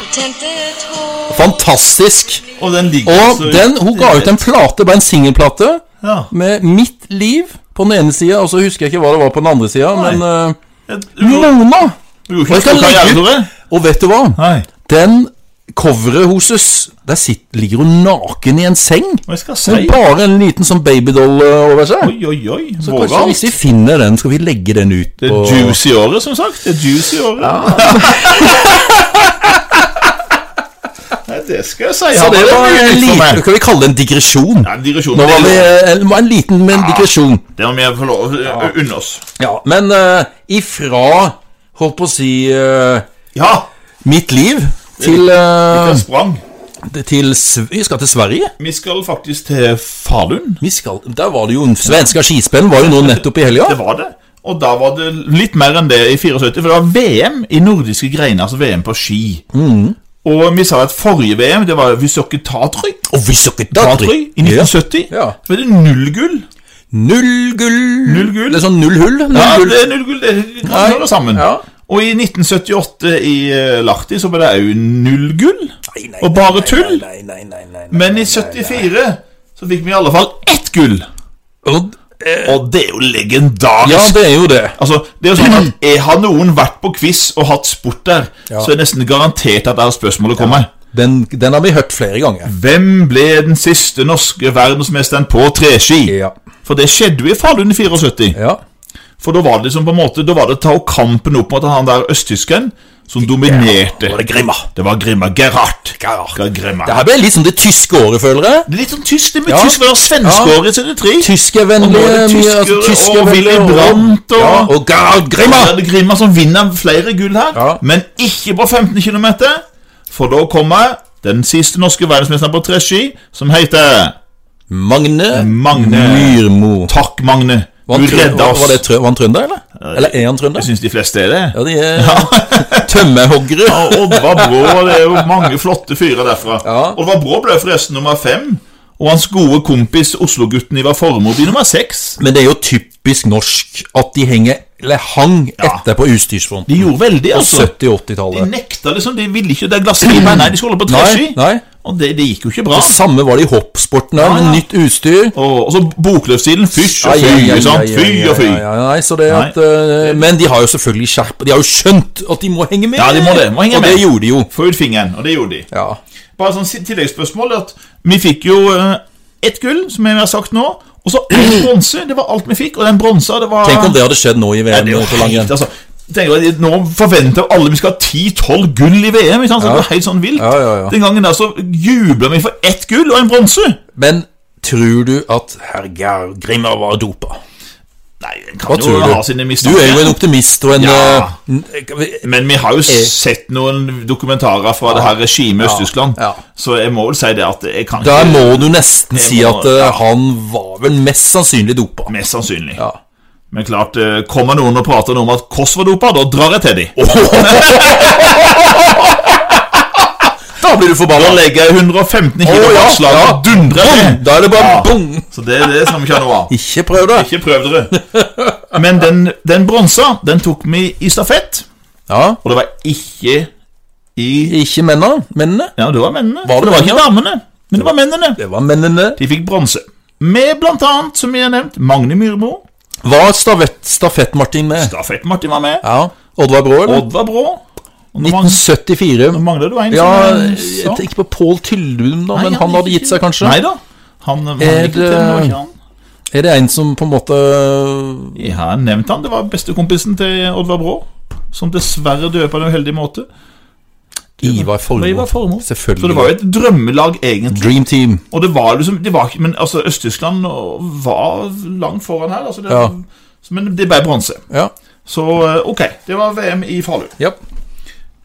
[SPEAKER 4] Du tente et håp.
[SPEAKER 1] Fantastisk.
[SPEAKER 2] Og den ligger
[SPEAKER 1] Og
[SPEAKER 2] altså i-
[SPEAKER 1] den, hun ga ut en plate, bare en singelplate,
[SPEAKER 2] Ja.
[SPEAKER 1] med Mitt liv på den ene sida, og så husker jeg ikke hva det var på den andre sida,
[SPEAKER 2] Nei.
[SPEAKER 1] men eh,
[SPEAKER 2] Jeg- Du gjorde
[SPEAKER 1] Mona!
[SPEAKER 2] du gjorde
[SPEAKER 1] Og jeg
[SPEAKER 2] ikke en stor
[SPEAKER 1] kan
[SPEAKER 2] karriere,
[SPEAKER 1] legge-
[SPEAKER 2] Tore?
[SPEAKER 1] Og vet du hva?
[SPEAKER 2] Nei.
[SPEAKER 1] Den coveret hennes Der sitter, ligger hun naken i en seng.
[SPEAKER 2] Og jeg skal si
[SPEAKER 1] Med bare en liten sånn babydoll eh, over seg.
[SPEAKER 2] Oi, oi, oi.
[SPEAKER 1] Så kanskje
[SPEAKER 2] Vågal.
[SPEAKER 1] hvis vi finner den, skal vi legge den ut
[SPEAKER 2] Det
[SPEAKER 1] på
[SPEAKER 2] er juicy året, som sagt. Det er juicy året. Nei, det skal jeg si.
[SPEAKER 1] Så
[SPEAKER 2] Han
[SPEAKER 1] det var
[SPEAKER 2] mye
[SPEAKER 1] en
[SPEAKER 2] nytt for meg.
[SPEAKER 1] liten, kan vi kalle det en digresjon?
[SPEAKER 2] Ja, digresjon.
[SPEAKER 1] Nå var
[SPEAKER 2] det,
[SPEAKER 1] vi eh, en, en liten, men digresjon.
[SPEAKER 2] det må vi få lov å unne oss.
[SPEAKER 1] Ja, men eh, ifra, holdt på å si, eh,
[SPEAKER 2] Ja,
[SPEAKER 1] mitt liv til, eh,
[SPEAKER 2] jeg sprang.
[SPEAKER 1] til Sv- Vi skal til Sverige.
[SPEAKER 2] Vi skal faktisk til Falun.
[SPEAKER 1] Vi skal, der var det jo Svenska skispellen var jo nå nettopp i helga.
[SPEAKER 2] Det var det. Og da var det litt mer enn det i 74, for det var VM i nordiske greiner, altså VM på ski.
[SPEAKER 1] Mm.
[SPEAKER 2] Og vi sa at forrige VM, det var Vysoketatry
[SPEAKER 1] Og vi skal ikke ta
[SPEAKER 2] Tatry i 1970.
[SPEAKER 1] Ja.
[SPEAKER 2] Så er det null gull.
[SPEAKER 1] Null gull.
[SPEAKER 2] Null gull.
[SPEAKER 1] Det er sånn null hull. Null
[SPEAKER 2] Ja,
[SPEAKER 1] gull.
[SPEAKER 2] det er null gull, det vi kan
[SPEAKER 1] Nei.
[SPEAKER 2] gjøre det sammen.
[SPEAKER 1] Ja.
[SPEAKER 2] Og i 1978 i eh, Lahti så ble det òg null gull, og bare tull.
[SPEAKER 1] Nei, nei, nei, nei, nei.
[SPEAKER 2] Men i 74 så fikk vi i alle fall ett gull,
[SPEAKER 1] Og, eh,
[SPEAKER 2] og det er jo legendarisk.
[SPEAKER 1] ja, det er jo det.
[SPEAKER 2] Altså, det er jo sånn at eh, Har noen vært på quiz og hatt sport der, så er det nesten garantert at det her spørsmålet kommer.
[SPEAKER 1] Den, den har vi hørt flere ganger.
[SPEAKER 2] Hvem ble den siste norske verdensmesteren på treski?
[SPEAKER 1] Ja.
[SPEAKER 2] For det skjedde jo i Falun i 74.
[SPEAKER 1] Ja.
[SPEAKER 2] For da var det liksom på en måte Da var det å ta kampen opp mot han der østtyskeren som dominerte.
[SPEAKER 1] var det Grimma.
[SPEAKER 2] Det var Grimma. Gerhard. Gerhard Grimma.
[SPEAKER 1] Det her ble litt som det tyske året, føler jeg.
[SPEAKER 2] Det er litt sånn tysk. Det er mye
[SPEAKER 1] Ja.
[SPEAKER 2] tysk. Det var svenske
[SPEAKER 1] Ja.
[SPEAKER 2] året i 73. Og nå
[SPEAKER 1] Tyskervennlige
[SPEAKER 2] er det
[SPEAKER 1] mye,
[SPEAKER 2] tyskere,
[SPEAKER 1] altså,
[SPEAKER 2] og Willy
[SPEAKER 1] tyskervennlige år.
[SPEAKER 2] Brandt og
[SPEAKER 1] ja, Og Gerhard Grimma!
[SPEAKER 2] Da er det Grimma som vinner flere gull her,
[SPEAKER 1] Ja.
[SPEAKER 2] men ikke på 15 km. For da kommer den siste norske verdensmesteren på treski, som heter
[SPEAKER 1] Magne
[SPEAKER 2] Magne.
[SPEAKER 1] Myrmo.
[SPEAKER 2] Takk, Magne.
[SPEAKER 1] Var han
[SPEAKER 2] Du
[SPEAKER 1] trø-
[SPEAKER 2] redda oss.
[SPEAKER 1] Var, det trø var han trønder, eller? Eller er han trønder?
[SPEAKER 2] Jeg syns de fleste er det.
[SPEAKER 1] Ja, de er tømmerhoggere.
[SPEAKER 2] Og Oddvar Brå, og det er jo mange flotte fyrer derfra.
[SPEAKER 1] Ja.
[SPEAKER 2] Oddvar Brå ble forresten nummer fem. Og hans gode kompis Oslo-gutten Ivar Formoe blir nummer seks.
[SPEAKER 1] Men det er jo typisk norsk at de henger, eller hang, etter på utstyrsfronten.
[SPEAKER 2] De gjorde veldig, altså.
[SPEAKER 1] 70-80-tallet.
[SPEAKER 2] De nekta liksom, de ville ikke det glasslivet. Nei, de skulle holde på
[SPEAKER 1] Nei,
[SPEAKER 2] treski.
[SPEAKER 1] nei.
[SPEAKER 2] Og det, det gikk jo ikke bra.
[SPEAKER 1] Det samme var det i hoppsporten der, med
[SPEAKER 2] Ja, ja.
[SPEAKER 1] nytt utstyr.
[SPEAKER 2] Og, og så bokløpsstilen. Fysj og
[SPEAKER 1] Ai, ai, ai,
[SPEAKER 2] fy, sant?
[SPEAKER 1] ai,
[SPEAKER 2] Fy
[SPEAKER 1] ai,
[SPEAKER 2] og fy.
[SPEAKER 1] ai, ai, ai, så det
[SPEAKER 2] Nei.
[SPEAKER 1] at, eh, men de har jo selvfølgelig skjerpa De har jo skjønt at de må henge med!
[SPEAKER 2] Ja, de må det, må henge
[SPEAKER 1] og
[SPEAKER 2] med.
[SPEAKER 1] det gjorde de jo.
[SPEAKER 2] Få ut fingeren, og det gjorde de.
[SPEAKER 1] Ja.
[SPEAKER 2] Bare sånn si- tilleggsspørsmål at vi fikk jo eh, ett gull, som jeg har sagt nå, og så én bronse. Det var alt vi fikk, og den bronsa, det var
[SPEAKER 1] Tenk om det hadde skjedd nå i
[SPEAKER 2] Ja,
[SPEAKER 1] VM
[SPEAKER 2] det er jo
[SPEAKER 1] på langrenn.
[SPEAKER 2] helt, altså. Tenk deg, Nå forventer alle vi skal ha 10-12 gull i VM. Ikke sant? Så Det var helt sånn vilt.
[SPEAKER 1] Ja, ja, ja.
[SPEAKER 2] Den gangen der så jubla vi for ett gull og en bronse.
[SPEAKER 1] Men tror du at herr Geir Grimmer var dopa?
[SPEAKER 2] Nei, en
[SPEAKER 1] Hva
[SPEAKER 2] kan jo
[SPEAKER 1] tror du?
[SPEAKER 2] ha sine
[SPEAKER 1] Du er jo en
[SPEAKER 2] mistanker.
[SPEAKER 1] optimist og en
[SPEAKER 2] Ja.
[SPEAKER 1] eh, n- kan vi-
[SPEAKER 2] Men vi har jo sett noen dokumentarer fra det her regimet i Øst-Tyskland,
[SPEAKER 1] Eh. Ja.
[SPEAKER 2] så jeg må vel si det at jeg kan
[SPEAKER 1] Der
[SPEAKER 2] ikke
[SPEAKER 1] må du nesten
[SPEAKER 2] Jeg
[SPEAKER 1] si
[SPEAKER 2] må-
[SPEAKER 1] at eh, han var vel mest sannsynlig dopa.
[SPEAKER 2] Mest sannsynlig.
[SPEAKER 1] Ja.
[SPEAKER 2] Men klart, eh, kommer noen og prater noe om at Kåss var dopa, da drar jeg til de.
[SPEAKER 1] Da blir du
[SPEAKER 2] Da
[SPEAKER 1] forbanna!
[SPEAKER 2] legger jeg 115 kilo
[SPEAKER 1] Å,
[SPEAKER 2] på
[SPEAKER 1] ja,
[SPEAKER 2] slag
[SPEAKER 1] ja.
[SPEAKER 2] og dundrer ned.
[SPEAKER 1] Da er det bare
[SPEAKER 2] Ja.
[SPEAKER 1] bong!
[SPEAKER 2] Så det, det skal vi ikke ha noe av.
[SPEAKER 1] Ikke prøv det!
[SPEAKER 2] Ikke prøv dere. Men den, den bronsa, den tok vi i stafett,
[SPEAKER 1] Ja,
[SPEAKER 2] og det var ikke i
[SPEAKER 1] Ikke mennene. Mennene.
[SPEAKER 2] Ja, det var mennene.
[SPEAKER 1] Var det
[SPEAKER 2] For det var ikke
[SPEAKER 1] mennene?
[SPEAKER 2] damene, men det var mennene.
[SPEAKER 1] Det var mennene.
[SPEAKER 2] De fikk bronse. Med blant annet, som jeg har nevnt, Magne Myrmo.
[SPEAKER 1] Var stafett, stafett-Martin med?
[SPEAKER 2] Stafett-Martin var med.
[SPEAKER 1] Ja. Oddvar Brå, eller?
[SPEAKER 2] Odd var brå. Og nå mang-
[SPEAKER 1] 1974.
[SPEAKER 2] nå mangler du en
[SPEAKER 1] Ja,
[SPEAKER 2] som
[SPEAKER 1] jeg
[SPEAKER 2] er-
[SPEAKER 1] tenker på Pål Tyldum, da,
[SPEAKER 2] Nei,
[SPEAKER 1] men han hadde gitt seg, kanskje? eh,
[SPEAKER 2] Nei da. Han, han
[SPEAKER 1] Er
[SPEAKER 2] gikk til, men det var
[SPEAKER 1] det-
[SPEAKER 2] ikke han.
[SPEAKER 1] Er det en som på en måte
[SPEAKER 2] Jeg har nevnt han. Det var bestekompisen til Oddvar Brå. Som dessverre døde på en uheldig måte.
[SPEAKER 1] Ivar
[SPEAKER 2] Men jeg
[SPEAKER 1] Formoe.
[SPEAKER 2] var formål.
[SPEAKER 1] Selvfølgelig.
[SPEAKER 2] Så det var jo et drømmelag, egentlig.
[SPEAKER 1] Dream Team.
[SPEAKER 2] Og det var liksom det var, ikke- Men altså, Øst-Tyskland og- var langt foran her. Altså, det,
[SPEAKER 1] Ja.
[SPEAKER 2] så- Men det ble bronse.
[SPEAKER 1] Ja.
[SPEAKER 2] Så eh, OK. Det var VM i Falun.
[SPEAKER 1] ja.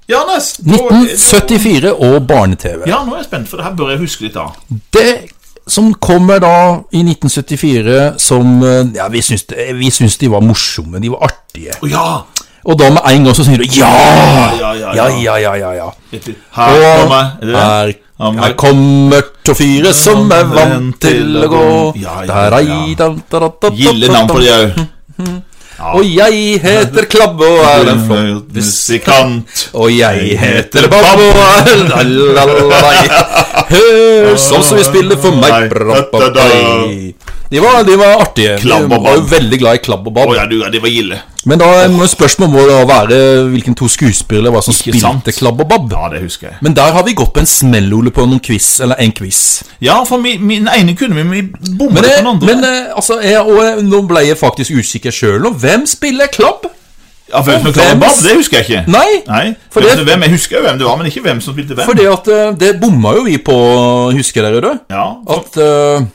[SPEAKER 2] Jannes! da-
[SPEAKER 1] 1974 og barne-TV.
[SPEAKER 2] Ja, nå er jeg spent, for det her bør jeg huske litt av.
[SPEAKER 1] Det som kommer da i 1974 som eh, Ja, vi syns, det- vi syns de var morsomme, de var artige.
[SPEAKER 2] Å ja!
[SPEAKER 1] Og da med en gang så sier du ja!
[SPEAKER 2] Ja, ja,
[SPEAKER 1] Ja,
[SPEAKER 2] ja.
[SPEAKER 1] ja, ja, ja. ja.
[SPEAKER 2] Litt- litt. Her
[SPEAKER 1] Og
[SPEAKER 2] kommer er det den?
[SPEAKER 1] her,
[SPEAKER 2] Ja, men-
[SPEAKER 1] her kommer to fire som er vant til å gå.
[SPEAKER 2] Ja, ja,
[SPEAKER 1] Da, da,
[SPEAKER 2] ja.
[SPEAKER 1] da, da, da, da,
[SPEAKER 2] Gilde navn på de òg.
[SPEAKER 1] Og jeg heter Klabbe og er en flott
[SPEAKER 2] Musikant.
[SPEAKER 1] Og jeg heter Babbo Lalalai. Hør sånn som vi spiller for meg Brababai. de var, de var artige. De
[SPEAKER 2] Klabb og
[SPEAKER 1] var jo
[SPEAKER 2] babb.
[SPEAKER 1] veldig glad i klabb og
[SPEAKER 2] Å
[SPEAKER 1] babb.
[SPEAKER 2] ja, du, ja, det var Gilde.
[SPEAKER 1] Men da må spørsmålet må da være hvilken to skuespillere var som
[SPEAKER 2] Ikke sant.
[SPEAKER 1] spilte klabb og babb.
[SPEAKER 2] Ja, det husker jeg.
[SPEAKER 1] Men der har vi gått på en smell, Ole, på noen quiz, eller en quiz.
[SPEAKER 2] Ja, for mi, min ene kunne vi, men vi bommet
[SPEAKER 1] Men,
[SPEAKER 2] på
[SPEAKER 1] det,
[SPEAKER 2] den andre.
[SPEAKER 1] men eh, altså, jeg, og jeg, nå ble jeg faktisk usikker sjøl nå. Hvem spiller klabb?
[SPEAKER 2] ja, hvem som klarte
[SPEAKER 1] hvem-
[SPEAKER 2] Bob, det husker jeg ikke.
[SPEAKER 1] Nei, for
[SPEAKER 2] hvem,
[SPEAKER 1] det-
[SPEAKER 2] som- hvem, Jeg husker jo hvem det var, men ikke hvem som spilte hvem.
[SPEAKER 1] Fordi at eh, det bomma jo vi på, husker dere det?
[SPEAKER 2] ja, for,
[SPEAKER 1] At eh,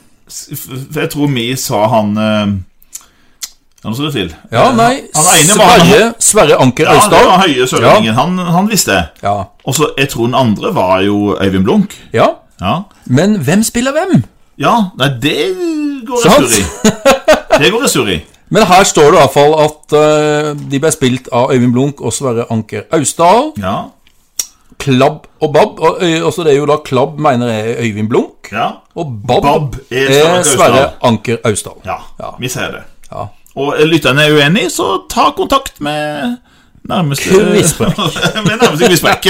[SPEAKER 2] for jeg tror vi sa han eh, Ja, nå står det til.
[SPEAKER 1] Ja, nei,
[SPEAKER 2] Eh, Han ene var han-
[SPEAKER 1] Sverre, Sverre Anker
[SPEAKER 2] Ja, det var
[SPEAKER 1] Øystad.
[SPEAKER 2] Høie Sørlendingen. Han, han visste jeg.
[SPEAKER 1] Ja.
[SPEAKER 2] Og så, jeg tror den andre var jo Øyvind Blunk.
[SPEAKER 1] ja.
[SPEAKER 2] Ja,
[SPEAKER 1] Men hvem spiller hvem?
[SPEAKER 2] ja nei, det går jeg
[SPEAKER 1] Sant?
[SPEAKER 2] surr i. Det går jeg surr i.
[SPEAKER 1] Men her står det i hvert fall at eh, de ble spilt av Øyvind Blunk og Sverre Anker Austdal.
[SPEAKER 2] Ja,
[SPEAKER 1] Klabb og Babb. Og, øy- altså det er jo da Klabb mener jeg er Øyvind Blunk.
[SPEAKER 2] ja.
[SPEAKER 1] Og Babb,
[SPEAKER 2] Babb er
[SPEAKER 1] er,
[SPEAKER 2] Sverre Anker
[SPEAKER 1] Sverre
[SPEAKER 2] Austdal.
[SPEAKER 1] Anker Austdal.
[SPEAKER 2] ja,
[SPEAKER 1] Ja.
[SPEAKER 2] vi sier det.
[SPEAKER 1] Ja.
[SPEAKER 2] Og er lytterne er uenig, så ta kontakt med nærmeste
[SPEAKER 1] Quizbreak.
[SPEAKER 2] med nærmeste quizbreak.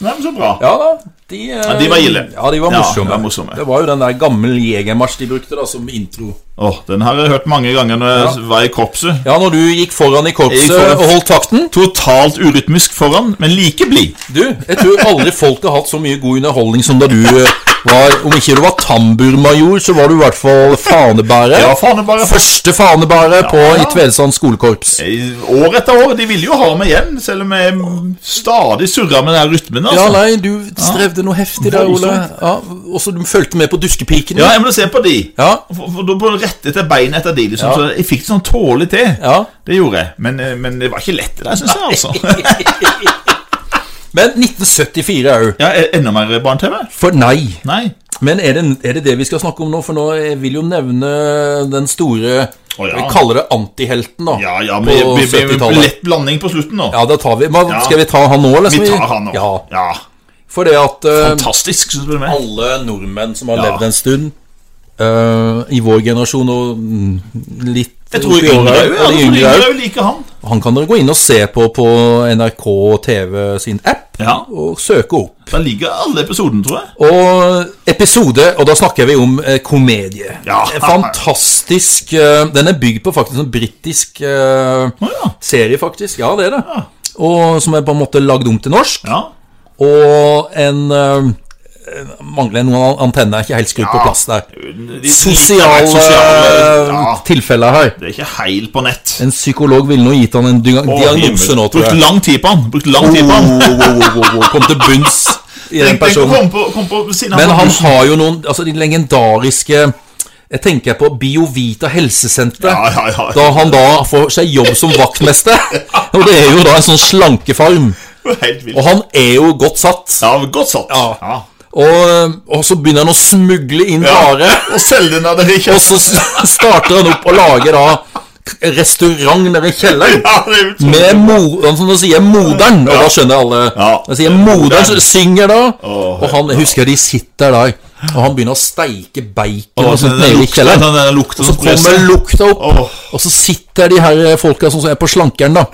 [SPEAKER 2] Nei, men så bra.
[SPEAKER 1] Ja da. De, eh,
[SPEAKER 2] Ja, de var gilde.
[SPEAKER 1] Ja, de var
[SPEAKER 2] Ja,
[SPEAKER 1] morsomme.
[SPEAKER 2] de var morsomme.
[SPEAKER 1] Det var jo den der gammel jegermarsj de brukte da som intro.
[SPEAKER 2] Åh, den har jeg hørt mange ganger når jeg var i korpset.
[SPEAKER 1] Ja, når du gikk foran i
[SPEAKER 2] Jeg
[SPEAKER 1] korpset
[SPEAKER 2] gikk foran.
[SPEAKER 1] og holdt takten
[SPEAKER 2] Totalt urytmisk foran, men like blid.
[SPEAKER 1] Du, jeg tror aldri folk har hatt så mye god underholdning som da du eh, var Om ikke du var tamburmajor, så var du i hvert fall fanebærer.
[SPEAKER 2] Ja, faen, det bare
[SPEAKER 1] Første fanebærer på i Tvedestrand skolekorps.
[SPEAKER 2] Eh, År etter år. De ville jo ha meg igjen, selv om jeg stadig surra med den her rytmen.
[SPEAKER 1] Ja,
[SPEAKER 2] Altså.
[SPEAKER 1] nei, du strevde noe heftig der, Ole. Ja, og så du fulgte med på Duskepikene.
[SPEAKER 2] Ja, jeg må se på de.
[SPEAKER 1] Ja.
[SPEAKER 2] For, for Da bare rettet jeg beinet etter de, liksom. Så jeg fikk det sånn tålelig til.
[SPEAKER 1] Ja.
[SPEAKER 2] Det gjorde jeg. Men, eh, men det var ikke lett, det der, syns jeg, altså.
[SPEAKER 1] Men 1974 òg.
[SPEAKER 2] Ja, e- Enda mer barne-TV?
[SPEAKER 1] For nei.
[SPEAKER 2] Nei.
[SPEAKER 1] Men er det, er det det vi skal snakke om nå? For nå jeg vil jo nevne den store
[SPEAKER 2] Å, ja.
[SPEAKER 1] Vi kaller det antihelten, da.
[SPEAKER 2] Ja, ja,
[SPEAKER 1] på
[SPEAKER 2] men vi- vi- vi-
[SPEAKER 1] 70-tallet.
[SPEAKER 2] lett blanding på slutten nå.
[SPEAKER 1] Ja, da tar vi men,
[SPEAKER 2] Ja.
[SPEAKER 1] Skal vi ta han nå, eller?
[SPEAKER 2] Vi
[SPEAKER 1] skal
[SPEAKER 2] tar han nå.
[SPEAKER 1] Ja,
[SPEAKER 2] Ja,
[SPEAKER 1] For det at eh,
[SPEAKER 2] Fantastisk, syns du det? er?
[SPEAKER 1] alle nordmenn som har
[SPEAKER 2] Ja.
[SPEAKER 1] levd en stund eh, I vår generasjon og mm, litt
[SPEAKER 2] Jeg tror
[SPEAKER 1] oppi
[SPEAKER 2] yngre
[SPEAKER 1] åra,
[SPEAKER 2] òg. Ja,
[SPEAKER 1] og de
[SPEAKER 2] jeg tror
[SPEAKER 1] yngre
[SPEAKER 2] yngre
[SPEAKER 1] også.
[SPEAKER 2] òg liker han.
[SPEAKER 1] Han kan dere gå inn og se på på NRK TV sin app
[SPEAKER 2] Ja,
[SPEAKER 1] og søke opp.
[SPEAKER 2] Der ligger alle episoden, tror jeg.
[SPEAKER 1] Og episode, og da snakker vi om eh, komedie.
[SPEAKER 2] Ja.
[SPEAKER 1] En Fantastisk eh, Den er bygd på faktisk en britisk eh,
[SPEAKER 2] Å ja.
[SPEAKER 1] serie, faktisk. Ja, det er det.
[SPEAKER 2] Ja.
[SPEAKER 1] Og som er på en måte lagd om til norsk.
[SPEAKER 2] ja.
[SPEAKER 1] Og en eh, Mangler noen antenne, er ikke helt skrudd på plass der.
[SPEAKER 2] De- de-
[SPEAKER 1] Sosiale,
[SPEAKER 2] ja.
[SPEAKER 1] tilfeller her.
[SPEAKER 2] Det er ikke heil på nett.
[SPEAKER 1] En psykolog ville nå gitt han en dia-
[SPEAKER 2] Å,
[SPEAKER 1] diagnose
[SPEAKER 2] himmel.
[SPEAKER 1] nå, tror
[SPEAKER 2] Brukt
[SPEAKER 1] jeg.
[SPEAKER 2] lang tid på han. Brukt lang tid på han.
[SPEAKER 1] Wow, wow, wow, wow, wow, Kom til bunns i den
[SPEAKER 2] Tenk, tenk å
[SPEAKER 1] personen.
[SPEAKER 2] komme på, kom på siden av
[SPEAKER 1] Men han
[SPEAKER 2] bussen.
[SPEAKER 1] har jo noen Altså de legendariske Jeg tenker på Biovita helsesenter.
[SPEAKER 2] Ja, ja, ja.
[SPEAKER 1] Da han da får seg jobb som vaktmester. Og det er jo da en sånn slankefarm.
[SPEAKER 2] Helt vilt.
[SPEAKER 1] Og han er jo godt satt.
[SPEAKER 2] Ja, godt satt.
[SPEAKER 1] Ja. Og, og så begynner han å smugle inn varer.
[SPEAKER 2] Og selg den av dere i
[SPEAKER 1] Og så s- starter han opp og lager da k- restaurant nede i kjelleren. Med mor, han som da sier moderen, og da skjønner alle.
[SPEAKER 2] Ja.
[SPEAKER 1] Da sier moderen så
[SPEAKER 2] Den.
[SPEAKER 1] synger da,
[SPEAKER 2] Åh,
[SPEAKER 1] og han, jeg husker de sitter der, og han begynner å steike bacon og
[SPEAKER 2] sånn
[SPEAKER 1] sånt nede i kjelleren.
[SPEAKER 2] Den lukten
[SPEAKER 1] Og så
[SPEAKER 2] som
[SPEAKER 1] kommer
[SPEAKER 2] presser.
[SPEAKER 1] lukta opp,
[SPEAKER 2] Åh.
[SPEAKER 1] og så sitter de her folka som er på slankeren, da.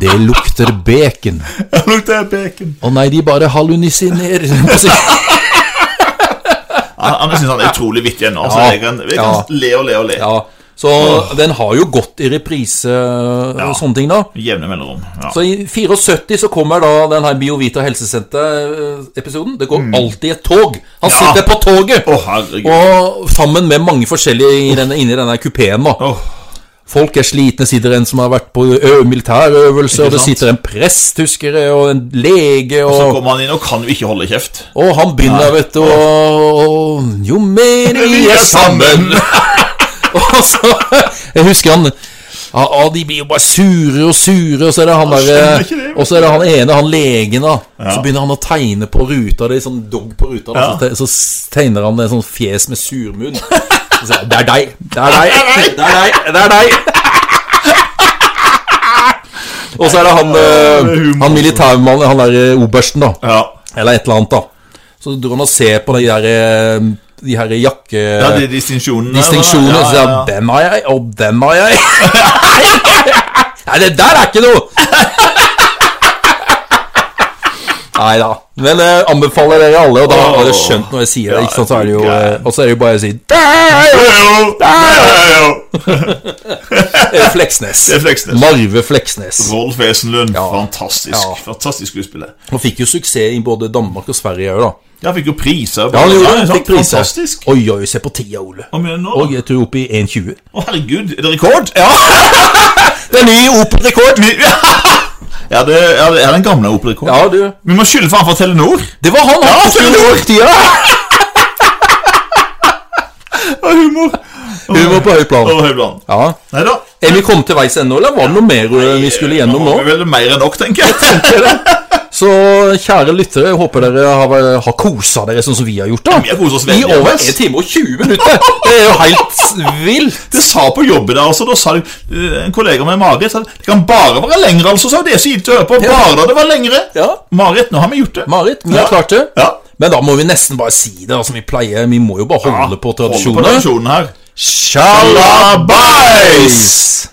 [SPEAKER 1] Det lukter bacon.
[SPEAKER 2] Ja, lukter bacon.
[SPEAKER 1] Å nei, de bare hallusiner.
[SPEAKER 2] Han, han synes han er utrolig vittig ennå. Altså,
[SPEAKER 1] Ja.
[SPEAKER 2] jeg kan, jeg kan
[SPEAKER 1] Ja.
[SPEAKER 2] le og le og le.
[SPEAKER 1] Ja, så den har jo gått i reprise og sånne ting, da.
[SPEAKER 2] Med Jevne mellomrom. Ja.
[SPEAKER 1] Så i 74 så kommer da den her BioVita helsesenter-episoden. eh, Det går alltid et tog. Han
[SPEAKER 2] Mm. Ja.
[SPEAKER 1] sitter på toget!
[SPEAKER 2] Å, herregud.
[SPEAKER 1] Og sammen med mange forskjellige i denne, inni denne kupeen. da
[SPEAKER 2] Åh.
[SPEAKER 1] Folk er slitne, sitter en som har vært på ø- militærøvelse, og det
[SPEAKER 2] sant?
[SPEAKER 1] sitter en prest, husker jeg, og en lege
[SPEAKER 2] Så
[SPEAKER 1] og
[SPEAKER 2] kommer han inn og kan jo ikke holde kjeft.
[SPEAKER 1] Og han begynner, vet du, og Jo mer vi er sammen Og så Jeg husker han ja, ja, De blir jo bare sure og sure, og så er det han
[SPEAKER 2] skjønner
[SPEAKER 1] der
[SPEAKER 2] ikke det.
[SPEAKER 1] Og så er det han ene, han legen, da. Så begynner han å tegne på ruta. Det er sånn dog på ruta. Da.
[SPEAKER 2] Ja.
[SPEAKER 1] Så te- Så s- tegner han en sånn fjes med surmunn. Så sier han, Det er deg! Det er deg! Det er deg! Det er deg! Og så er det han, eh, han militærmannen, han der eh, obersten, da.
[SPEAKER 2] Ja.
[SPEAKER 1] Eller et eller annet, da. Så dro han og se på de her, eh, de her
[SPEAKER 2] ja, det
[SPEAKER 1] jakkedistinsjonene.
[SPEAKER 2] er distinksjonen.
[SPEAKER 1] Distinksjonene.
[SPEAKER 2] Ja,
[SPEAKER 1] Så
[SPEAKER 2] ja,
[SPEAKER 1] sier han 'den har jeg', og 'den har jeg'. Nei, det der er ikke noe! Nei da. Men jeg anbefaler dere alle, og da har dere skjønt når jeg sier det. Ikke sant? Så er det jo, eh, og så er det jo bare å si
[SPEAKER 2] ja.
[SPEAKER 1] «Der
[SPEAKER 2] Jo, jo, jo.
[SPEAKER 1] er jo Fleksnes.
[SPEAKER 2] Det er Fleksnes.
[SPEAKER 1] Marve Fleksnes.
[SPEAKER 2] Rolf Esenlund.
[SPEAKER 1] Ja.
[SPEAKER 2] Fantastisk.
[SPEAKER 1] Ja.
[SPEAKER 2] Fantastisk skuespiller.
[SPEAKER 1] Han fikk jo suksess i både Danmark og Sverige òg, da.
[SPEAKER 2] Ja, han fikk jo priser.
[SPEAKER 1] Ja, han gjorde det.
[SPEAKER 2] sant?
[SPEAKER 1] Fikk priser.
[SPEAKER 2] Fantastisk.
[SPEAKER 1] Oi, oi, se på tida, Ole.
[SPEAKER 2] Hva mener du nå?
[SPEAKER 1] Og jeg tror opp i 1,20.
[SPEAKER 2] Å, herregud, er det rekord? Ja,
[SPEAKER 1] Det er ny Opel-rekord!
[SPEAKER 2] ja det ja, det er den gamle Opel-rekorden.
[SPEAKER 1] Ja, du.
[SPEAKER 2] Vi må skylde faen for Telenor.
[SPEAKER 1] Det var han! han
[SPEAKER 2] det
[SPEAKER 1] skulle
[SPEAKER 2] var-
[SPEAKER 1] brukt tida!
[SPEAKER 2] humor.
[SPEAKER 1] Humor på høyt plan.
[SPEAKER 2] Og Høybland.
[SPEAKER 1] Ja.
[SPEAKER 2] Nei da.
[SPEAKER 1] Er vi kommet til veis ende, eller var det noe mer eh, vi skulle gjennom nå?
[SPEAKER 2] har vi Vel mer enn nok, tenker jeg.
[SPEAKER 1] Så kjære lyttere, jeg håper dere har, har kosa dere sånn som vi har gjort, da.
[SPEAKER 2] Vi har koset oss
[SPEAKER 1] I
[SPEAKER 2] veldig,
[SPEAKER 1] over
[SPEAKER 2] ass.
[SPEAKER 1] 1 time og 20 minutter! Det er jo helt vilt!
[SPEAKER 2] Det sa på jobben der også, da sa de, eh, en kollega med Marit sa det kan bare være lengre, altså. sa hun. Det er så gitt å høre på. Bare da det var lengre.
[SPEAKER 1] Ja.
[SPEAKER 2] Marit, nå har vi gjort det.
[SPEAKER 1] Marit, vi har
[SPEAKER 2] Ja.
[SPEAKER 1] klart det.
[SPEAKER 2] Ja.
[SPEAKER 1] Men da må vi nesten bare si det, altså vi pleier. Vi må jo bare holde på
[SPEAKER 2] Holder på
[SPEAKER 1] tradisjoner.
[SPEAKER 2] tradisjonen her.
[SPEAKER 1] Sjalabais!